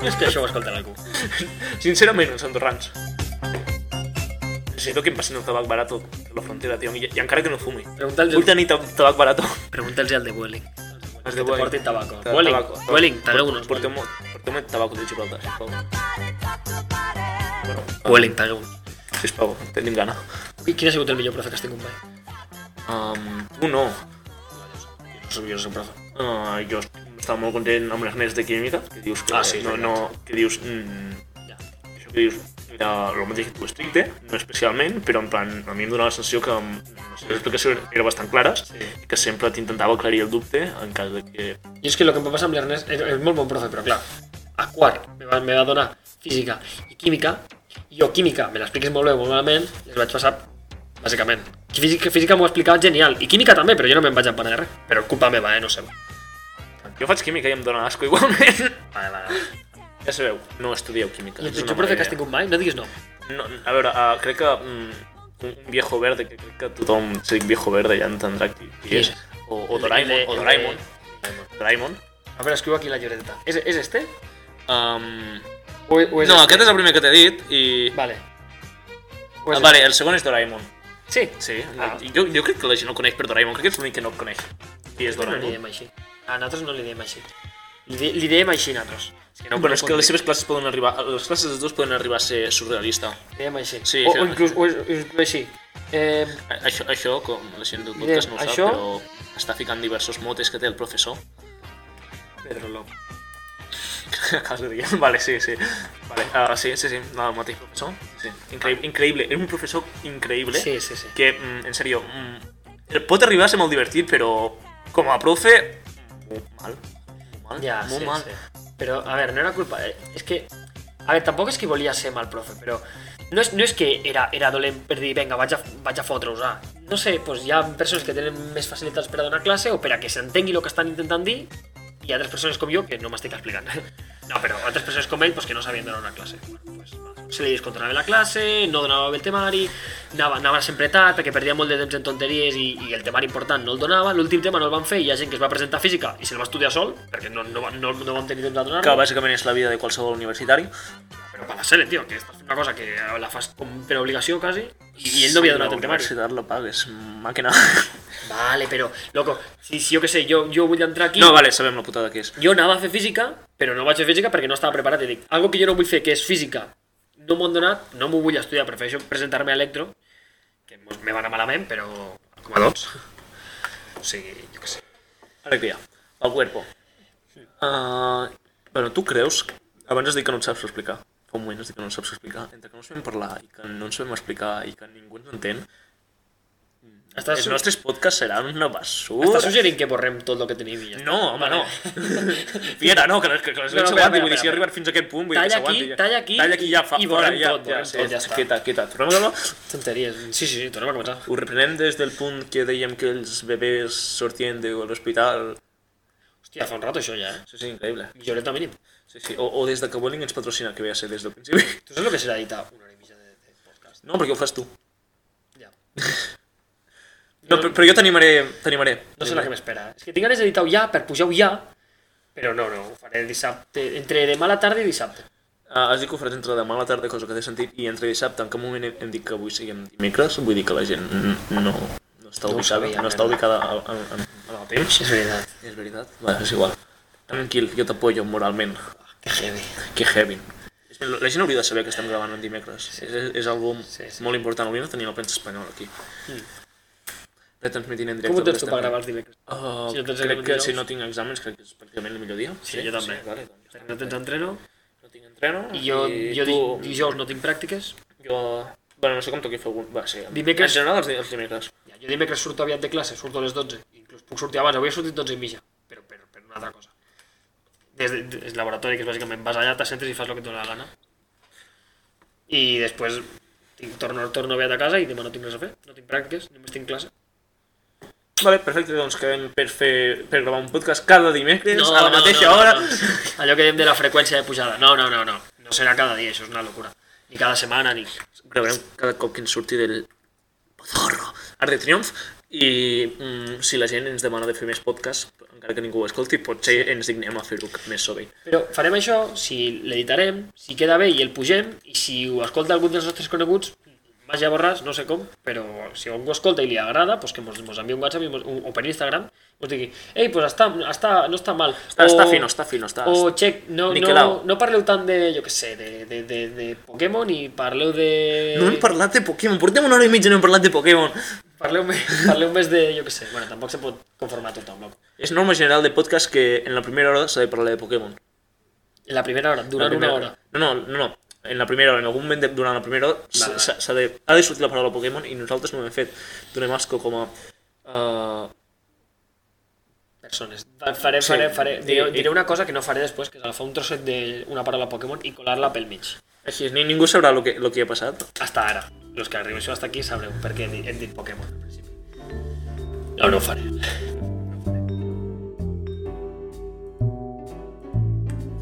S1: És que això ho escoltarà algú.
S2: Sincerament, els andorrans. Necessito que em passin el tabac barato per la frontera, tio, i, i encara que no fumi.
S1: Pregunta'ls
S2: Vull tenir tab- tabac barato.
S1: pregunta'ls al de Vueling.
S2: Els
S1: Que te
S2: Vueling.
S1: portin tabaco.
S2: Ta-
S1: Vueling,
S2: tabaco.
S1: Vueling, tagueu-nos.
S2: Porteu molt, porteu molt tabaco de Gibraltar, sisplau. Bueno,
S1: Vueling, pagueu.
S2: sisplau, tenim gana.
S1: I quin ha sigut el millor profe que has tingut mai?
S2: Um, tu no.
S1: No soc jo, soc profe.
S2: Uh, jo estava molt content amb l'Ernest de Química, que dius que
S1: Ah, sí,
S2: no,
S1: és
S2: no, que dius... Mm,
S1: Ja.
S2: això que dius, era el mateix que tu estricte, no especialment, però en plan, a mi em donava la sensació que mm, les seves explicacions eren bastant clares
S1: Sí.
S2: i que sempre t'intentava aclarir el dubte en cas de que...
S1: I és que el que em va passar amb l'Ernest és, és molt bon profe, però clar, a quart me va, me va donar física i química, i jo química me l'expliques molt bé, molt malament, i els vaig passar bàsicament. Física, física m'ho explicava genial, i química també, però jo no me'n vaig empanar de res. Però culpa meva, eh, no sé. Vale,
S2: Jo faig química i em dóna asco igualment.
S1: vale, vale.
S2: ja sabeu, no estudieu química.
S1: I el
S2: és una
S1: pitjor
S2: mala
S1: profe que has
S2: idea.
S1: tingut mai? No diguis no.
S2: No, a veure, uh, crec que mm, un un viejo verde, que crec que tothom, si dic viejo verde, ja entendrà qui, qui
S1: Qui
S2: és.
S1: és?
S2: O, o Doraemon, o Doraemon. Doraemon.
S1: A veure, escriu aquí la lloreteta. És, és este?
S2: Um,
S1: O, o és
S2: no,
S1: este?
S2: aquest és el primer que t'he dit i...
S1: Vale. pues O
S2: Ah,
S1: és
S2: vale, el segon és Doraemon.
S1: este? Sí.
S2: Sí,
S1: Ah.
S2: jo, jo crec que la gent no coneix per Doraemon, crec que és l'únic que no coneix. Qui és
S1: No li
S2: Doraemon?
S1: diem així. A nosaltres no li diem així. Li, di- li diem així nosaltres. És que no,
S2: Bueno, és que les seves classes poden arribar... Les classes dels dos poden arribar a ser surrealista.
S1: Li diem així.
S2: Sí,
S1: o,
S2: això-
S1: o inclús, o, o inclús així. Eh,
S2: A- Això, això, com la gent del podcast no ho sap,
S1: Això-
S2: però està ficant diversos motes que té el professor.
S1: Pedro López.
S2: Acabes de dir. Vale, sí, sí. Vale, ah, sí, sí, sí, no, el mateix professor. Sí, increïble, increïble. Era un professor increïble.
S1: Ah. Sí, sí, sí.
S2: Que, mm, en serio, mm, pot arribar a ser molt divertit, però com a profe, molt mal. Molt mal,
S1: Ja,
S2: molt
S1: sí,
S2: mal.
S1: sí. Però, a veure, no era culpa... eh, És que... A veure, tampoc és que volia ser mal profe, però... No és, no és que era, era dolent per dir, vinga, vaig a, vaig a fotre-us, ah. No sé, doncs hi ha persones que tenen més facilitats per a donar classe o per a que s'entengui el que estan intentant dir i altres persones com jo que no m'estic explicant. No, però altres persones com ell pues, que no sabien donar una classe. Bueno, pues, va. se li descontrolava la classe, no donava bé el temari, anava, anava sempre tard perquè perdia molt de temps en tonteries i, i el temari important no el donava, l'últim tema no el van fer i hi ha gent que es va presentar a física i se'l va estudiar sol perquè no, no, va- no, no vam tenir temps de
S2: Que
S1: donar-lo,
S2: bàsicament és la vida de qualsevol universitari.
S1: però per la sèrie, tio, que estàs fent una cosa que la fas com per obligació quasi i ell no havia donat el
S2: La
S1: temari.
S2: universitat la pagues, màquina.
S1: Vale, però, loco, si, si jo que sé, jo, jo vull entrar aquí...
S2: No, vale, sabem la putada que és.
S1: Jo anava a fer física, però no vaig fer física perquè no estava preparat. I dic, algo que jo no vull fer, que és física, no m'ho han donat, no m'ho vull estudiar, prefereixo presentar-me a Electro, que mos- me va anar malament, però com a dos. O sigui, jo què sé.
S2: Alegria. El cuerpo. Uh, bueno, tu creus... que- Abans has dit que no et saps explicar. Fa un moment has dit que no et saps explicar. Entre que no sabem parlar i que no ens sabem explicar i que ningú ens entén,
S1: Estàs,
S2: els
S1: su
S2: nostres podcasts seran una basura.
S1: estàs suggerint que borrem tot el que tenim i ja està.
S2: No, home, no. Fiera, no, que les, que les
S1: No, no,
S2: no, s'aguanti.
S1: espera,
S2: Vull dir, si he
S1: espera.
S2: arribat fins a aquest punt, vull dir
S1: Talla
S2: que s'aguanti.
S1: aquí,
S2: ja.
S1: talla aquí
S2: talla aquí ja fa,
S1: i
S2: fora,
S1: borrem
S2: ja,
S1: tot,
S2: ja,
S1: borrem
S2: sí,
S1: tot, ja està.
S2: Quieta, quieta. Tornem a gravar?
S1: Tonteries. Sí, sí, sí, tornem a començar.
S2: Ho reprenem des del punt que dèiem que els bebès sortien de l'hospital.
S1: Hòstia, fa un rato això ja, eh?
S2: Sí, sí, increïble.
S1: Milloreta mínim.
S2: Sí, sí. O, o des de que Vueling ens patrocina, que ve a ser des del principi.
S1: Tu saps el que serà editar una hora i mitja de, de podcast?
S2: No, perquè ho fas tu.
S1: Ja.
S2: No, però, però jo t'animaré, t'animaré.
S1: No sé la que m'espera. És que tinc ganes d'editar-ho ja, per pujar-ho ja, però no, no, ho faré dissabte, entre demà a la tarda i dissabte.
S2: Ah, has dit que ho faràs entre demà a la tarda, cosa que té sentit, i entre dissabte, en cap moment hem, hem dit que avui siguem dimecres, vull dir que la gent no, no està
S1: No ho
S2: ubicada,
S1: sabia,
S2: no està
S1: merda.
S2: ubicada en, en, en, en el temps.
S1: És veritat.
S2: És veritat? Vale, és igual. Tranquil, jo t'apoyo moralment.
S1: Que heavy.
S2: Que heavy. La gent hauria de saber que estem gravant en dimecres. És, és, és algo
S1: Sí, sí. Hmm.
S2: molt important. Hauríem de tenir la premsa espanyola aquí. Retransmitint en directe.
S1: Com ho
S2: el que
S1: tens tu per
S2: estem fent.
S1: gravar els dimecres?
S2: Uh,
S1: Si no tens
S2: crec
S1: examen
S2: que
S1: dijous.
S2: si no tinc exàmens, crec que és pràcticament el millor dia.
S1: Sí, jo també.
S2: vale, doncs ja
S1: No tens entreno?
S2: està. No tinc entreno.
S1: I jo,
S2: i
S1: jo
S2: tu...
S1: di- dijous no tinc pràctiques.
S2: Jo... Bueno, no sé com toqui fer algun... Va, sí.
S1: Dimecres-
S2: En general els, di- els dimecres.
S1: Ja, jo dimecres surto aviat de classe, surto a les 12. Inclús puc sortir abans, avui he sortit 12 i mitja, però per, per una altra cosa. Des de, des del laboratori, que és bàsicament vas allà, t'assentes i fas el que et dóna la gana. I després tinc, torno, torno aviat a casa i demà no tinc res a fer, no tinc pràctiques, només tinc classe.
S2: Vale, perfecte, doncs quedem per, fer, per gravar un podcast cada dimecres a la mateixa
S1: no, no,
S2: hora.
S1: No. Ah, Allò que diem de la freqüència de pujada. No, no, no, no. No serà cada dia, això és una locura. Ni cada setmana, ni...
S2: gravarem cada cop que ens surti del Pozorro Art de Triomf i mm, si la gent ens demana de fer més podcasts, encara que ningú ho escolti, potser ens dignem a fer-ho més sovint.
S1: Però farem això si l'editarem, si queda bé i el pugem, i si ho escolta algun dels nostres coneguts, vaja a borràs, no sé com, però si algú ho escolta i li agrada, pues que mos, mos enviï un WhatsApp i mos, o per Instagram, mos digui, ei, pues està, està, no està mal.
S2: Està,
S1: o,
S2: està fino, està fino, està...
S1: O, xec, no, no,
S2: Niquelau.
S1: no parleu tant de, jo que sé, de, de, de, de Pokémon i parleu de...
S2: No hem parlat de Pokémon, portem una hora i mitja i no hem parlat de Pokémon.
S1: Parleu més, parleu més de, jo que sé, bueno, tampoc se pot conformar tothom, loco.
S2: És norma general de podcast que en la primera hora s'ha de parlar de Pokémon.
S1: En la primera hora,
S2: La
S1: durant
S2: primera
S1: una hora.
S2: No, no, no, no. En la primera hora, en algun moment de, durant la primera hora,
S1: Vale,
S2: s'ha
S1: vale.
S2: s'ha de, ha de sortir la paraula Pokémon i nosaltres no ho hem fet. Donem asco com a... Uh,
S1: Persones. Fa- Faré,
S2: Sí.
S1: faré, faré. Diré,
S2: I- i-
S1: diré una cosa que no faré després, que és agafar un trosset d'una paraula Pokémon i colar-la pel mig.
S2: així, ni, ningú sabrà el que, lo que ha passat.
S1: Hasta ara. Els que arribéssiu hasta aquí sabreu per què he dit- hem dit Pokémon al principi. No, no ho faré.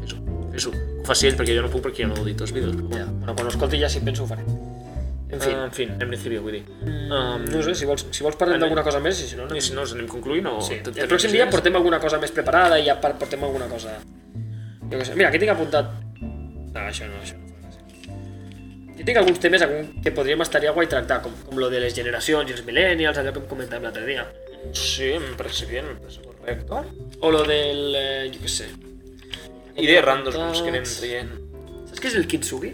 S2: Fes-ho, fes-ho. Ho faci ell perquè jo no puc perquè jo no edito els vídeos. Però
S1: Ja.
S2: bueno.
S1: Bueno, quan ho escolti ja si penso ho faré. En fi,
S2: Eh, en fi, en principi, vull dir. Um,
S1: no ho sé, si vols, si vols parlem
S2: en-
S1: d'alguna cosa més, i si no, no.
S2: I si no, ens anem concluint o...
S1: Sí.
S2: tot-
S1: El pròxim dia portem alguna cosa més preparada i ja par- portem alguna cosa... Jo què sé. Mira, aquí tinc apuntat... No, això no, això no fa gràcia. Jo tinc alguns temes algun que podríem estaria guai tractar, com, com lo de les generacions i els millennials, allò que hem comentat l'altre dia.
S2: Sí, em parece bien, em parece correcto.
S1: O lo del... Eh, jo què sé.
S2: Idees randoms que anem traient.
S1: Saps què és el kintsugi?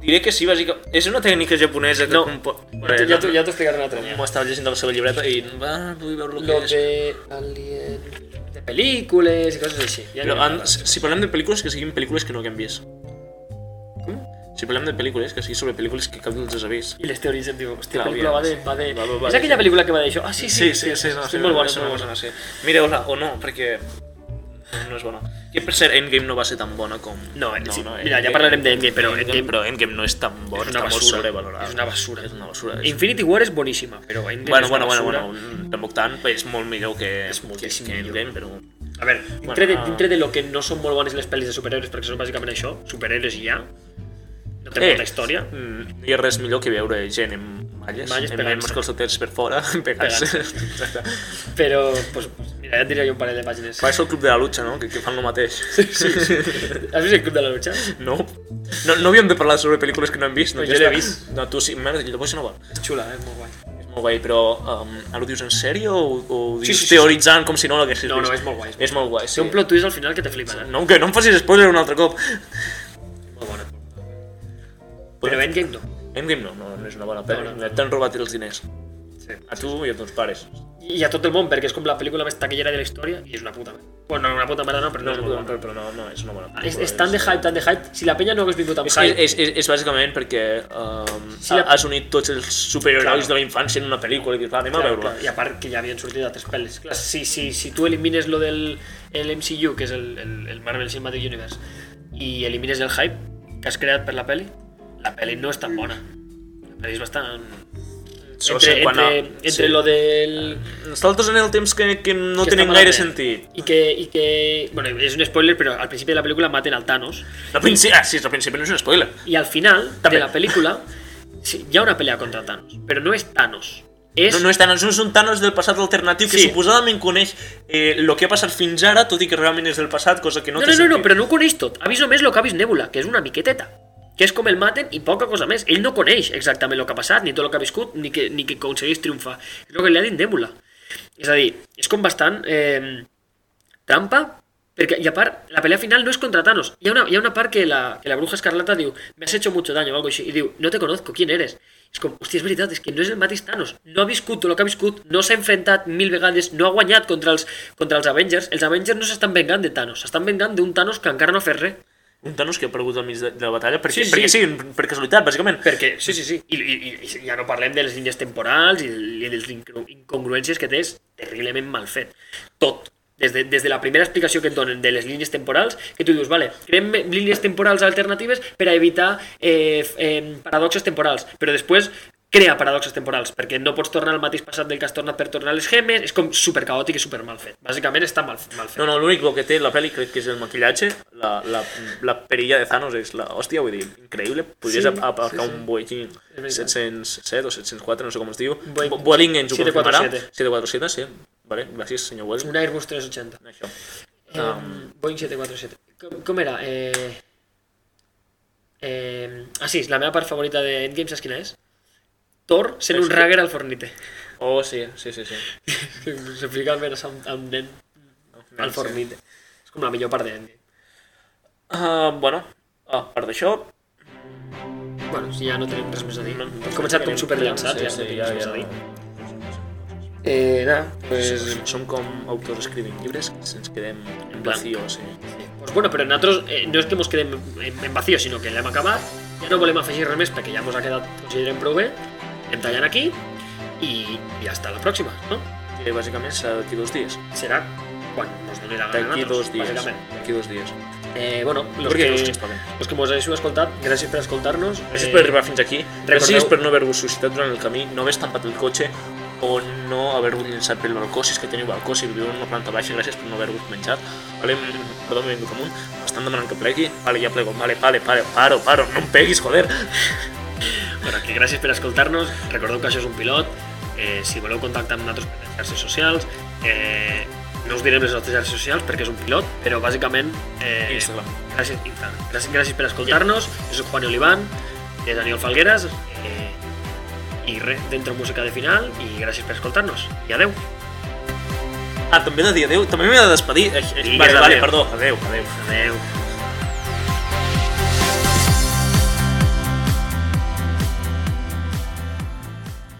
S2: Diré que sí, bàsicament. És una tècnica japonesa que...
S1: No.
S2: compo-
S1: Ja, ja, t'ho- ja t'ho explicaré un altre dia.
S2: M'ho estava llegint de la seva llibreta i va, vull veure el que
S1: Lo
S2: és.
S1: de... Alien... De pel·lícules i coses així. Ja
S2: Però
S1: n'hi ha
S2: han,
S1: parlat.
S2: si si parlem de pel·lícules, que siguin pel·lícules que no haguem vist. Com? Si parlem de pel·lícules, que sigui sobre pel·lícules que cap dels has vist.
S1: I les teories em diuen, hòstia,
S2: Clar,
S1: la pel·lícula va de...
S2: òbviament,
S1: Va de...
S2: sí. Va- va
S1: és
S2: de-
S1: aquella pel·lícula que va d'això. Ah, sí, sí,
S2: no,
S1: és molt bona,
S2: és
S1: és
S2: una
S1: molt bona.
S2: bona, sí. Mireu-la, o no, perquè no és bona. Que per cert, Endgame no va ser tan bona com...
S1: No, sí, mira, ja parlarem d'Endgame, però Endgame-
S2: però Endgame no és tan bona,
S1: És una
S2: està molt
S1: basura.
S2: sobrevalorada.
S1: És una basura.
S2: És una basura. És...
S1: Infinity War és boníssima, però Endgame
S2: Bueno,
S1: és una
S2: bueno, bueno,
S1: basura.
S2: bueno, mm, tampoc tant, però és molt millor que,
S1: És
S2: que,
S1: moltíssim
S2: que
S1: millor.
S2: Endgame, però...
S1: A veure, dintre,
S2: Bueno, ah.
S1: de, dintre de lo que no són molt bones les pel·lis de superhéroes, perquè són bàsicament això, superhéroes i ja, no
S2: Eh.
S1: té molta història,
S2: mm, No hi ha res millor que veure gent amb malles,
S1: Malles
S2: amb, amb
S1: pegant-se.
S2: els calçotets per fora, pegant-se.
S1: Pegant-se.
S2: Exacte.
S1: però, pues, pues, mira, ja et diré jo un parell de pàgines.
S2: Pareix el Club de la Lucha, no? Que, que fan el mateix.
S1: Sí, sí. Has vist el Club de la Lucha? És
S2: No. no, no havíem de parlar sobre pel·lícules que no hem vist. No,
S1: Pues jo l'he vist.
S2: No, tu sí, merda, llavors no va.
S1: xula, eh? Molt guai.
S2: És molt guai, però um, ara ho dius en sèrio o, o ho dius
S1: Sí, sí,
S2: sí,
S1: sí,
S2: sí, teoritzant com si no l'haguessis
S1: No,
S2: vist?
S1: no, és molt guai, és molt
S2: És molt guai,
S1: Té
S2: sí.
S1: un plot twist al final que te flipa, eh?
S2: No, que no em facis spoiler un altre cop.
S1: Molt bona.
S2: Pues
S1: Però Endgame no.
S2: Endgame no, no, no és una bona pel·li.
S1: No,
S2: No,
S1: no, no.
S2: T'han robat els diners.
S1: Sí.
S2: A tu i a teus pares.
S1: I a tot el món, perquè és com la pel·lícula més taquillera de la història, i és una puta merda. Bueno, una puta merda no, però
S2: No,
S1: no és
S2: no,
S1: una puta
S2: no,
S1: merda.
S2: però no, no, és una bona pel·lícula.
S1: És, és tan de hype, tan de hype, si la penya no hagués vingut amb
S2: És,
S1: hype...
S2: és, és, és bàsicament perquè um,
S1: Sí, la-
S2: has unit tots els superherois
S1: Clar.
S2: de la infància en una pel·lícula i dius, va, anem a
S1: Clar,
S2: veure-la.
S1: clar, I a part que ja havien sortit altres pel·lis. Clar, si, si, si tu elimines lo del el MCU, que és el, el, el Marvel Cinematic Universe, i elimines el hype que has creat per la pel·li, la pel·li no és tan bona. La pel·li és bastant...
S2: Això,
S1: entre,
S2: sí, quan
S1: entre, entre
S2: a- sí.
S1: lo del...
S2: Ens saltes en el temps que, que no
S1: que
S2: tenen
S1: està malament.
S2: gaire sentit.
S1: I que, I que... Bueno, és un spoiler, però al principi de la pel·lícula maten al Thanos.
S2: La principi... Ah, sí, la principi no és un spoiler.
S1: I al final de
S2: També.
S1: la pel·lícula sí, hi ha una pelea contra Thanos, però no és Thanos. És...
S2: No, no és Thanos, és un Thanos del passat alternatiu que
S1: Sí.
S2: suposadament coneix el que ha passat fins ara, tot i que realment és del passat, cosa que
S1: No,
S2: no, té
S1: no, no, no,
S2: sentit.
S1: però no ho coneix tot. Ha vist només el que ha vist Nebula, que és una miqueteta. Que és com el maten i poca cosa més. Ell no coneix exactament el que ha passat, ni tot el que ha viscut, ni que, ni que aconsegueix triomfar. És el que li ha dit Nebula. És a dir, és com bastant eh, trampa, perquè, i a part, la pelea final no és contra Thanos. Hi ha una, hi ha una part que la, que la bruja escarlata diu me has hecho mucho daño o algo així, i diu, no te conozco, ¿quién eres? És com, hòstia, és veritat, és que no és el mateix Thanos. No ha viscut tot el que ha viscut, no s'ha enfrontat mil vegades, no ha guanyat contra els, contra els Avengers. Els Avengers no s'estan vengant de Thanos, s'estan vengant d'un Thanos que encara no ha fet res.
S2: Un Thanos que ha aparegut al mig de, de la batalla perquè
S1: Sí, sí.
S2: sí, perquè, sí. per casualitat, bàsicament.
S1: Perquè, sí, sí, sí. I, i, i ja no parlem de les línies temporals i, i de les incro- incongruències que té, és terriblement mal fet. Tot. Des de, des de la primera explicació que et donen de les línies temporals, que tu dius, vale, creem línies temporals alternatives per a evitar eh, f- eh, paradoxes temporals, però després crea paradoxes temporals, perquè no pots tornar al mateix passat del que has tornat per tornar a les gemes, és com super caòtic i super mal fet. Bàsicament està mal, mal fet.
S2: No, no, l'únic bo que té la pel·li crec que és el maquillatge, la, la, la perilla de Thanos és la... Hòstia, vull dir, increïble. Podries
S1: Sí,
S2: sí,
S1: sí,
S2: aparcar sí,
S1: sí.
S2: un Boeing
S1: veritat.
S2: 707 o 704, no sé com es diu.
S1: Boeing
S2: Bo- Boeing ens ho
S1: 747.
S2: confirmarà. 747, sí. Vale, gràcies, senyor Wells.
S1: Un Airbus 380.
S2: Això.
S1: Um, Boeing 747. Com, com era? Eh, eh, ah, sí, la meva part favorita de Endgame, saps quina és? Thor sent un
S2: Sí.
S1: ragger al fornite.
S2: Oh, sí, sí, sí, sí.
S1: S'explica almenys amb, amb nen
S2: Ah,
S1: al fornite. És com la millor part d'Endgame.
S2: Uh, bueno, a part d'això,
S1: Bueno, si ja no tenim res més a dir.
S2: no- no
S1: Hem començat com
S2: tenim-
S1: super llançats, Mm. ja no tenim res més a dir. Eh, nada, pues...
S2: Pues... Som com autors escrivint llibres que ens quedem en
S1: blanc.
S2: vacío, sí.
S1: Pues bueno, pero nosotros eh, no es que hemos quedado en, en vacío, sino que le hemos acabado. Ya no volvemos a hacer remés porque ya hemos quedado pues, consideren prove. Entallan aquí y, y hasta la próxima, ¿no?
S2: Que bàsicament serà d'aquí dos dies.
S1: Será cuando nos dé la gana. a
S2: D'aquí
S1: nosaltres,
S2: dos dies.
S1: básicamente.
S2: D'aquí dos dies.
S1: Eh, bueno, los que,
S2: Perquè els que ens paguen.
S1: los que hemos hecho escoltar, gracias por escoltarnos.
S2: Gràcies
S1: Eh,
S2: per arribar fins aquí. Gràcies
S1: recordeu-
S2: per no haver-vos suscitat durant el camí, no haver estampat el cotxe o no haver-vos llançat pel balcó, si és que teniu balcó, si viviu en una planta baixa, gràcies per no haver-vos menjat. Vale, mm, perdó, m'he vingut amunt. M'estan demanant que plegui. Vale, ja plego. Vale, vale, vale, paro, paro. No em peguis, joder.
S1: Bueno, que gràcies per escoltar-nos. Recordeu que això és un pilot. Eh, si voleu contactar amb nosaltres per les xarxes socials, eh, no us direm les nostres xarxes socials perquè és un pilot, però bàsicament... Eh,
S2: Instagram.
S1: Gràcies, Instagram. Gràcies, gràcies per escoltar-nos. Jo soc Juan Oliván, és Daniel Falgueras, eh, i res, dentro música de final, i gràcies per escoltar-nos. I adeu.
S2: Ah, també he de dir adeu. També m'he de despedir. Eh, eh,
S1: Digues
S2: Vale, vale,
S1: adeu.
S2: perdó. Adeu, adeu.
S1: Adeu.